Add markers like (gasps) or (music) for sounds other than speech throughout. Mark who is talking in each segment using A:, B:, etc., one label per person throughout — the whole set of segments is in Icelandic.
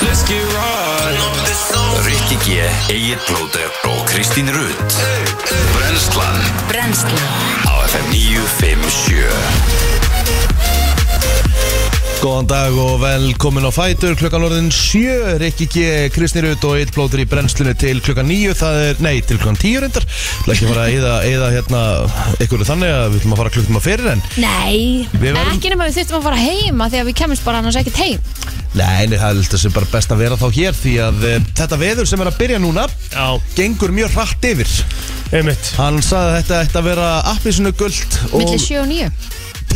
A: kannski ráð Rikki G, Egil Blóter og Kristín Rutt Brenslan
B: Brennslan
A: á FM 957
C: Góðan dag og velkomin á Fætur klukkan orðin 7, Rikki G, Kristi Rut og Eitt Blótur í brennslunni til klukkan 9 það er, nei, til klukkan 10 reyndar Það er ekki að fara að eyða, eyða hérna einhverju þannig að við ætlum að fara klukkum að fyrir en
D: Nei,
C: Við verðum-
D: ekki nema við þurftum að fara heima því að við kemumst bara annars ekkert heim
C: Nei, nei, það er þetta sem bara best að vera þá hér því að e, þetta veður sem er að byrja núna
E: Já,
C: gengur mjög hratt yfir
E: einmitt
C: Hann sagði að þetta ætti að vera appisinu guld og
D: millir 7 og 9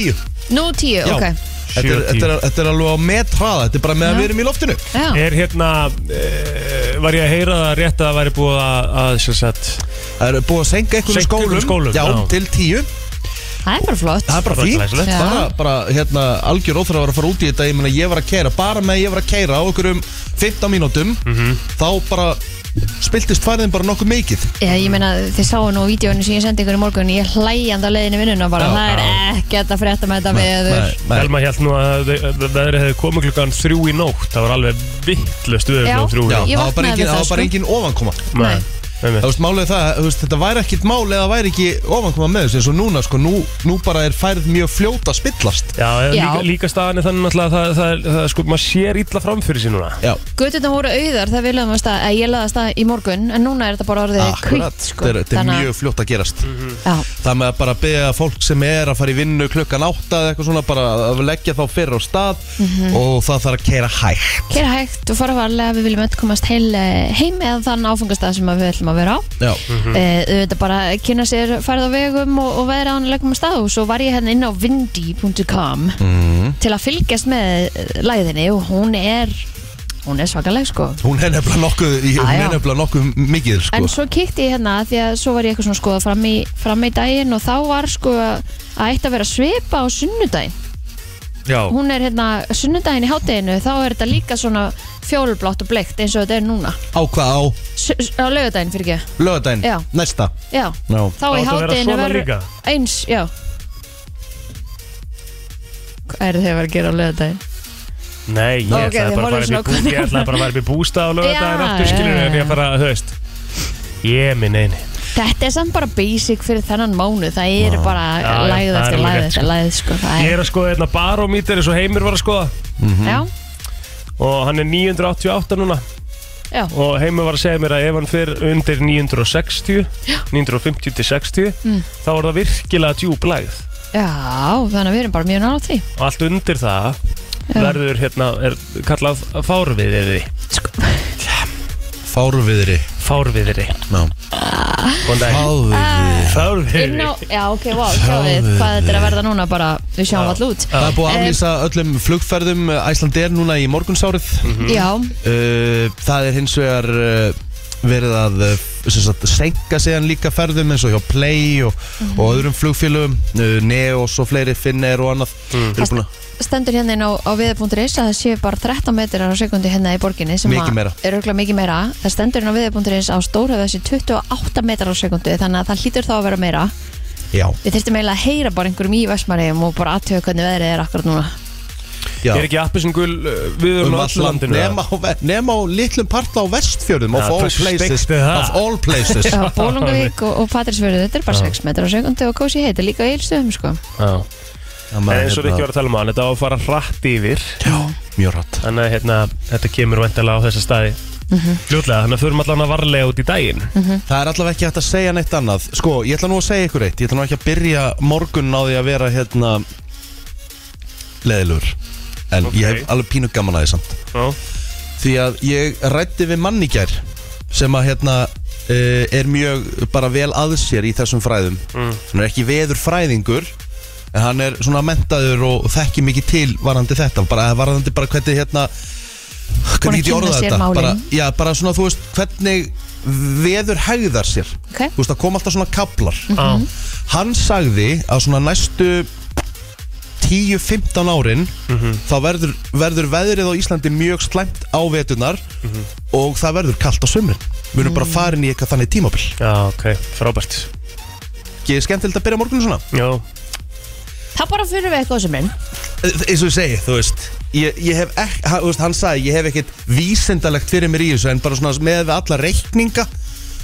C: 10
D: Nú 10,
C: Já.
D: ok
C: Þetta er, þetta, er, þetta er alveg á metraða, þetta er bara með að
D: Já.
C: við erum í loftinu
D: Já.
E: Er hérna eh, Var ég að heyra það rétt að það væri búið að, að sem sagt,
C: Það eru búið að senka einhvern
E: Seinka
C: skólum,
E: einhverjum skólum,
C: já,
E: já.
C: til 10
D: Það er bara flott
C: Það er bara
E: Bara
C: fínt
E: glæsilegt.
D: Já.
C: bara, bara hérna, algjör óþra var að fara út í þetta Ég meina, ég var að keira Bara með að ég var að keira á einhverjum 15 mínútum Þá bara spiltist færðin bara nokkuð mikið
D: Já, ég meina þið sáu nú vídjónu sem ég sendi ykkur í morgun ég hlæjandi á leiðinni í vinnuna bara
C: Já,
D: það er ekkert að frétta með þetta veður
E: Elma hélt nú að þe- að veðrið hefði komið klukkan þrjú í nótt Það var alveg vittlust við
D: Já.
E: klukkan þrjú í
C: Já,
E: nótt
D: Ég
C: það var bara
D: vaknaði
C: engin,
D: við
C: það
D: það,
C: var bara
D: sko.
C: engin ofankoma
D: Nei.
C: Það
E: einmitt
C: veist, málið er það, þú veist, þetta væri ekkit mál eða væri ekki ofankoma með þessu eins og núna, sko, nú, nú bara er færð mjög fljóta að spillast
E: Já, eða
D: Já.
E: Líka, líka staðan er þannig náttúrulega að það, það, það, það, sko, maður sér illa fram fyrir sér núna
C: Já,
D: Göturnar voru auðar þegar við lögum að stað að ég laði að stað í morgun en núna er þetta bara orðið
C: akkurat,
D: kvitt
C: þetta
D: sko.
C: er, þetta er mjög fljótt að gerast
D: Já,
C: Það með að bara beða fólk sem er að fara í vinnu klukkan átta eða eitthvað svona bara að leggja þá fyrir á stað
D: Mhm.
C: og það þarf að keira hægt
D: Kera hægt og fara varlega við viljum öll komast heil eh, heim eða þann áfangastað sem að við ætlum að vera á
C: Já,
D: Eh, auðvitað bara kynna sér færð á vegum og, og veðra ánlegum stað og svo var ég hérna inn á windy.com til að fylgjast með eh, læðinni og hún er hún er svakaleg sko
C: hún er nefnilega nokkuð, í- hún
D: Já, já.
C: er nefnilega nokkuð mikið sko.
D: en svo kíkti ég hérna því að svo var ég eitthvað svona að skoða fram í, fram í daginn og þá var sko að að ætti að vera svipa á sunnudaginn
E: Já,
D: hún er hérna sunnudaginn í hátteginu þá er þetta líka svona fjólublátt og bleikt eins og þetta er núna
C: Á hvað á
D: S á laugardaginn fyrir ekki
C: lögadaginn,
D: Já.
C: næsta
D: já
C: Já,
D: þá
E: átt
D: í
E: að vera
D: hátteginu
E: svona
D: verður
E: líka.
D: eins, já hvað er þið að vera að gera á löðadaginn?
E: Nei, ég
D: Ok,
E: ætlaði bara
D: þið
E: að
D: horfðu
E: fara
D: svona
E: upp í bú- ég ætlaði bara að fara upp í bústað og lögða
D: Já,
E: það er aftur skilur
D: já,
E: en ég
D: já.
E: bara, þú veist Ég minn eini
D: þetta er samt bara basic fyrir þennan mánu það eru bara
E: Já, já, það
D: læð
E: er
D: eftir
E: alveg
D: læð
E: rétt,
D: eftir læð sko, það
E: Ég
D: er,
E: er að skoða einna barómítir eins og Heimir var að skoða
D: já,
E: og hann er 988 núna
D: já,
E: og Heimir var að segja mér að ef hann fer undir 960 950 til 60
D: Mm.
E: þá er það virkilega djúb lægð
D: já þannig að við erum bara mjög nátt því
E: og allt undir það
D: Já.
E: verður hérna, er kallað fárviðri
D: sko,
C: Fáruviðri
E: fárviðri Góðan Ah. dag.
C: Fáruviðri
D: inn á,
E: fárviðri
D: já ok, wow, sjá við hvað þetta er að verða núna bara, við sjáum all út
C: Það er búið að aflýsa öllum flugferðum Æslandir núna í morgunsárið
D: Mhm. já,
C: uh, Það er hins vegar uh, verið að uh, sem sagt, senka síðan líka ferðum eins og hjá Play og,
D: Mhm.
C: og öðrum flugfélögum uh, Neos og fleiri, Finnair og annað
E: Mm.
C: Þeir eru búin að
D: stendur hérna inn á, á viða.is að það séu bara 13 metrar á sekundi hérna í borginni sem
C: Mikið
D: að-
C: meira.
D: er örgulega mikið meira það stendur hérna á viða.is á stórhöfða þessi 28 metrar á sekundi þannig að það hlýtur þá að vera meira
C: Já,
D: við þurftum eiginlega að heyra bara einhverjum í Vestmannegjum og bara aðtöða hvernig veðrið er akkurat núna
C: já
E: Er ekki appi sem gul við
C: um
E: erum á
C: all
E: öllu
C: land
E: landinu
C: nema á, ve- nema á litlum partla á vestfjörðum of
E: Ja,
C: all
E: hvað
C: places
E: steikti það?
C: of all places
D: Já, Bólungavík og, og Patrísfjörður, þetta er bara 6 metrar á sekundi og kósi heiti líka í eilstöðum sko.
E: Já. En eins og Rikki var að tala um hann, þetta á að fara hratt yfir
C: hérna- mjög rætt
E: Þannig að hérna, þetta kemur vendilega á þessa staði Fljótlega, þannig að förum allan að varlega út í daginn
D: Mhm.
C: það er allavega ekki hægt að segja neitt annað sko, ég ætla nú að segja ykkur eitt ég ætla nú ekki að byrja morgun á því að vera hérna leðilur en
E: Ok.
C: ég hef alveg pínu gaman að því samt
E: Já.
C: því að ég rætti við mann í gær sem að hérna uh, er mjög bara vel að sér í þessum fræðum
E: Mm.
C: hann er ekki veður fræðingur en hann er svona mentaður og þekki mikið til varandi þetta bara varandi bara hvernig hérna
D: Búin að
C: hvernig get ég
D: kynna
C: orðað
D: sér
C: þetta
D: málin.
C: bara, já, bara svona þú veist hvernig veður hegðar sér
D: Ok.
C: þú veist það kom alltaf svona kaplar
E: Já.
C: hann sagði að svona næstu 10-15 árin
E: Mhm.
C: þá verður, verður veðrið á Íslandi mjög slæmt á vetunar
E: Mhm.
C: og það verður kalt á sömrin við erum bara farin í eitthvað þannig tímabil
E: Já, ok, frábært
C: ekki skemmtilegt að byrja morgunum svona
E: Já,
D: Það bara fyrir við eitthvað sem minn
C: Eh, eins og ég segi, þú veist ég, ég hef ekki, hann, þú veist, hann sagði ég hef ekkert vísindalegt fyrir mér í þessu en bara svona með við alla reikninga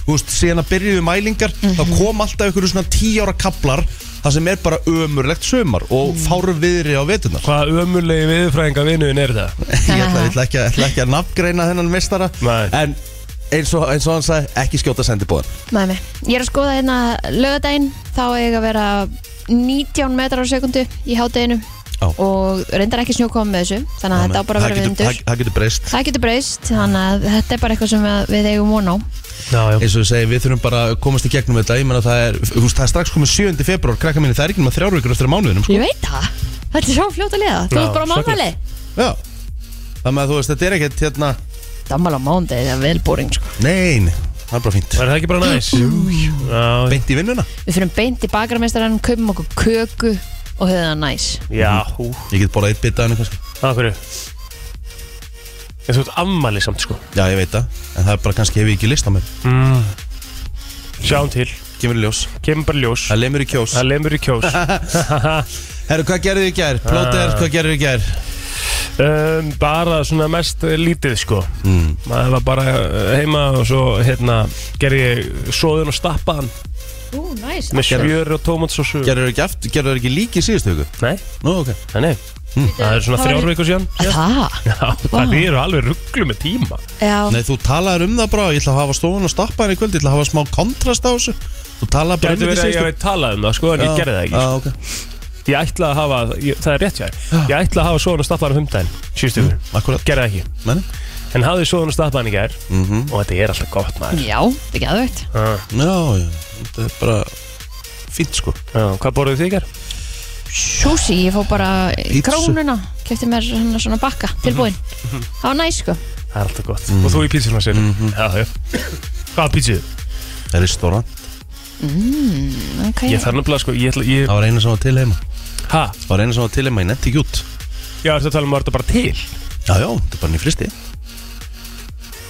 C: þú veist, síðan að byrjuðu mælingar
D: Mhm.
C: þá kom alltaf ykkur svona 10 ára kaplar það sem er bara ömurlegt sömar og
D: Mhm.
C: fárum viðri á veturnar
E: Hvað ömulegi viðfræðinga vinuðin er það?
C: (laughs) ég ætla, ég ætla, ekki, að- ætla ekki að nafngreina þennan mestara
E: Nei.
C: en eins og, eins og hann sagði ekki skjóta sendibóðan
D: Nei, nei. Ég er að skoða hérna lögadaginn þá eiga að vera 19 metrar á sekundu í hádeginu
C: Á.
D: og reyndar ekki snjókoma með þessu þannig að þetta á bara að vera vindur
C: það, það getur breyst
D: Það getur breyst, þannig að þetta er bara eitthvað sem við- við eigum von á
E: Já, já
C: eins og við segjum, við þurfum bara að komast í gegnum þetta ég menna það er, þú veist, það er strax komið 7. februar krakka mínu, það er ekki með þrjár vikur eftir að mánuðinum sko.
D: Ég veit það, þetta er svo fljóta liða Þú
E: Já,
D: ert bara á
E: svakalegt.
D: mánali
C: já, þannig að þú veist, þetta er ekkert hérna,
D: Dammala mándegi, það er vel boring sko.
C: nein, það er bara fínt
E: Var það ekki bara næs? Jú, jú Já,
C: beint í vinnuna,
D: Við fyrir beint í bakarmeistarann, kaupum okkur köku og höfum það næs
E: já, hú
C: ég get borðað eitt bita en eitthvað, sko.
E: Það hverju? Ég þú ert ammali samt sko
C: já, ég veit það, en það er bara kannski hef ég ekki list á mér,
E: mm. Sjáum til,
C: kemur í ljós
E: kemur bara í ljós
C: það lemur í kjós,
E: Það lemur í kjós
C: (laughs) herru, (laughs) hvað gerðu í gær
E: Ah.
C: plóter, hvað gerðu í gær
E: um, Bara svona mest eh, lítið sko
C: mm.
E: Maður var bara eh, heima og svo hérna gerði ég svoðun og stappaðan
D: Ú, næs
E: með
C: Gerðu.
E: smjör og tómatsósu
C: gerðu ekki aftur, gerðu ekki líki síðustu ykkur
E: Nei,
C: nú, ok, Hm.
E: nei, nei, það er svona
D: Hvað
E: þrjár
D: er-
E: vikur síðan
D: Það?
E: Já, það eru alveg rugglu með tíma
D: Já,
C: nei, þú talaður um það bara ég ætla að hafa stofun og stappa henni í kvöld, ég ætla að hafa smá kontrast á þessu þú talaður bara um
E: Gæti
C: þetta
E: verið að
C: í
E: ég
C: síðustu
E: veit talað um það sko en ég
C: Já,
E: gerði það ekki
C: já, ok.
E: Ég ætla að hafa, ég, það er rétt hjá þér Ég ætla að hafa svoðan og stappaðan um daginn Sýstu ykkur,
C: Mm, Akkurat,
E: gerði það ekki
C: menni
E: En hafði svoðan og stappaðan í gær
C: Mhm.
E: Og þetta er alltaf gott maður
D: já, það er geðvægt
E: ah,
C: Já, já, þetta er bara fínt sko
E: já, Hvað borðuð þið í gær?
D: Sushi, ég fór bara í
C: Pizza. Mhm.
D: krónuna Kefti mér hana svona bakka tilbúin Það var næs sko
E: Það er alltaf gott Og þú í pítsurna sér
C: Mhm.
E: Já, já Hvað pítsuð?
C: Restaurant,
D: Mhm. Hmm, Ok,
E: Ég þarf nefnilega sko, ég ætla, ég
C: það var eina sem var til heima
E: Hæ?
C: Það var eina sem var til heima, ég nefndi ekki út
E: Já, ertu að tala um að var þetta bara til?
C: Já, já, þetta er bara nýr fristi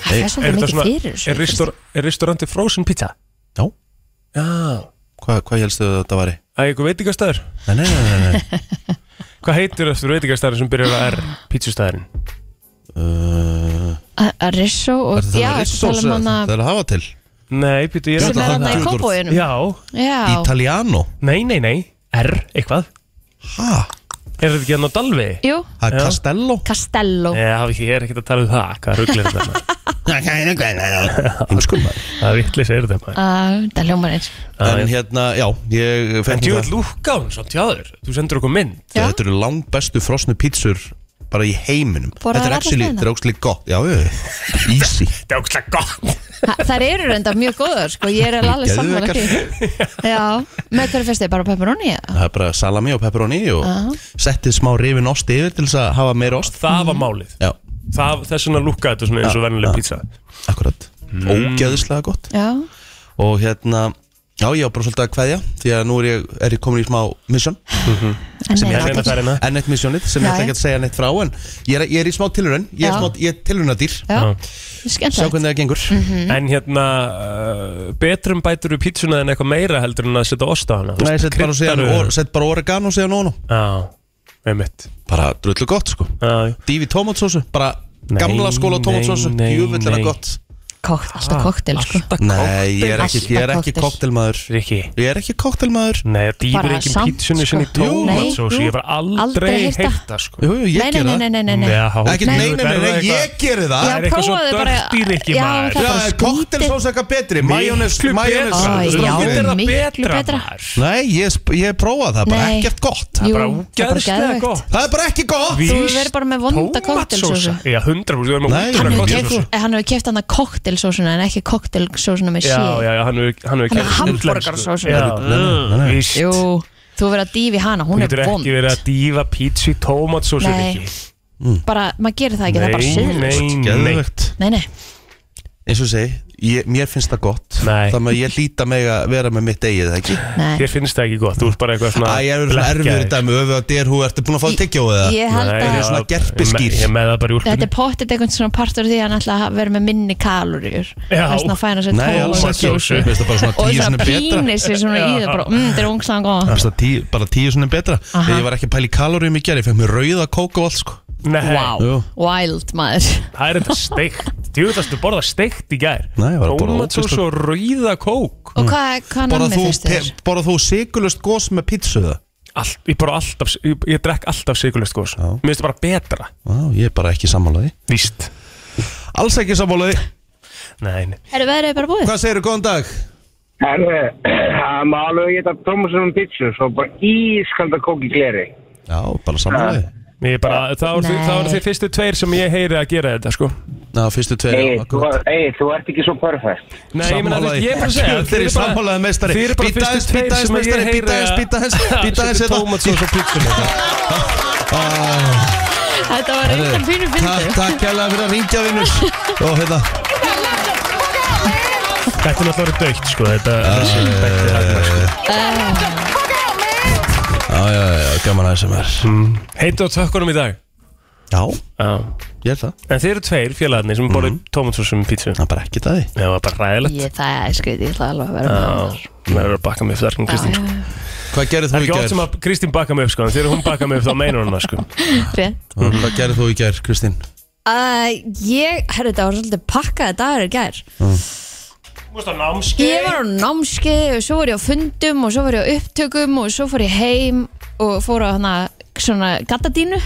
D: það er svolítið mikið fyrir þessu
E: er, ristor, er restauranti frozen pizza?
C: Já,
E: Já
C: hvað, hvað helstu að þetta væri?
E: Það er eitthvað veitingastæður
C: Nei, nei, nei, nei, nei.
E: (laughs) Hvað heitir eftir veitingastæður sem byrjar að R? Pítsustæðurinn
C: Uh,
D: A- a Risso og
C: Það
D: já,
C: er
D: ertu að
C: rissos,
D: tala um hana
C: það er að hafa til
E: Nei, pítu, ég
D: sem
C: Þetta
D: er
C: þarna
D: hana í
C: Gudrún.
D: kópóinum
E: um Já
D: já,
C: Italiano
E: Nei, nei, nei R, eitthvað
C: Ha,
E: Er þetta ekki hann á Dalvi?
D: jú,
E: Já.
C: það er Castello
D: Castello
E: Nei, það ég er ekkert að tala um það Hvað rugglir þetta? maður?
C: (laughs) Heimskum maður
E: (laughs) Það er vittlis er þetta maður.
D: Ah, það hljómar eins
E: Já,
C: En hérna, já, ég
E: En
C: fengi
E: djúvel
C: það
E: lúkán, svo tjáður Þú sendur okkur mynd
D: Já.
C: Þetta eru langt bestu frosnu pítsur bara í heiminum
D: Borðaðar
C: Þetta er
D: alla
C: actually,
D: staðina?
C: þetta er actually gott Já, já, já. easy
E: (laughs) Þetta er ógslag gott
D: Ha, þær eru reynda mjög góður sko, ég er alveg alveg sammála
C: Geðveikar.
D: því já, með hverju fyrstu, bara pepperoni eða?
C: Það er bara salami og pepperoni og
D: Já.
C: settið smá rifin ost yfir til þess að hafa meira ost
E: Það
D: Mhm.
E: var málið
C: Já,
E: Það, þess vegna lúkkaði þetta svona eins og vennileg pizza
C: akkurat mm. Ógeðislega gott
D: já,
C: Og hérna, já ég á bara svolítið að kveðja Því að nú er ég, er ég komin í smá mission
D: Mhm. en
E: Ég
D: nei,
E: reyna að fara hérna
C: Enn eitt missionið sem ég ætla
D: Já,
C: ekki að segja neitt frá En ég er, ég er í smá tilurinn Ég er,
D: Já.
C: smá, ég er tilurinnadýr
D: já,
C: Sjá
D: skemmtilegt Mhm.
C: hvernig það gengur
E: En hérna, uh, betrum bætur við pítsuna en eitthvað meira heldur en að setja ost á hana
C: Nei, sett bara, síðan,
E: Kryddaðu-
C: or, set bara oregano síðan og nú
E: Já, með mitt
C: Bara drullu gott sko Dífi tómatsósu, bara
E: Nei,
C: gamla skóla
E: nei,
C: tómatsósu
E: nei,
C: Jöfullina
E: nei.
C: gott
D: Kokt, alltaf koktel sko
C: Nei, ég er ekki, ég er
D: Alltaf
C: ekki
D: koktel.
C: koktelmaður
E: Rikki
C: Ég er ekki koktelmaður
E: Nei, það dýfur
D: Bara
E: ekki
D: samt,
E: pítsunu sinni
D: sko. Jú.
E: tómatsós
D: Nei,
E: Ég var aldrei
D: aldrei heyrt það.
E: heyrta sko
C: Jú, jú, ég
D: nei, nei,
C: gera
D: nei,
C: það
D: nei, nei, nei, nei.
E: Já,
C: Ekki, nei, nei, nei,
E: verður
C: nei, ég
E: eitthvað-
C: geri það
D: Já,
E: er eitthvað svo
D: prófaðu bara-
E: dörti, Rikki,
D: Já,
E: maður.
D: það er bara
C: Já, koktelsósa eitthvað betri Majónes,
E: Miklu
C: majónes
E: betra.
D: Æ,
E: Svo
D: já,
E: getur það
D: miklu
E: betra,
D: betra.
E: maður.
C: Nei, ég, sp- ég prófaði það bara
D: Nei.
C: ekkert gott
E: Bara
D: Jú, það er bara
E: úgeðslega
D: geðvegt
E: gott
C: Það er bara ekki gott
D: Þú
E: Víst,
D: verður bara með vonda
E: tómatsósa.
D: koktelsósu.
E: Já, hundra Þú verður
C: Nei,
E: með
C: hann
E: hundra
C: er
D: Hann
C: Gott
D: hefur
E: koktelsósu
D: keypt- eh, hann hefur keft hann að koktelsósuna en ekki koktelsósuna með
E: Já,
D: sé
E: já, já, hann hefur hann hefur
D: Hann er
E: keypt snillar,
D: hamborgarsósu.
E: sko. Já,
C: Nei, nei, nei, nei.
E: víst.
D: Jú, þú verður að dýfi hana,
E: Þú
D: hún er
E: getur
D: vond
E: ekki verið að dýfa pítsu í tómatsósu
D: Nei,
E: Rikki.
D: bara, maður gerir það ekki, það er bara siður
E: nei, nei, nei.
C: Geðvegt
D: Nei, nei,
C: Eins og ég segi, ég, mér finnst það gott
E: Nei.
C: Þannig að ég líta mig að vera með mitt eigið, eða ekki?
D: nei
E: Þér finnst það ekki gott, þú ert bara eitthvað svona
C: Æ, ég er svona
E: blekkjaður.
C: erfiður í dæmi Öfu að derhú, ertu búin að fá að tyggja á það?
D: Ég held
E: Nei,
D: að
E: já,
C: Svona gerpiskýr.
E: Ég með- ég með það bara í
D: Þetta
E: úrpunni
D: er pottit einhvern svona partur af því að hann ætla að vera með minni kalóriur
E: Já.
D: Það er svona að fæna sér
C: Nei, alls ekki Mér
E: Tómatsósu.
C: finnst
D: tómatsósu
C: það bara svona
D: Og
C: tíu
D: það
C: sinni betra Mér
D: pínir sér svona í
E: Já.
D: það bara, mmm, þetta er ungslan góð
C: finnst það tíu, bara tíu sinni betra
D: Aha.
C: Ég var ekki að pæla í kaloríum í gerð Ég fekk mér rauða kók og allt, sko
E: Nei,
D: Wow,
C: Jú.
D: wild maður
E: það er þetta steikt Djúðast, þú borða steikt í gær
C: Nei, ég var að borða
E: Tómatsós
C: ógeðslega-
E: og rauða kók
D: Og hvað, hvað
C: Borða
D: nammi
C: þú,
D: finnst þér?
C: pe- borðar þú sigurlust gós með pítsu það?
E: Allt, Ég borða alltaf, ég, ég drekk alltaf sigurlist gos
C: Já.
E: Mér finnst það bara betra
C: Vá, ég er bara ekki sammálaði
E: Víst
C: (laughs) Alls ekki sammálaði
E: Nei, nei.
D: Er veðrið bara búið?
C: Hvað segirðu, góðan dag?
B: Herðu, það má alveg geta Tómasun um pítsu, svo bara ískalda kók í gleri.
C: Já, bara sammálaði
E: Ég bara, það voru þið-
D: Nei.
E: það voru þeir fyrstu tveir sem ég heyri að gera þetta sko
C: Ná, fyrstu tveir
B: Egil, Eh, þú, Egill, þú ert ekki svo perfekt.
E: Nei, ég meina, þú veist, ég er bara að segja
C: Þeir eru sammálaði meistari
E: Þeir eru bara
C: Bíta
E: fyrstu
C: aðeins,
E: tveir
C: bíta aðeins,
E: sem ég
C: meistari,
E: heyri
C: bíta aðeins, bíta aðeins Bíta aðeins,
E: Settu
C: hérna.
E: tómatsós og pítsunni
D: Þetta var eitthvað fínu
C: Ah, Takk,
D: fyndu
C: takk kærlega fyrir að ringja vinnus Og hérna,
E: Þetta er náttúrulega dögt, sko Þetta er sko.
F: Ah.
C: já, já, já, gaman aðeins sem er
E: Heitu Mm. á tökkunum í dag
C: Já,
E: Já
C: ég er það Mhm.
E: En þeir eru tveir félagarnir sem borðið mm. tómatsósum pítsu
C: Það er bara ekki það
E: Það var bara ræðilegt
D: Ég, það er skriðið, ég ætla alveg að vera með
E: Já, það verður að bakka mig upp þar hún Kristín sko.
C: Hvað gerðið
E: Það er
C: þú í
E: ekki oft
C: gær?
E: sem að Kristín bakka mig upp sko en Þegar hún bakka mig upp þá meinar hún það sko
D: Rétt.
C: Hvað gerðið þú í gær, Kristín?
D: Uh, ég, herru, þetta var svolítið pakkaði dagur í gær
E: Þú veist á námski
D: Ég var á námskeið og svo var ég á fundum og svo var ég á upptökum og svo fór ég heim og fór á hana svona gattadínu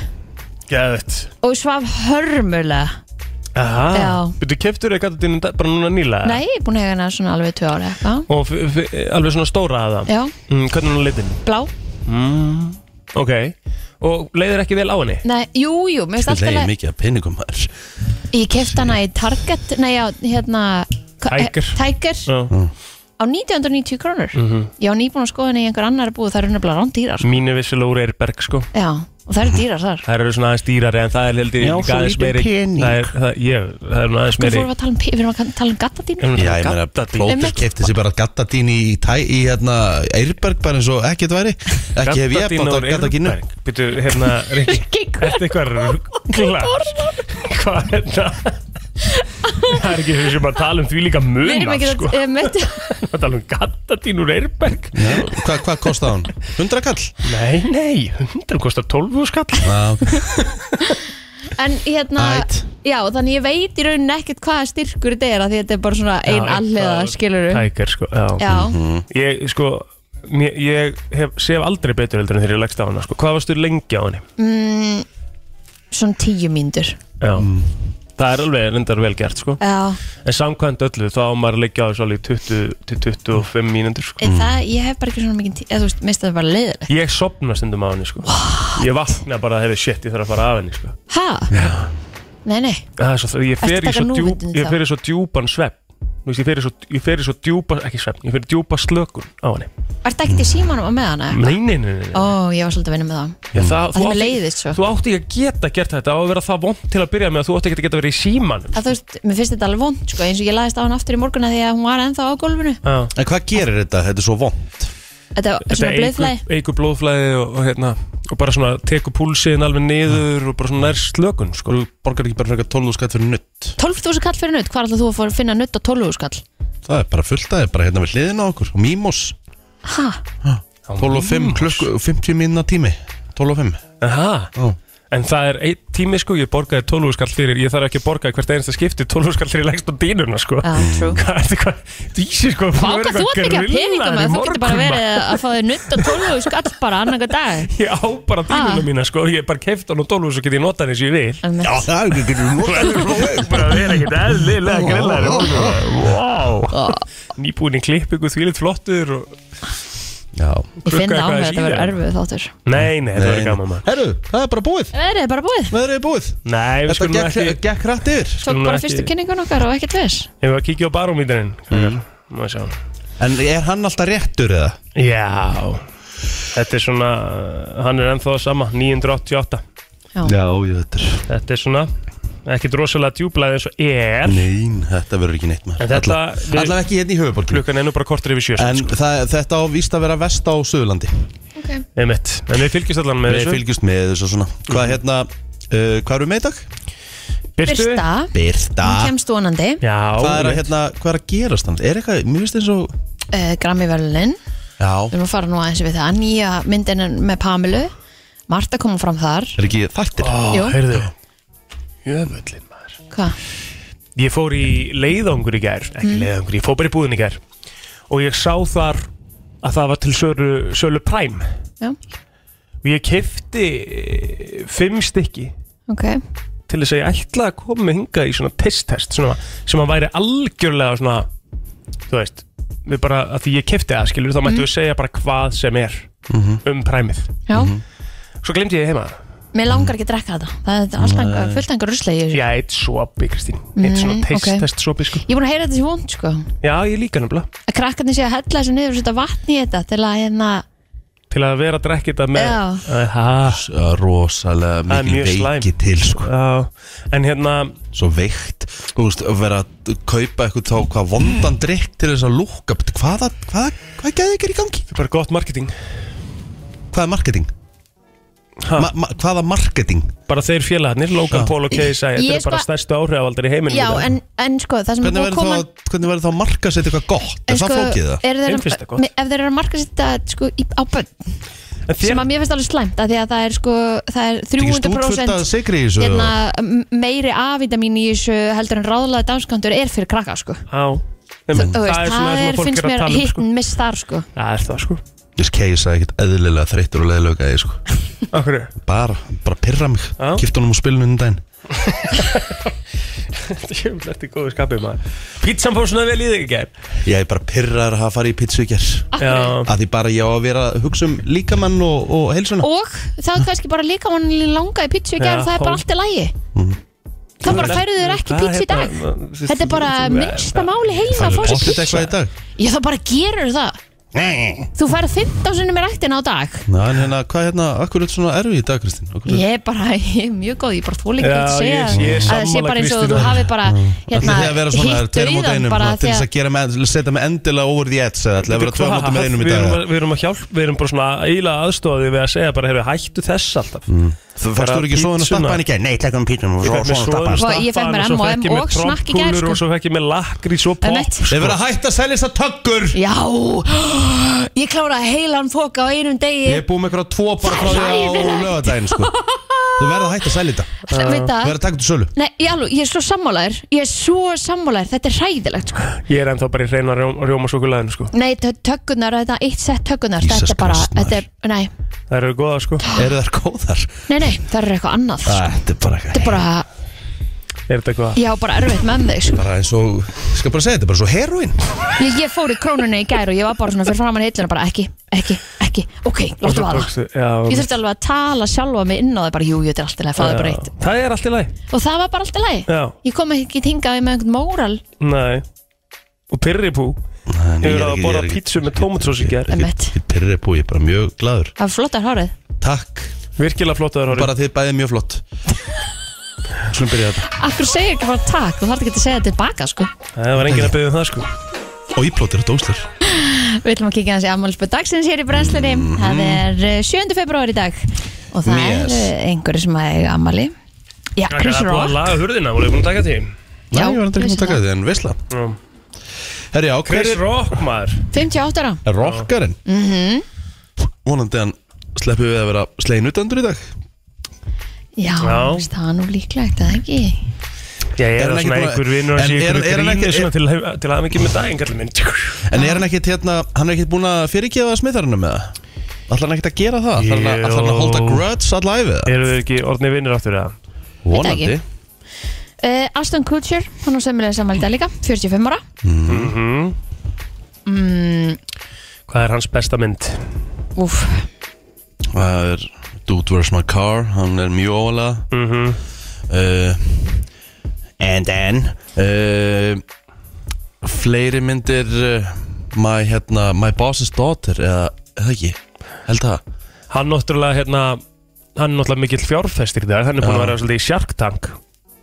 E: Gæðið
D: og svaf hörmulega Já.
E: Aha Þú keftur þér gata þínu bara núna nýla
D: Nei, ég er búin að eiga hana svona alveg tvö ára eitthvað
E: Og f- f- eh, alveg svona stóra aða
D: Já,
E: mm, Hvernig er hún litin? Mm.
D: blá
E: Ok Og leiðir ekki vel á henni?
D: Nei, jú, jú, mér finnst alltaf
C: Legi
D: leið
C: Sko, mikið að peningum maður
D: Ég kefti hana í Target, nei, já, hérna hva- eh,
E: Tiger.
D: Tiger
E: Já
C: Mm.
D: á 1990 krónur
E: Mhm.
D: Ég á nýbúin að skoða henni í einhver annar búð, það eru nefnilega rándýrar sko.
E: Mínu vissulega úr Eirberg sko
D: Já, og það eru dýrar þar
E: Það eru svona aðeins dýrari en það er heldur
C: Já, svo lítið pening.
E: Það er, það, ég, það er nú aðeins
D: Hvað
E: meiri
D: fórum við að tala um, pe- við erum að tala um gattadínu?
C: Já, ég meina, Plóter
D: Einmitt.
C: kefti sér bara gattadín í, tæ, í hérna, Eirberg bara eins og ekkert væri Ekki hef ég bátt á gattadínu
E: Býtu,
C: (laughs)
E: hérna, Rikki, ertu eitthvað ruglar? Hvað er þetta? Það er ekki þau sem að tala um því líka
D: Við erum
E: munar,
D: ekki
E: sko
D: að, með,
E: Það tala um gattadín úr Eirberg
C: Hvað hva kostaði hún? 100 kall?
E: Nei, nei, hundar kostar 12 skall
C: Já,
D: en hérna,
C: Ætt.
D: já, þannig ég veit í rauninni ekkert hvaða styrkur þetta er af því þetta er bara svona ein alliða, skilur við.
E: Tækir, sko, já,
D: Já,
E: Ég, sko, mér, ég hef, sef aldrei betur heldur en þegar ég leggst á hana, sko Hvað varstu lengi á henni?
D: Mm, svona tíu mínútur.
E: Já Það er alveg reyndar vel gert sko
D: Já,
E: En samkvæmt öllu þá á maður að leggja á þessu alveg 20 til 25 mínútur sko
D: mm. það, ég hef bara ekki svona mikið tíu, eða þú veist, mista það bara leiðilegt.
E: Ég sopna stundum á henni sko Ég vakna bara að hefði shit ég þarf að fara af henni sko
D: Ha? Nei, nei,
E: Það er svo, það- Ég fer
D: Ertu
E: í
D: að
E: svo,
D: taka
E: djúp,
D: núvitund
E: ég
D: þá?
E: fer í svo djúpan svepp Þú veist, ég fer í svo, ég fer í svo djúpa, ekki svepp, ég fer í djúpa slökun á henni
D: var þetta ekkert í símanum á með hana?
C: Mm.
E: Nei, nei, nei, nei, nei.
D: Ó, ég var svolítið að vinna með það.
E: Já, það,
D: Það er mér leiðist svo.
E: þú átti ekki að geta gert þetta á að vera það vond til að byrja með að þú átti ekki að geta verið í símanum
D: Að þú veist, mér finnst þetta alveg vond, sko, eins og ég laðist á hana aftur í morgunna því að hún var ennþá á gólfinu.
E: Já.
C: En hvað gerir þetta? Þetta er svo vond
D: Þetta var svona blöðflæði.
E: eigur, eigur blóðflæði og, og, hérna, og bara svona tekur púlsiðin alveg niður og bara svona nær slökun sko.
C: Þú borgar ekki bara fyrir 12 skatt fyrir nutt
D: 12.000 kall fyrir nutt, hvað ætlað þú að fór- finna nutt á 12.000 kall?
C: Það er bara fullt aðeins, bara hérna við hliðina á okkur Og Mímos,
D: Ha?
C: 12 og 5 klukk 50 minna tími 12 og 5
E: Aha.
C: Já.
E: En það er einn tími sko, ég borgaði 12 skall fyrir, ég þarf ekki að borga hvert einasta skipti 12 skall fyrir lengst á dýnuna sko.
D: Já, true.
E: Hvað er þetta, hvað, dísi sko, búin að
D: Fáka,
E: vera
D: þú ert
E: eitthvað
D: ekki að peninga
E: grillaður í
D: maður, þú getur bara
E: morgun,
D: verið
E: maður.
D: að fá þér nutt og tólu skall bara annan hver dag.
E: (laughs) Ég á bara dýnuna
D: Ah.
E: mína sko, ég er bara keft á nú 12 og get ég notað eins og ég vil.
D: En með-
C: það er ekki
E: bara vera ekkert eðlilega grillar wow. nýbúin í klippingu þvílitt flottur og...
C: Já
D: Ég finn
E: Glugga
D: það á
E: eitthvað
D: mér að
E: í
D: þetta verður
E: það.
D: erfið þáttur.
E: nei, nei, þetta verður gaman maður
C: Herru, það er bara búið
D: Það er bara búið.
C: Veðrið er búið
E: nei, við
C: Þetta
E: skulum nú
C: gekk,
E: ekki
C: gekk rætt yfir
D: Tók
E: Skulum
D: bara
E: ekki-
D: fyrstu kynningun okkar og ekkert viss.
E: ef við að kíkja á barómíturinn mm. maður sjá
C: En er hann alltaf réttur eða?
E: já, þetta er svona hann er ennþá sama, 988
C: Já, ég þetta er
E: þetta er svona ekkert rosalega djúblæði eins og er
C: Nein, þetta verður ekki neitt
E: En
C: maður
E: þetta- við-
C: Allavega ekki hérna í höfuborginu
E: klukkan er nú bara kortur yfir sjö
C: En
E: sko.
C: það, þetta á víst að vera vest á Suðurlandi
E: einmitt, en við fylgjumst allan með
C: Við
E: þessu Mhm.
C: fylgjumst með þessu og svona Hvað hérna, uh, hvað erum við með í dag?
D: Birta,
C: Birta
D: hún kemst vonandi,
E: já,
C: Hvað Ah. er að,
E: einmitt.
C: hérna, hvað er að gerast hann? Er eitthvað, mér finnst eins og
D: uh, Grammy Verlin,
C: Já,
D: við erum að fara nú aðeins við það, nýja myndin er með Pamilu Marta kom fram þar
C: Er ekki þættir?
E: Ó,
D: Jú.
E: heyrðu Jöfullin maður
D: Hva?
E: Ég fór í leiðangur í gær Ekki leiðangur, ég fór bara í búðin í gær Og ég sá þar að það var til sölu, sölu Prime
D: Já,
E: Og ég kefti fimm stykki
D: ok
E: til þess að ég ætla að koma hinga í svona pisttest svona, sem að væri algjörlega svona, þú veist við bara, að því ég kefti það, skilur, þá mættu við segja bara hvað sem er um præmið
D: Já,
C: Mhm.
E: Svo glemdi ég heima
D: mér langar ekki að drekka þetta Það er alltaf einhver, fullt einhver rusli Ég
E: Mm. Já, eitt sopi, Kristín Eitt svona
D: Mm, ok.
E: pisttest sopi, sko
D: ég er búin að heyra þetta sem vond sko
E: Já, ég líka nefnilega
D: Að krakkarnir séu að hella þessu niður og setja vatn í þetta til að hérna
E: Til að vera að drekka þetta með Eh,
D: Já.
E: Aha,
C: Rosalega
E: Það er
C: mikil
E: mjög slæm.
C: veiki til sko
E: já, En hérna,
C: Svo veikt Þú veist, að vera að kaupa eitthvað þá hvað vondan drikk til þess að lúka Bíddu, Hvaða, hvaða, hvað gæði ekki í gangi?
E: það er bara gott marketing
C: Hvað er marketing?
E: Ha.
C: Ma, ma, hvaða marketing?
E: Bara þeir félagarnir, Logan
C: Já.
E: Paul og Keisa Þetta
D: Ég
E: er bara
D: sko-
E: stærstu áhrifaldar í heiminum
D: Já,
E: í dag.
D: en, en sko, það sem er
C: Hvernig
D: búið að
C: verður þá,
D: koma
C: að- hvernig verður þá að marka setja eitthvað gott?
D: En sko,
C: Er það flókið það?
D: eru þeir
E: Þeim
D: að-
E: finnst það gott.
D: Ef þeir eru að marka þetta sko, í- á bönn
E: En þér-
D: sem að mér finnst alveg slæmt af því að það er, sko, það er
C: Þetta ekki stútfullt að
D: 300%
C: sigri í þessu
D: hérna,
C: eða?
D: m- meiri A-vitamin í þessu heldur en ráðlega danskantur er fyrir krakka sko.
E: Já,
D: Þú
E: nefnilega.
D: þú veist,
E: er svona sem
D: það er,
E: að fólk (laughs)
D: finnst
E: er að
D: mér
E: tala um,
D: hit
E: sko.
D: and miss þar sko.
E: Það er það sko
C: Ég keisa ekkert eðlilega þreyttur og leðilega gæði sko
E: Akkur
C: Bara, bara pyrra mig
E: Já.
C: Kipta honum úr spilinu undan daginn
E: Þetta er góðu skapið maður Pizzan fór svona vel í þig í gær
C: Ég er bara pyrraður að hafa farið í pizzu í gerð
E: Já
C: að því bara ég á að vera að hugsa um líkamann og, og heilsuna
D: og það er kannski bara líka mann langa í pítsu í
E: Já,
D: gerð, það er
E: hól.
D: bara allt í lægi
C: Mhm.
D: þá bara færuðu þér ekki
E: Hvað
D: pítsu í dag
E: hérna, þú-
D: þetta er bara
E: þú-
D: minnsta máli heila að fá sér
C: Pottþétt
D: pítsu
C: eitthvað í dag
D: ég þá bara gerur það
C: Nei
D: þú færð 15 sinnum í rættina á dag
C: Ná, en hérna, hvað hérna, akkur er þetta svona erfið í dag, Kristín? Akkur er
D: Ég er bara, (laughs) ég er mjög góð, ég er bara þóla ekki
E: Já,
D: að segja
E: ég- ég er
D: að það sé
E: sammála
D: bara eins og
E: Kristínu.
D: þú hafi bara
C: Ætli
D: hérna,
C: þið að vera svona tveir
D: hitt
C: á móti
D: dauðan
C: einum
D: bara
C: svona, til
D: því
C: þess
D: að
C: að gera með, setja með endilega over the edge eða ætli að vera tveir á móti með einum
E: Við
C: í dag
E: erum
C: eða?
E: að- Við erum að hjálp Við erum bara svona eiginlega aðstofið við að segja bara hefur hættu þess alltaf
C: Mm. Þú fannst þú ekki svona að
E: Pizzuna.
C: stappa hann í gær? Nei, tekka um pítum og
E: Ég
C: svo
E: fekk mér
C: svona stappa hann
D: Vá, ég fekk
E: stappan
D: mér
E: og svo
D: M&M
E: fekk ég mér
D: og snakk í gær,
E: trompkúlur
D: sko.
E: Og svo fekk ég með lakri svo
D: Emmett.
E: pop
C: Þeir verða hægt að selja þess að tökkur
D: Já, (gasps) ég kláraði heilan foka á einum degi
C: Ég er búið með eitthvað tvo bara frá því á
D: Hræðilegt. búið
C: lögadaginn sko Þú verða hægt að selja þetta
D: Veit
C: Þú
D: það?
C: verða að taka þetta sölu
D: Nei, ég, alveg, ég er svo sammálaður Ég er svo sammálaður, þetta er hræðilegt sko.
E: Ég er ennþá bara í reyna rjóma svokulæðinu sko
D: Nei, tökunar, þetta eitt sett tökunar
C: Jesus
D: Þetta er bara,
C: Christ, maður.
D: þetta er, nei,
E: Það eru góða sko
C: Eru þær góðar?
D: nei, nei, það er eitthvað annað sko.
C: Þetta er bara
D: Þetta er bara,
E: Er þetta eitthvað
D: ég á bara erfitt með þig sko.
C: bara eins og, ég skal bara segja þetta, er bara svo heroin
D: ég, ég fór í krónunni í gær og ég var bara svona fyrir framan hilluna bara ekki, ekki, ekki, ok,
E: Og
D: láttu
E: svo
D: vaða
E: tókstu- já,
D: Ég þurfti alveg að tala sjálfa mig inn á það bara, jú, jú, þetta er allt í lagi, fáðu bara eitt
E: Það er allt í lagi
D: Og það var bara allt í lagi
E: Já.
D: Ég kom ekki hingað með einhvern móral
E: Nei Og pyrripú Ég verði að borða pítsu með tómatsós í gær
D: Einmitt.
C: Ég pyrri búið, ég er bara mjög gladur
D: Það var flottar hárið
C: Takk,
E: Virkilega flott að það
C: bara þið bæðið mjög flott Skulum byrja þetta
D: Akkur segir ekki bara takk, þú þarf ekki að segja þetta tilbaka sko.
E: Það var enginn að byggja um það sko
C: Og íplótir og dóslar
D: Við ætlum að kíkja hans í afmálspöð dagsins hér í brennslunni
E: Mhm.
D: Það er eh, 7. februar í dag Og það
C: Yes.
D: yes. er einhverju sem að eiga afmáli Já,
E: Það
D: Chris
E: er búið að
D: Rock
E: laga hurðina, voru ég búin að taka því
C: Nei,
D: Já,
C: ég var endur ekki
D: vissi
C: að taka þetta, en veisla Herri, já, hver
E: Chris
C: er
E: Rock maður
D: 58 ára Mhm.
C: er rockarinn? Vonandi hann sleppið við að vera slegin utandur í dag
D: Já,
E: Já.
D: þú veist, það er nú líklegt, eða ekki
E: Já, ég
C: Er
E: er
C: hann
E: það
C: ekki
E: svona
C: búin að-
E: einhver vinnur
C: En
E: að sé
C: er-
E: ykkur
C: er hann
E: grínu
C: ekki-
E: svona til, til að mikið með daginn, kallið minn sko.
C: En er hann ekkert hérna, hann er ekkert búin að fyrirgefa smitharinu með það? Ætlar hann ekkert að gera það? Ætlar hann að- ætlar hann að holda
E: Jú.
C: grudge allæfið?
E: Eru þau ekki orðni vinnur aftur eða?
D: Vonandi. uh, Aston Kutcher, hann á sömulega sammælda líka 45 ára
C: Mhm.
D: Mm,
E: Hvað er hans besta mynd?
D: Úf,
C: Það er Dude Where's My Car, hann er mjög óvalega mm
E: Mhm.
C: And then uh, Fleiri myndir uh, my, hérna, my Boss's Daughter eða, eða ekki, held það
E: Hann náttúrulega, hérna, hann er náttúrulega mikill fjárfestir í dag Hann er búin að
C: Já.
E: vera svolítið í Shark Tank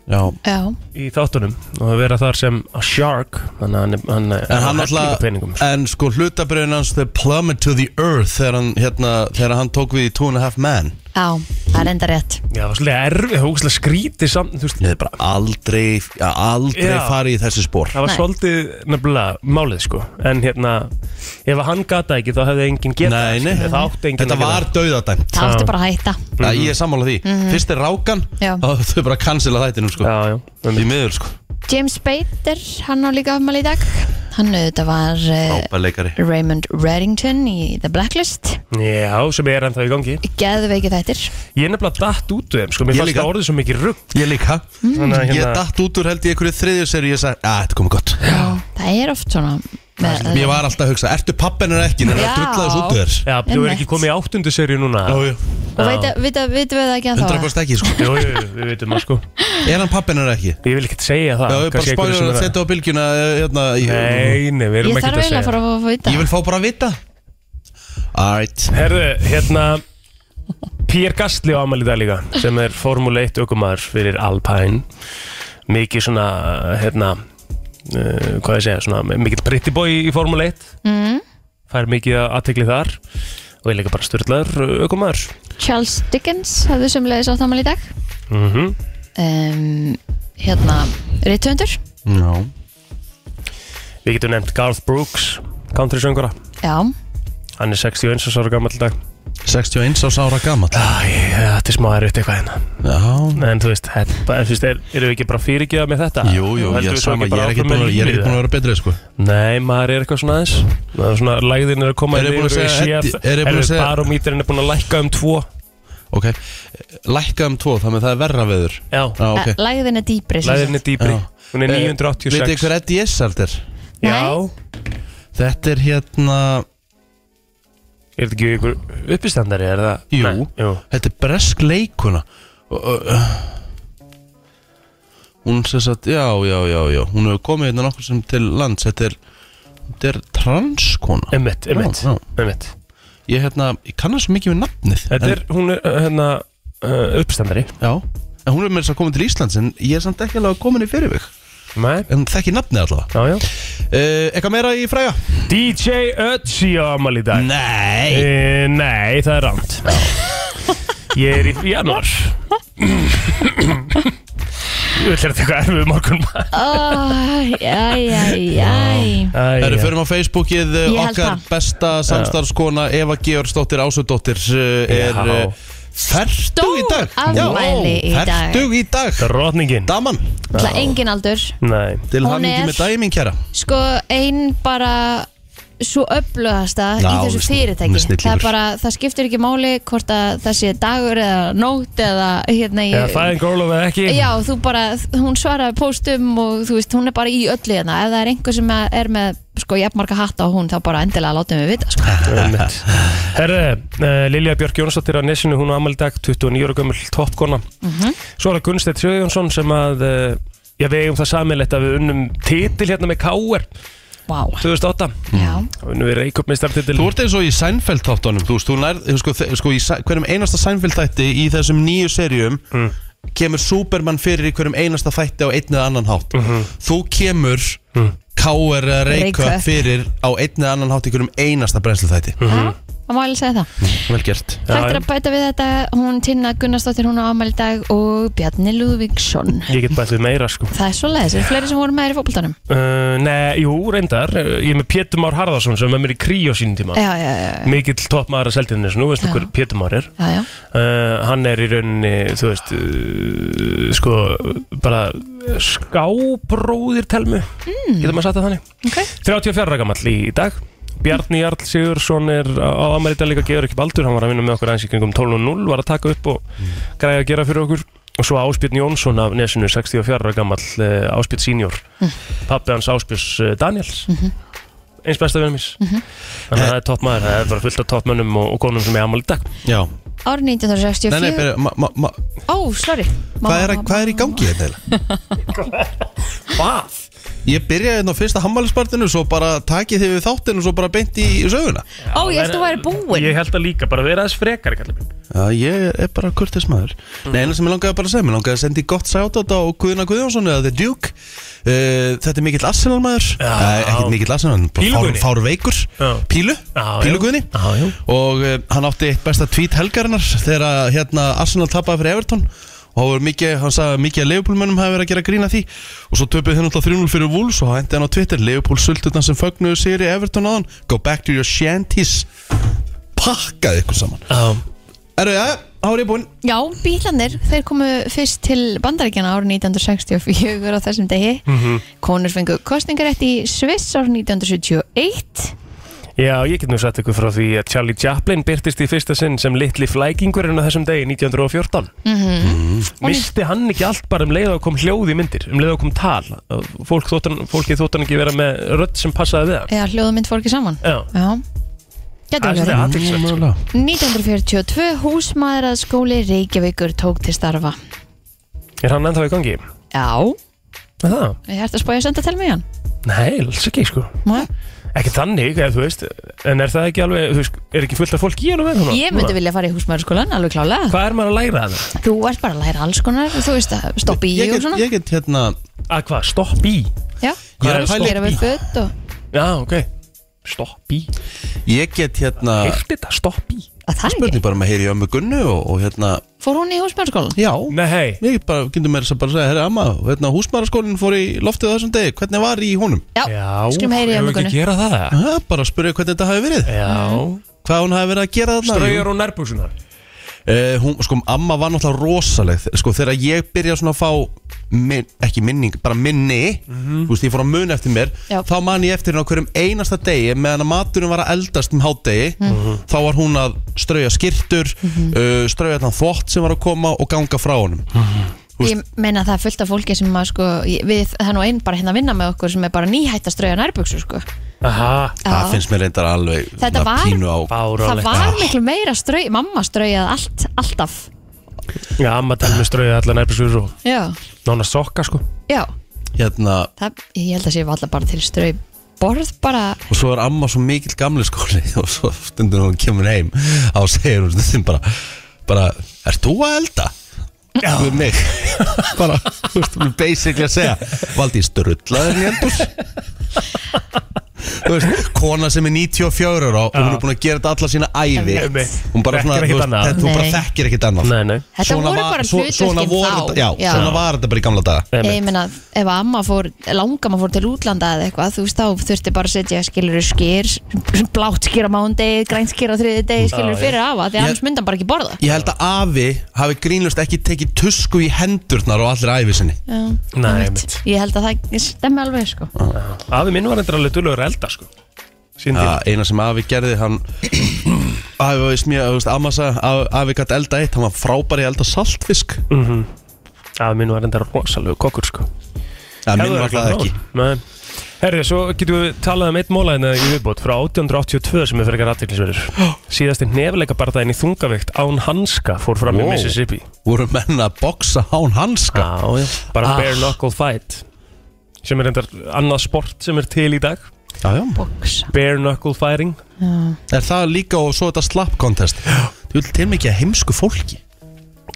C: Já
D: já
E: í þáttunum Og að vera þar sem a shark Þannig að hann, er- hann,
C: En hann
E: peningum,
C: alltaf,
E: sko.
C: en sko hlutabriðin hans þau plummet to the earth þegar hann, hérna, þegar hann tók við í Two and a Half Men
D: Já, það er enda rétt
E: Já, það var svolítið erfið, það var svolítið skrítið samt, þú veist,
C: Ég hef bara aldrei, ja, aldrei
E: Já.
C: farið í þessi spór
E: það var
D: Nei.
E: svolítið nefnilega málið, sko. En hérna, ef að hann gata ekki, þá hefði enginn getað.
C: Nei, nei,
E: Það átti enginn
C: þetta
E: að gera Mhm.
C: var dauðadæmt
D: Það átti bara að hætta Mhm.
C: mm Ég er sammála því, fyrst er rákan
D: Já.
C: þá þau bara cancela þættinum sko
E: Já, já.
C: Í miður sko,
D: James Bader, hann á líka afmæli í dag Hann auðvitað var uh,
C: ábæðleikari
D: Raymond Reddington í The Blacklist
E: Já, sem er ennþá í gangi.
D: Geðveiki þættir
E: Ég er nefnilega datt út úr þeim, sko. Mér
C: Ég
E: fannst
C: líka.
E: það orðið svo mikið rugg.
C: Ég líka,
E: Þannig að
C: ég
E: hérna-
C: datt út úr held í einhverju þriðju seri Ég sagði, að þetta komið gott
D: Það er oft svona með,
C: Ég var alltaf að hugsa, ertu pappin en ekki En það
D: Já.
C: drullaði þessu út úr þér
E: Já, þú er
D: Einmitt.
E: ekki komið í áttundu serju núna.
C: Ó, jú.
D: Og veit- vita- vitum við það ekki að
C: 100
D: þá
C: kost ekki sko
E: Jú, jú, jú, við veitum það, sko.
C: Er hann pappin en ekki?
E: Ég vil ekkert segja það.
C: Já, ég bara
E: kannski einhverju
C: spáður
E: sem
C: að
E: er-
C: setja á bylgjuna eh, hérna, ég,
E: Nei, nei, við erum
D: Ég
E: ekkert
D: þarf
E: að
D: eiginlega
E: segja
D: að fara að fá að vita
C: ég vil fá bara að vita Alright
E: Herðu, hérna Pér Gastli á afmæli í dag líka sem er Formule 1 aukumar fyrir Alpine mikið svona hérna, uh, hvað ég segja svona, mikið pretty boy í Formule 1 mm. fær mikið aðtekli þar og er líka bara styrlaður aukumar
D: Charles Dickens hafði sömulegis átt afmæli í dag
E: mm
D: um, Hérna, rithöndur
C: Já
E: Við getum nefnt Garth Brooks country söngura,
D: Já,
E: hann er 61 árs ára gammal dag
C: 61 ás ára gammal
E: Æ, þetta er smá erfitt eitthvað hérna
C: Já
E: En þú veist, þetta, bara, þú veist er, erum við ekki bara fyrirgjöða með þetta?
C: Jú, jú,
E: Heldum
C: ég, er
E: við svo
C: sama, ég
E: bara
C: er ekki
E: áfram
C: búin
E: með
C: að, ég er ekki
E: lífið,
C: búin að vera betri sko
E: Nei, maður er eitthvað svona aðeins Það er svona, lægðin er að koma
C: Er ég búin að segja Eddi- er ég búin að
E: Erðu
C: segja-
E: barómítirinn er búin að lækka um tvo
C: Ok, lækka um tvo, þannig að það er verra veður
E: Já,
C: Já, ok
D: okay. lægðin er dýpri sem
E: Ah, lægðin er
D: sagt.
E: dýpri
C: Já.
E: Hún er
C: Eh, Vitið
E: 986
C: þið hver Eddie Izzard er?
E: Já,
D: Nei.
C: Þetta er hérna,
E: er þetta ekki ykkur uppistandari, er það?
C: Jú.
E: Nei, jú.
C: þetta er bresk leikuna Ö, ö, ö. Hún sem sagt, já, já, já, já Hún hefur komið hérna nokkur sem til lands Þetta er, þetta er transkona
E: Einmitt, einmitt,
C: Já, já.
E: einmitt
C: Ég hérna, ég kannast svo mikið við nafnið
E: Þetta er, hún er, uh, hérna, uh, uppistandari
C: en, Já, en hún er með þess að koma til Íslands En ég er samt ekki alveg að komin í fyrirvig
E: Nei,
C: En þekki nafnið allavega
E: já, já
C: uh, Eitthvað meira í fræga?
E: DJ Ötzi á amal í dag
C: Nei
E: Eh, Nei, það er rámt Ég er í januar Ég vil hérna eitthvað erfið morgun
D: Æ, æ, æ, æ
E: Það
C: Það eru förum á Facebookið uh,
D: Ég held
C: okkar
D: það.
C: besta samstarfskona Eva Georgsdóttir Ásudóttir er
E: Já.
C: uh, fertug í dag
D: Stór afmæli í dag.
C: fertug í dag
E: Drotningin
C: Daman,
D: Það er engin aldur
E: Nei
C: til
D: Hún
C: hann
D: er-
C: ekki með daginn mín kæra
D: Sko, ein bara svo öflugasta í
C: Já, hún er
D: þessu
C: snill- hún
D: fyrirtæki
C: er snillingur.
D: það, er bara, það skiptir ekki máli hvort að það sé dagur eða nótt eða hérna
E: Eða
D: ég,
E: fæðin grólof eða ekki
D: Já, þú bara, hún svaraði postum og þú veist, hún er bara í öllu hérna ef það er einhver sem er með sko jafnmarga hatta á hún þá bara endilega látum við vita sko.
E: (laughs) Einmitt. Herðu, uh, Lilja Björk Jónsdóttir á Nesinu, hún á amaldag 29 ára gömul toppkona
D: Mhm.
E: Svo er það Gunnsteinn Sjöjónsson sem að uh, Já, við eigum það samilegt að við unnum titil hérna með KR
D: Vá
E: 2008
D: Já,
E: og unnum við reikupmistartitil
C: Þú ert eins og í Seinfeld þáttunum Þú veist, þú nærð, sko, þe- sko í Sæ- hverjum einasta Seinfeld þætti í þessum nýju serjum
E: Mm.
C: kemur Superman fyrir í hverjum einasta þætti á einn eða annan hátt
E: Mhm.
C: Þú kemur
E: Mm.
C: K.R. Reykjöp
D: Reykjavík.
C: fyrir á einn eða annan hátt í hverjum einasta brennslu þætti
E: Mhm.
D: það má alveg segja það
C: Vel gert
D: Takk fyrir að bæta við þetta, hún Tinna Gunnarsdóttir, hún á afmæli í dag og Bjarni Lúðvíksson
E: Ég get bætt við meira sko
D: Það er svo leiðis, er fleiri sem voru með þér í fótboltanum
E: uh, Nei, jú, reyndar uh, Ég er með Pétur Már Harðarsson sem er með mér í krí á sínum tíma
D: Já, já, já, já,
E: Mikill toppmaður að seldinni Nú veistu
D: Já.
E: hver Pétur Már er
D: já, já.
E: uh, hann er í rauninni þú veist uh, sko bara skábróðir telmu mm. getur maður sagt það þannig
D: Okay.
E: 34 ára gamall í dag Bjarni Jarl Sigursson er á Amerita líka gefur ekki baldur, hann var að vinna með okkur aðeins í kringum 12 og 0, var að taka upp og græði að gera fyrir okkur og svo Áspjörn Jónsson af nesinu 64 ára gamall uh, Áspjörn senior
D: Mhm.
E: pappi hans Áspjörs uh, Daniels eins besta vinnum mis
D: Mhm.
E: þannig að það er toppmaður, það er bara fullt af toppmönnum og, og konum sem er amal í dag
C: Já,
D: Árið
C: nei, nei,
D: 1964
C: byrja, ma, ma, ma,
D: Ó, sorry
C: hvað, er, að- hvað er í gangi hérna? eiginlega?
E: Hvað?
C: Ég byrjaði hérna á fyrsta hammælispartinu Svo bara takið þið við þáttinu Svo bara beint í söguna
D: Ó, ég held að þú væri búin
E: Ég held að líka, bara vera aðeins frekar kallar minn
C: Já, ég er bara kurtis maður Nei, eina sem ég langaði bara að segja Mér langaði að sendi gott sátat á Guðuna Guðjónsson Eða The Duke uh, Þetta er mikill Arsenal maður
E: Já.
C: Nei, Ekkert mikill Arsenal hann bara
E: Píluguðni.
C: Fár, fár veikur
E: Já.
C: Pílu
E: Já, já.
C: Pílu Guðni
E: Já, já.
C: Og uh, hann átti eitt besta tweet helgarinnar Þegar að, hérna, Arsenal tapaði fyrir Everton Og hann, mikið, hann sagði að mikið að Leifupúlmönnum hafi verið að gera grína því Og svo töpuði þeir náttúrulega 3-0 fyrir Wolves Og hann endi hann á Twitter Leifupúl sulturnar sem fögnuðu sigri Everton áðan Go back to your shanties Pakkaði ykkur saman
E: Já,
C: Erðu, já, þá er ég búinn
D: Já, bílarnir, þeir komu fyrst til bandaríkjana árið 1964 á þessum degi
E: Mhm.
C: Mm.
D: Konur fengu kostningarétt í Sviss árið 1971
E: já ég get nú satt ykkur frá því að Charlie Chaplin byrtist í fyrsta sinn sem litli flækingurinn á þessum degi 1914 Mhm.
C: Mm.
E: Misti hann ekki allt bara um leið og kom hljóð í myndir, um leið og kom tal Fólk þóttan, Fólki þóttan ekki vera með rödd sem passaði við hann
D: Eða hljóðmynd fór ekki saman
E: Já,
D: Já,
E: það
D: getur
E: er
D: Eh, verið
E: svona aðtilsvægt sko.
D: 1942 húsmaðuraðskóli Reykjavíkur tók til starfa
E: Er hann ennþá í gangi?
D: Já,
E: Er Það?
D: ég hægt að spója að senda til mig hann
E: Nei, alls ekki sko
D: Má-
E: Ekki þannig, eða, þú veist En er það ekki alveg, þú veist, er ekki fullt af fólk í hann
D: Ég myndi vilja fara í húsmaðurskólan, alveg klálega
E: Hvað er maður að læra að það?
D: Þú ert bara að læra alls konar, þú veist að stoppa í
C: Ég get,
D: og svona
C: ég get hérna
E: Að hvað, stopp í?
D: Já,
C: Ég
E: Hvað
C: er að pæla
D: gera
C: í-
D: við föt og
E: Já, ok Stopp í
C: Ég get hérna
E: Hirti þetta stopp í?
D: að það er
C: Spurning
D: ekki
C: bara um með heyri ömmu Gunnu og, og hérna
D: Fór hún í húsmaðurskólan?
C: Já
E: Nei, hei
C: Ég get bara, getur mér þess að bara segja Herra amma, hérna húsmaraskólinn fór í loftið á þessum degi Hvernig var í honum?
D: Já, skulum heyri í
E: eigum við
D: ömugunni
E: ekki gera það
C: Aha, bara að spyrja hvernig þetta hafi verið
E: Já
C: Hvað hún hafi verið að gera þarna
E: Ströyjar og nærbúsunar
C: Eh, hún, Sko, amma var náttúrulega rosaleg Sko, þegar ég byrja svona að fá minn, Ekki minning, bara minni Þú veist, ég fór að muna eftir mér
D: Mhm. Já.
C: Þá man ég eftir henni á hverjum einasta degi Meðan að maturinn var að eldast um hádegi
D: Mhm.
C: Þá var hún að strauja skirtur mm uh, Strauja þann þvott sem var að koma Og ganga frá honum Þú
D: Mhm. Ég meina að það er fullt af fólki sem að sko ég- Við, það er nú einn bara hérna að vinna með okkur sem er bara nýhætt að strauja nærbuksu sko
E: Aha
C: Það finnst mér reyndar alveg
D: Þetta
C: svona
D: var-
C: pínu á
D: Það
E: Bárálegt
C: Ah.
D: var miklu meira strauja, mamma straujaði allt, alltaf
E: Já, amma tæmi með ströyja allar nærbúsunar og
D: Já,
E: Nána sokka sko
D: já,
C: Hérna,
D: það, ég held að sé allar bara til strauj Borð bara,
C: og svo er amma svo mikill gamli skóli (laughs) og svo stundur hún kemur heim á segir hún stundum bara bara, ert þú að elda? Já. við mig (laughs) bara, þú veist, við basically að segja Valdís, drullaður í eldur þú veist, kona sem er 94 ára og hún er búin að gera þetta alla sína ævi
E: Einmitt.
C: hún bara, svona,
E: Þekkir
C: þú
E: ekkert annað.
C: veist, þetta, hún bara
D: Nei.
C: þekkir ekkert annað
E: Nei, nei
D: þetta voru
C: var-
D: bara
C: svo- svona
D: hlutverkin
C: voru
D: þá
C: þetta- já, svona var þetta bara í gamla daga
D: Ég meina, ef amma fór, langa maður fór til útlanda eða eitthvað, þú veist, þá þurfti bara að setja skilur skýr, blátt skýr á mándegi, grænt skýr á þriði degi, skilur
E: Já,
D: fyrir afa, því
C: Ég-
D: annars myndi hann bara ekki borða.
C: ég held að afi hafi grínlust ekki tekið tusku í hendurnar og allir ævi sinni
D: Já,
E: Nei,
D: einmitt.
E: einmitt.
D: Ég held að það stemmi alveg, sko.
E: Afi minn var endur alveg dullur að elda sko Sýndi
C: Ah. Já, eina sem afi gerði hann (clears throat) afi var í smíða, þú veist, amma sagði að- afi gætt elda eitt, hann var frábær í að elda saltfisk
E: Mhm. Afi minn var endur rosalegu kokkur sko
C: eða minn var það ekki
E: Nei Herri, svo getum við talað um eitt móla hérna í viðbót frá 1882 sem er fyrir eitthvað aðteglisverður. Síðasti nefnilega barðaðin í þungaveikt án hanska fór fram í
C: Wow.
E: Mississippi.
C: voru menn að boksa hán hanska
E: Já, já, bara
C: Ah.
E: bare knuckle fight sem er endar annað sport sem er til í dag
C: já, já.
D: Boksa.
E: bare knuckle fighting
C: er það líka og svo þetta slapp contest þú vil til mikið að heimsku fólki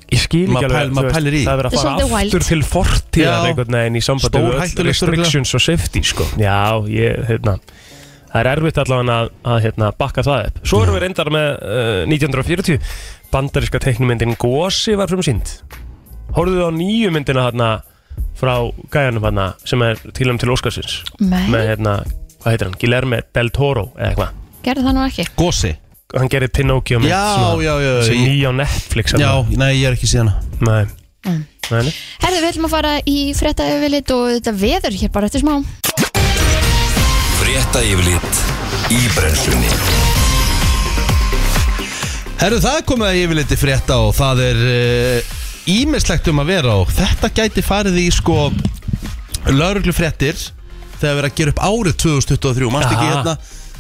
E: ég skil
C: Maður
E: ekki
C: pæl-
E: alveg
C: maður
E: þú veist,
C: pælir í því.
E: það er verið að
D: Þetta er
E: fara aftur
D: svolítið wild.
E: til
C: Já.
E: fortíðar einhvern veginn í sambandi við
C: Stórhættulegt
E: öll restrictions og safety sko. já, ég, hérna það er erfitt allavega að, að hérna, bakka það upp svo erum við reyndar með uh, 1940 bandaríska teiknumyndin Gósi var frumsýnd horfðuðu á nýju myndina hérna frá gæjanum hérna sem er til um til Óskarsins
D: Nei,
E: með hérna, hvað heitir hann, Guillermo del Toro eða eitthvað
D: gerði það nú ekki.
C: gósi
E: hann gerir Pinocchio mynd
C: Já,
E: svona,
C: já, já, já,
E: sem
C: ég-
E: nýja á Netflix
C: já, nei, ég er ekki síðan
E: Nei. Nei, nei.
D: Herðu, við ætlum að fara í frétta yfirlit og þetta veður hér bara eftir smá.
A: Frétta yfirlit í brennslunni
C: herru, það er komið að yfirleiti frétta og það er eh, ímislegt um að vera og þetta gæti farið í sko lauruglu þegar við erum að gera upp árið 2023 mannst ekki
E: Aha.
C: hérna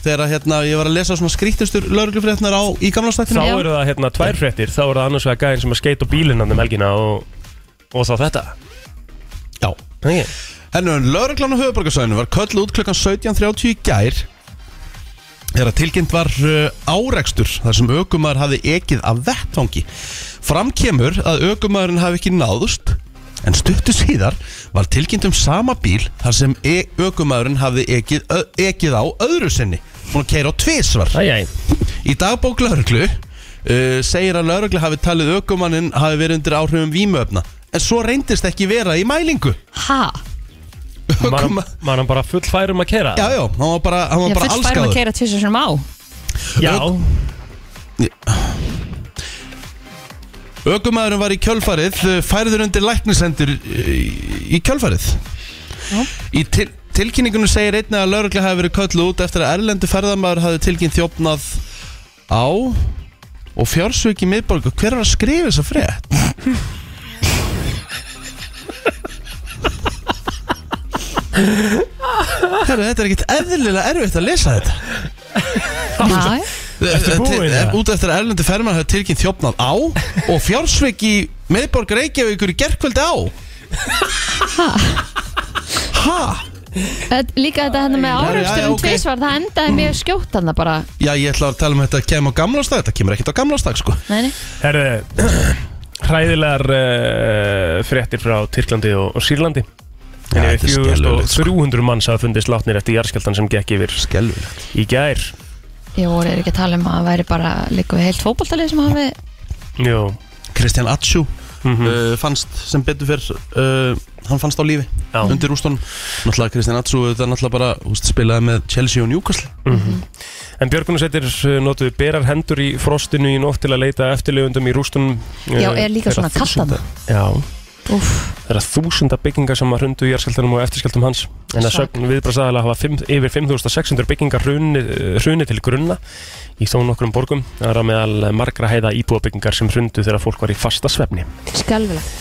C: þegar að, hérna, ég var að lesa svona skrýttistur lauruglufréttnar á í gamla
E: Þá
C: stættinu
D: Já.
E: eru það hérna tvær fréttir Þá eru það annars vegar gæðin sem að skeita á bílinn hann um helgina og, og þá þetta
C: Já,
E: Nei.
C: Hennun, lauruglan á höfuborgarsæðinu var köll út klukkan 17.30 í gær þegar tilkynnt var uh, árekstur þar sem aukumar hafi ekið af vettvangi. Fram kemur að aukumarinn hafi ekki náðust en stuttu síðar var tilkynnt um sama bíl þar sem e aukumarinn hafi ekið, ö, ekið á öðru sinni. Hún keir á tvisvar.
E: Æjæj
C: Í dagbók lauruglu uh, segir að lauruglu hafi talið aukumanninn hafi verið undir áhrifum vímöfna en svo reyndist ekki vera í mælingu.
D: Ha?
C: Ökuma-
E: Mann hann bara fullfærum að kera
C: Já, já, hann var bara, hann var
D: Ég
C: bara
D: full færum um að
C: allskaður
D: keira tvisar sem á
E: Já
C: Ökumæðurinn var í kjölfarið, uh, færður undir læknisendur uh, í kjölfarið
D: Já.
C: Í til, tilkynningunum segir einnig að laurugla hafi verið köllu út eftir að erlendu ferðamæður hafi tilkynnt þjófnað á og fjársvík í miðborg hver er að skrifa þessa frétt? Herru, þetta er ekkert eðlilega erfitt að lesa þetta
D: Já,
E: Ertu búinn,
C: Til-
E: eða?
C: Út eftir að erlendu ferman hafði tilkynnt þjófnað á og fjársveik í miðborg Reykjavíkur í gerkveldi á Ha?
D: Þetta- Líka þetta hérna með
C: já, já,
D: áraugstur um
C: ok.
D: tvisvar Það endaði mjög skjótt hann bara
C: Já, ég ætla að tala um þetta að kemur á gamlastag Þetta kemur ekkert á gamlastag, sko
D: Nei, nei
E: Herðu Hræðilegar uh, fréttir frá Tyrklandi og, og Sýrlandi
C: Já,
E: En
C: þetta er
E: yfir
C: skelfilegt, sko.
E: 4300 manns hafa fundist látnir eftir jarðskjáltan sem gekk yfir
C: Skelvilegt
E: í gær
D: Ég voru ekki að tala um að það væri bara líka heilt fótboltalið sem hafi
E: Jú Mhm.
C: Kristján Atsjú uh, fannst sem betur fyrr uh, Hann fannst á lífi
E: Já.
C: undir ústunum Náttúrulega Kristján Atsjú, þetta er náttúrulega bara úst, spilaði með Chelsea og Newcastle
E: Mhm. En björgunarsveitir eh, notuðu berar hendur í frostinu í nótt til að leita eftirlegundum í rústunum eh,
D: Já, er líka
E: þeirra
D: svona kallt
E: þúsunda-
D: þarna.
E: Já,
D: Úff,
E: Það eru þúsunda byggingar sem að hrundu í jarðskjáltanum og eftirskjáltum hans en að
D: Svak.
E: sögn viðbrasaðala hafa fimm, yfir 5600 byggingar hruni, hruni til grunna í þó nokkrum borgum það er að meðal margra heiða íbúabyggingar sem hrundu þegar fólk var í fasta svefni
D: skelfilegt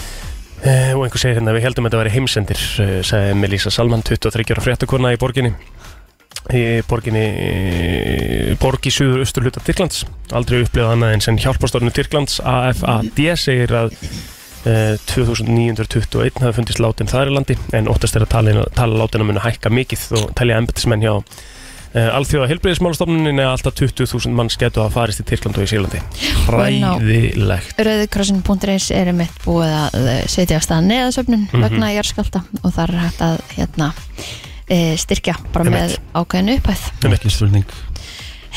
E: eh, og einhver segir hérna að við heldum þetta að vera heimsendir eh, sagði Melissa Salman, 23 ára fréttakona í borginni í borginni eh, borg í suður austur hluta Tyrklands aldrei upplifað annað en sem hjálpastofnun Tyrklands AFAD segir að eh, 2921 hafi fundist látin þar í landi en óttast er að tala, tala látina muni hækka mikið og telja embetismenn hjá eh, Alþjóða heilbreyðismálastofnunin er alltaf 20.000 manns getur að farist í Tyrkland og í Sýrlandi
D: Wow.
E: Ræðilegt
D: Rauðikrossin.is er mitt búið að eh, setja af stað neðasöfnun
C: Mhm.
D: vegna jarðskjálta og þar er hægt að hérna, e, styrkja bara með
E: Einmitt.
D: ákveðinu upphæð
C: Ekki spurning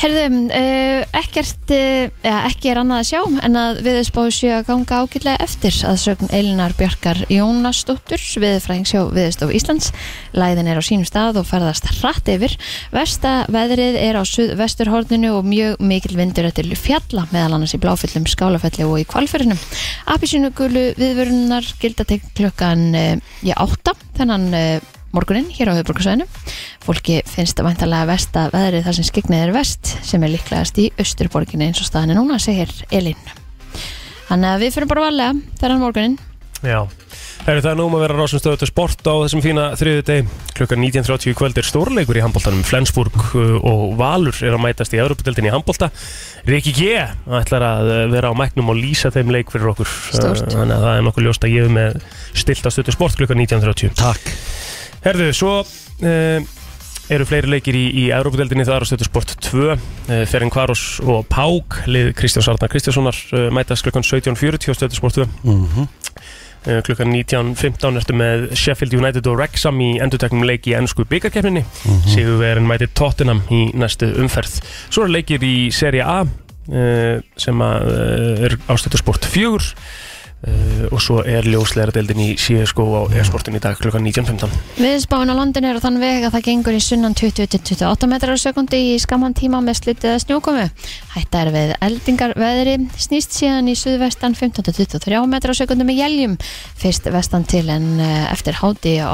D: Herðum, uh, ekkert, uh, ja, ekki er annað að sjá en að viðspáðu séu að ganga ágætlega eftir að sögn Elinar Bjarkar Jónasdóttur viðfræðings hjá Viðstof Íslands. Læðin er á sínum stað og ferðast hratt yfir. Vesta veðrið er á vesturhorninu og mjög mikil vindur eftir fjalla meðal annars í bláfyllum, skálafelli og í kvalfyrinum. Apisínugulu viðvörunar gilda til klukkan uh, í átta þennan uh, morguninn hér á höfuborgarsvæðinu. Fólki finnst væntalega vest að veðrið þar sem skegnið er vest sem er líklegast í austurborginni eins og staðan er núna, segir Elín. Þannig að við fyrir bara varlega þennan morguninn.
E: Já, Heru, það er nú um að vera rásum stöðu til sport á þessum fína þriðu deg klukkan 19.30 í kvöld er stórleikur í handbóltanum Flensburg uh, og Valur er að mætast í Evropadeldin í handbólta Riki G ætlar að uh, vera á mæknum og lýsa þeim leik fyrir okkur
D: Stórt.
E: Uh, þannig að það er nokkuð ljóst að ég er með stilt á stöðu sport klukkan 19.30
C: Takk
E: Herðu, svo uh, eru fleiri leikir í, í Európa-deldinni það er á stötu sport 2 uh, Ferin Kvaros og Pák lið Kristjáns Arnar Kristjánssonar uh, mætast klukkan 17.40 á stötu sport 2 uh, klukkan 19.15 ertu með Sheffield United og Wrexham í endurteknum leik í ennsku byggarkeppninni mm -hmm. Sigurverin mæti Tottenham í næstu umferð Svo eru leikir í Serie A uh, sem að, uh, er á stötu sport 4 Uh, og svo er ljósleira deildin í CSGO á e-sportin í dag klukkan 19.15
D: Viðspáin á landinu er á þann veg að það gengur í sunnan 20-28 metrar á sekundi í skamman tíma með slitið að snjókomu. Hætta er við eldingar veðri, snýst síðan í suðvestan 15-23 metrar á sekundi með jæljum. Fyrst vestan til en eh, eftir háti á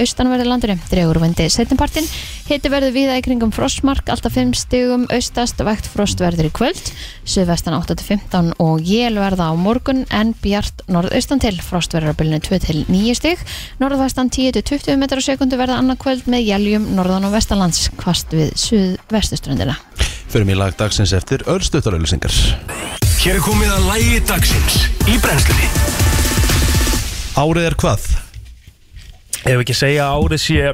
D: austanverðu landinu. Dregur vendi setjumpartin. Hiti verður viða í kringum frostmark, alltaf 5 stigum austast, vekt frost verður í kvöld. Suðvestan 8-15 og jél verða á morgun en bjart norðaustan til. Frost verður á bylunni 2-9 stig. Norðvestan 10-20 metrar á sekundu verða annað kvöld með jæljum norðan og vestanlands kvast við suðvestuströndina.
C: Fyrir mér lag dagsins eftir örstuttarauðlýsingar
A: Hér er komið að lægi dagsins í brennslunni
C: Árið er hvað?
E: ef ekki segja að árið sé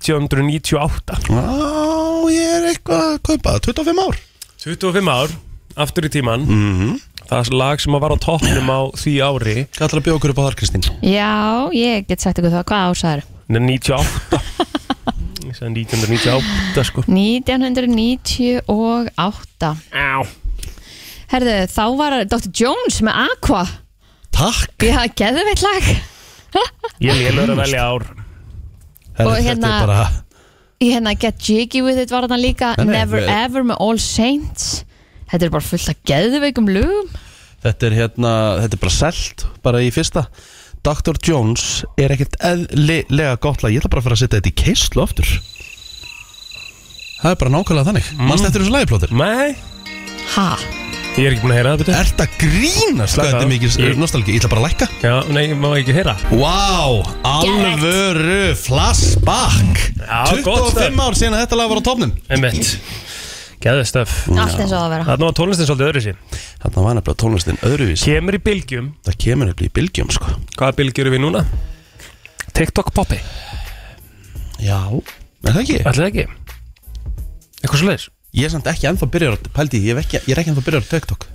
E: 1998
C: Á, ég er eitthvað að kaupa 25 ár
E: 25 ár, aftur í tíman
C: Mhm.
E: það er lag sem að var á toppnum á því ári
C: Hvað ætlar að bjóða okkur upp á þar, Kristín?
D: Já, ég get sagt ykkur það, hvað ásaður?
E: Nei, 98 Ég sagði 1998 sko
D: 1998
E: Á.
D: Herðu, þá var Dr. Jones með Aqua
C: Takk
D: Já, geðveitt lag
E: Ég lélur að velja ár
C: Herri,
D: Og
C: þetta er
D: hérna-
C: bara,
D: Ég hérna Get Jiggy With It var þarna líka
C: Nei, nei,
D: Never
C: við-
D: Ever með All Saints Þetta er bara fullt af geðveikum lugum
C: þetta er hérna Þetta er bara selt, bara í fyrsta Dr. Jones er ekkert eðlilega gott lag Ég ætla bara að fara að setja þetta í keislu aftur Það er bara nákvæmlega þannig mm. Manst eftir þessu lagiplótir
E: Nei,
D: Ha?
E: ég er ekki búin að heyra það betur
C: Ert að grínast? Hvað
E: hérna, Slaka
C: þetta
E: á.
C: er mikið
E: Ég-
C: nostalgi? Ég ætla bara að lækka
E: Já, nei, maður ekki heyra
C: Vá, alvöru flashback
E: Já, gott
C: 25 ár síðan að þetta lag var á topnum
E: Emmett Gæðu stöf
D: Allt eins og það að vera
E: Þarna var tónlistin svolítið öðru sín
C: Þarna var nefnilega tónlistin öðruvís
E: Kemur í bylgjum
C: Það kemur nefnilega í bylgjum sko
E: Hvaða bylgjur er við núna? TikTok poppi
C: Já Er það ekki?
E: Ætli það ekki? Eitthvað svo leiðis?
C: Ég er samt ekki ennþá byrjar að pældi Ég er ekki, ég er ekki ennþá byrjar á TikTok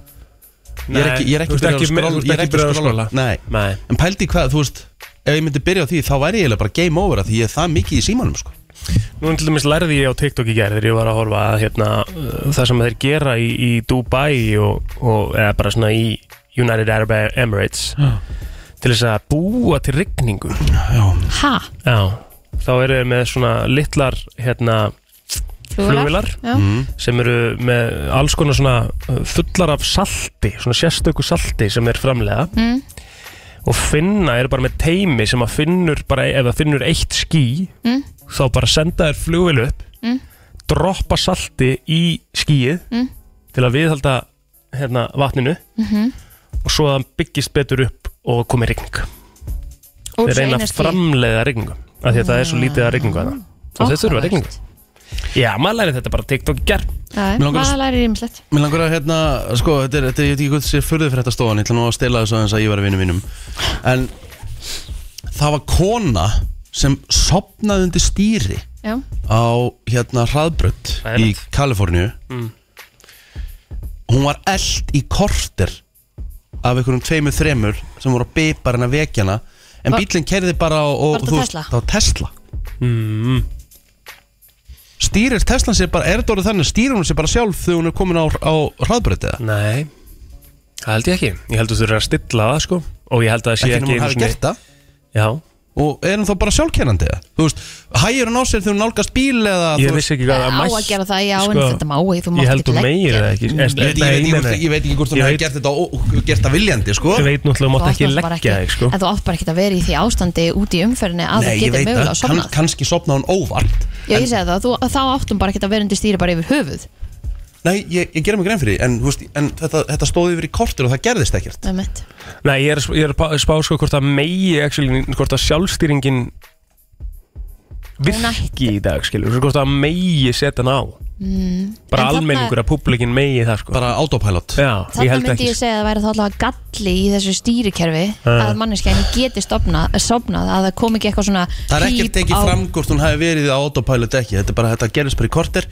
C: Ég er ekki, ég er ekki byrjar að skrolla Ég er ekki byrjar að skrolla Nei
E: Nei
C: En pældi hvað, þú veist Ef ég myndi byrja á því þá væri ég eiginlega bara game over af Því ég er það mikið í símanum sko
E: Nú til dæmis lærði ég á TikTok í gerð þegar ég var að horfa að hérna, uh, það sem þeir gera í, í Dubai og, og eða bara svona í United Arab Emirates til þess að búa til rigningu
D: Ha?
E: Já, þá eru þeir með svona litlar hérna, Flugvélar?
D: Já
E: sem eru með alls konar svona uh, fullar af salti, svona sérstöku salti sem er framlega
D: Mm.
E: og finna eru bara með teimi sem að finnur bara, ef það finnur eitt ský
D: Mm.
E: þá bara senda þér flugvél upp
D: Mm.
E: droppa salti í skýið
D: Mm.
E: til að viðhalda hérna, vatninu
D: Mhm.
E: og svo að það byggist betur upp og komi rigning
D: Úr
E: þeir reyna
D: einu
E: að
D: ský.
E: framleiða rigningu af því að það er svo
D: Mm.
E: lítið að rigningu að það og þeir þurfa
D: Áhugavert.
E: rigningu já, maður læri þetta bara á TikTok í gerð
D: Já,
C: Mig langar að-
D: maður lærir ýmislegt
C: Mér langar að hérna, sko, þetta er, þetta er ég veit ekki hvað þessi furðu fyrir þetta stofan, ég ætla nú að stela þessu aðeins að ég var að vinum mínum En það var kona sem sopnaði undir stýri
D: Já,
C: á hérna hraðbrödd í
E: Ægilegt.
C: Kaliforníu
E: Mm.
C: Hún var eld í korter af einhverjum tveimur þremur sem voru að bipa hennar vekjana En
D: Va-
C: bílinn kerði bara og,
D: Var
C: og
D: þetta
C: þú veist,
D: Tesla?
C: það var Tesla
E: Hmm.
C: Stýrir Tesla sér bara, er þetta orðið þannig, stýrir hún sér bara sjálf þegar hún er komin á, á hraðbrödd eða?
E: nei, það held ég ekki ég held að þú þurfa að stilla það sko og ég held að það sé
C: ekki
E: ekki
C: nú hún
E: einu
C: hafi
E: sinni-
C: gert það
E: já,
C: og er hún þá bara sjálfkennandi eða? þú veist, hægir hún á sér þegar hún nálgast bíl eða
E: ég
C: þú veist
E: vissi ekki hvað
D: Á
E: mælt-
D: að gera það, já, en þetta má ekki, þú mátt
E: sko, ég held
D: ekki
E: þú meir
D: leggja
E: það ekki
D: þetta.
E: Nei, nei,
C: Ég veit, ekki, ég, veit,
E: nei,
C: ekki- ég veit ekki hvort hún
E: Ég
C: hefði
E: veit-
C: gert þetta og og gert það viljandi sko
E: ég veit náttúrulega
D: Þú
E: mátt ekki
D: átt náttúrulega bara
E: leggja þig sko
D: En þú átt bara ekki að vera í því ástandi úti í umferðinni að þú getur mögulega að
C: kann,
D: sofna
C: kannski sopna hún óvart
D: Já, ég segi það, þú, þá áttum bara ekki að vera undir stýri bara yfir höfuð
C: nei, ég, ég gerum mig grein fyrir því en, þú veist, en þetta, þetta stóði yfir í kortur og það gerðist ekkert
D: Það er mitt
E: nei, ég er, ég er að spá sko hvort að megi actually, hvort að sjálfstýringin virki í dag skilur hvort að megi setja hann á
D: Mm.
E: bara
D: En þarna-
E: almenningur að publikin megi það sko
C: bara autopilot
E: já, ég
D: Þannig
E: held
D: myndi
E: ekki sko.
D: ég
C: sko.
D: segja að það væri þá allavega galli í þessu stýrikerfi að manneskjæni geti stopnað, sopnað að það kom ekki eitthvað svona
C: það er ekkert
D: píp
C: tekið
D: á-
C: fram hvort hún hefði verið á autopilot eða ekki, þetta er bara þetta gerðist bara í korter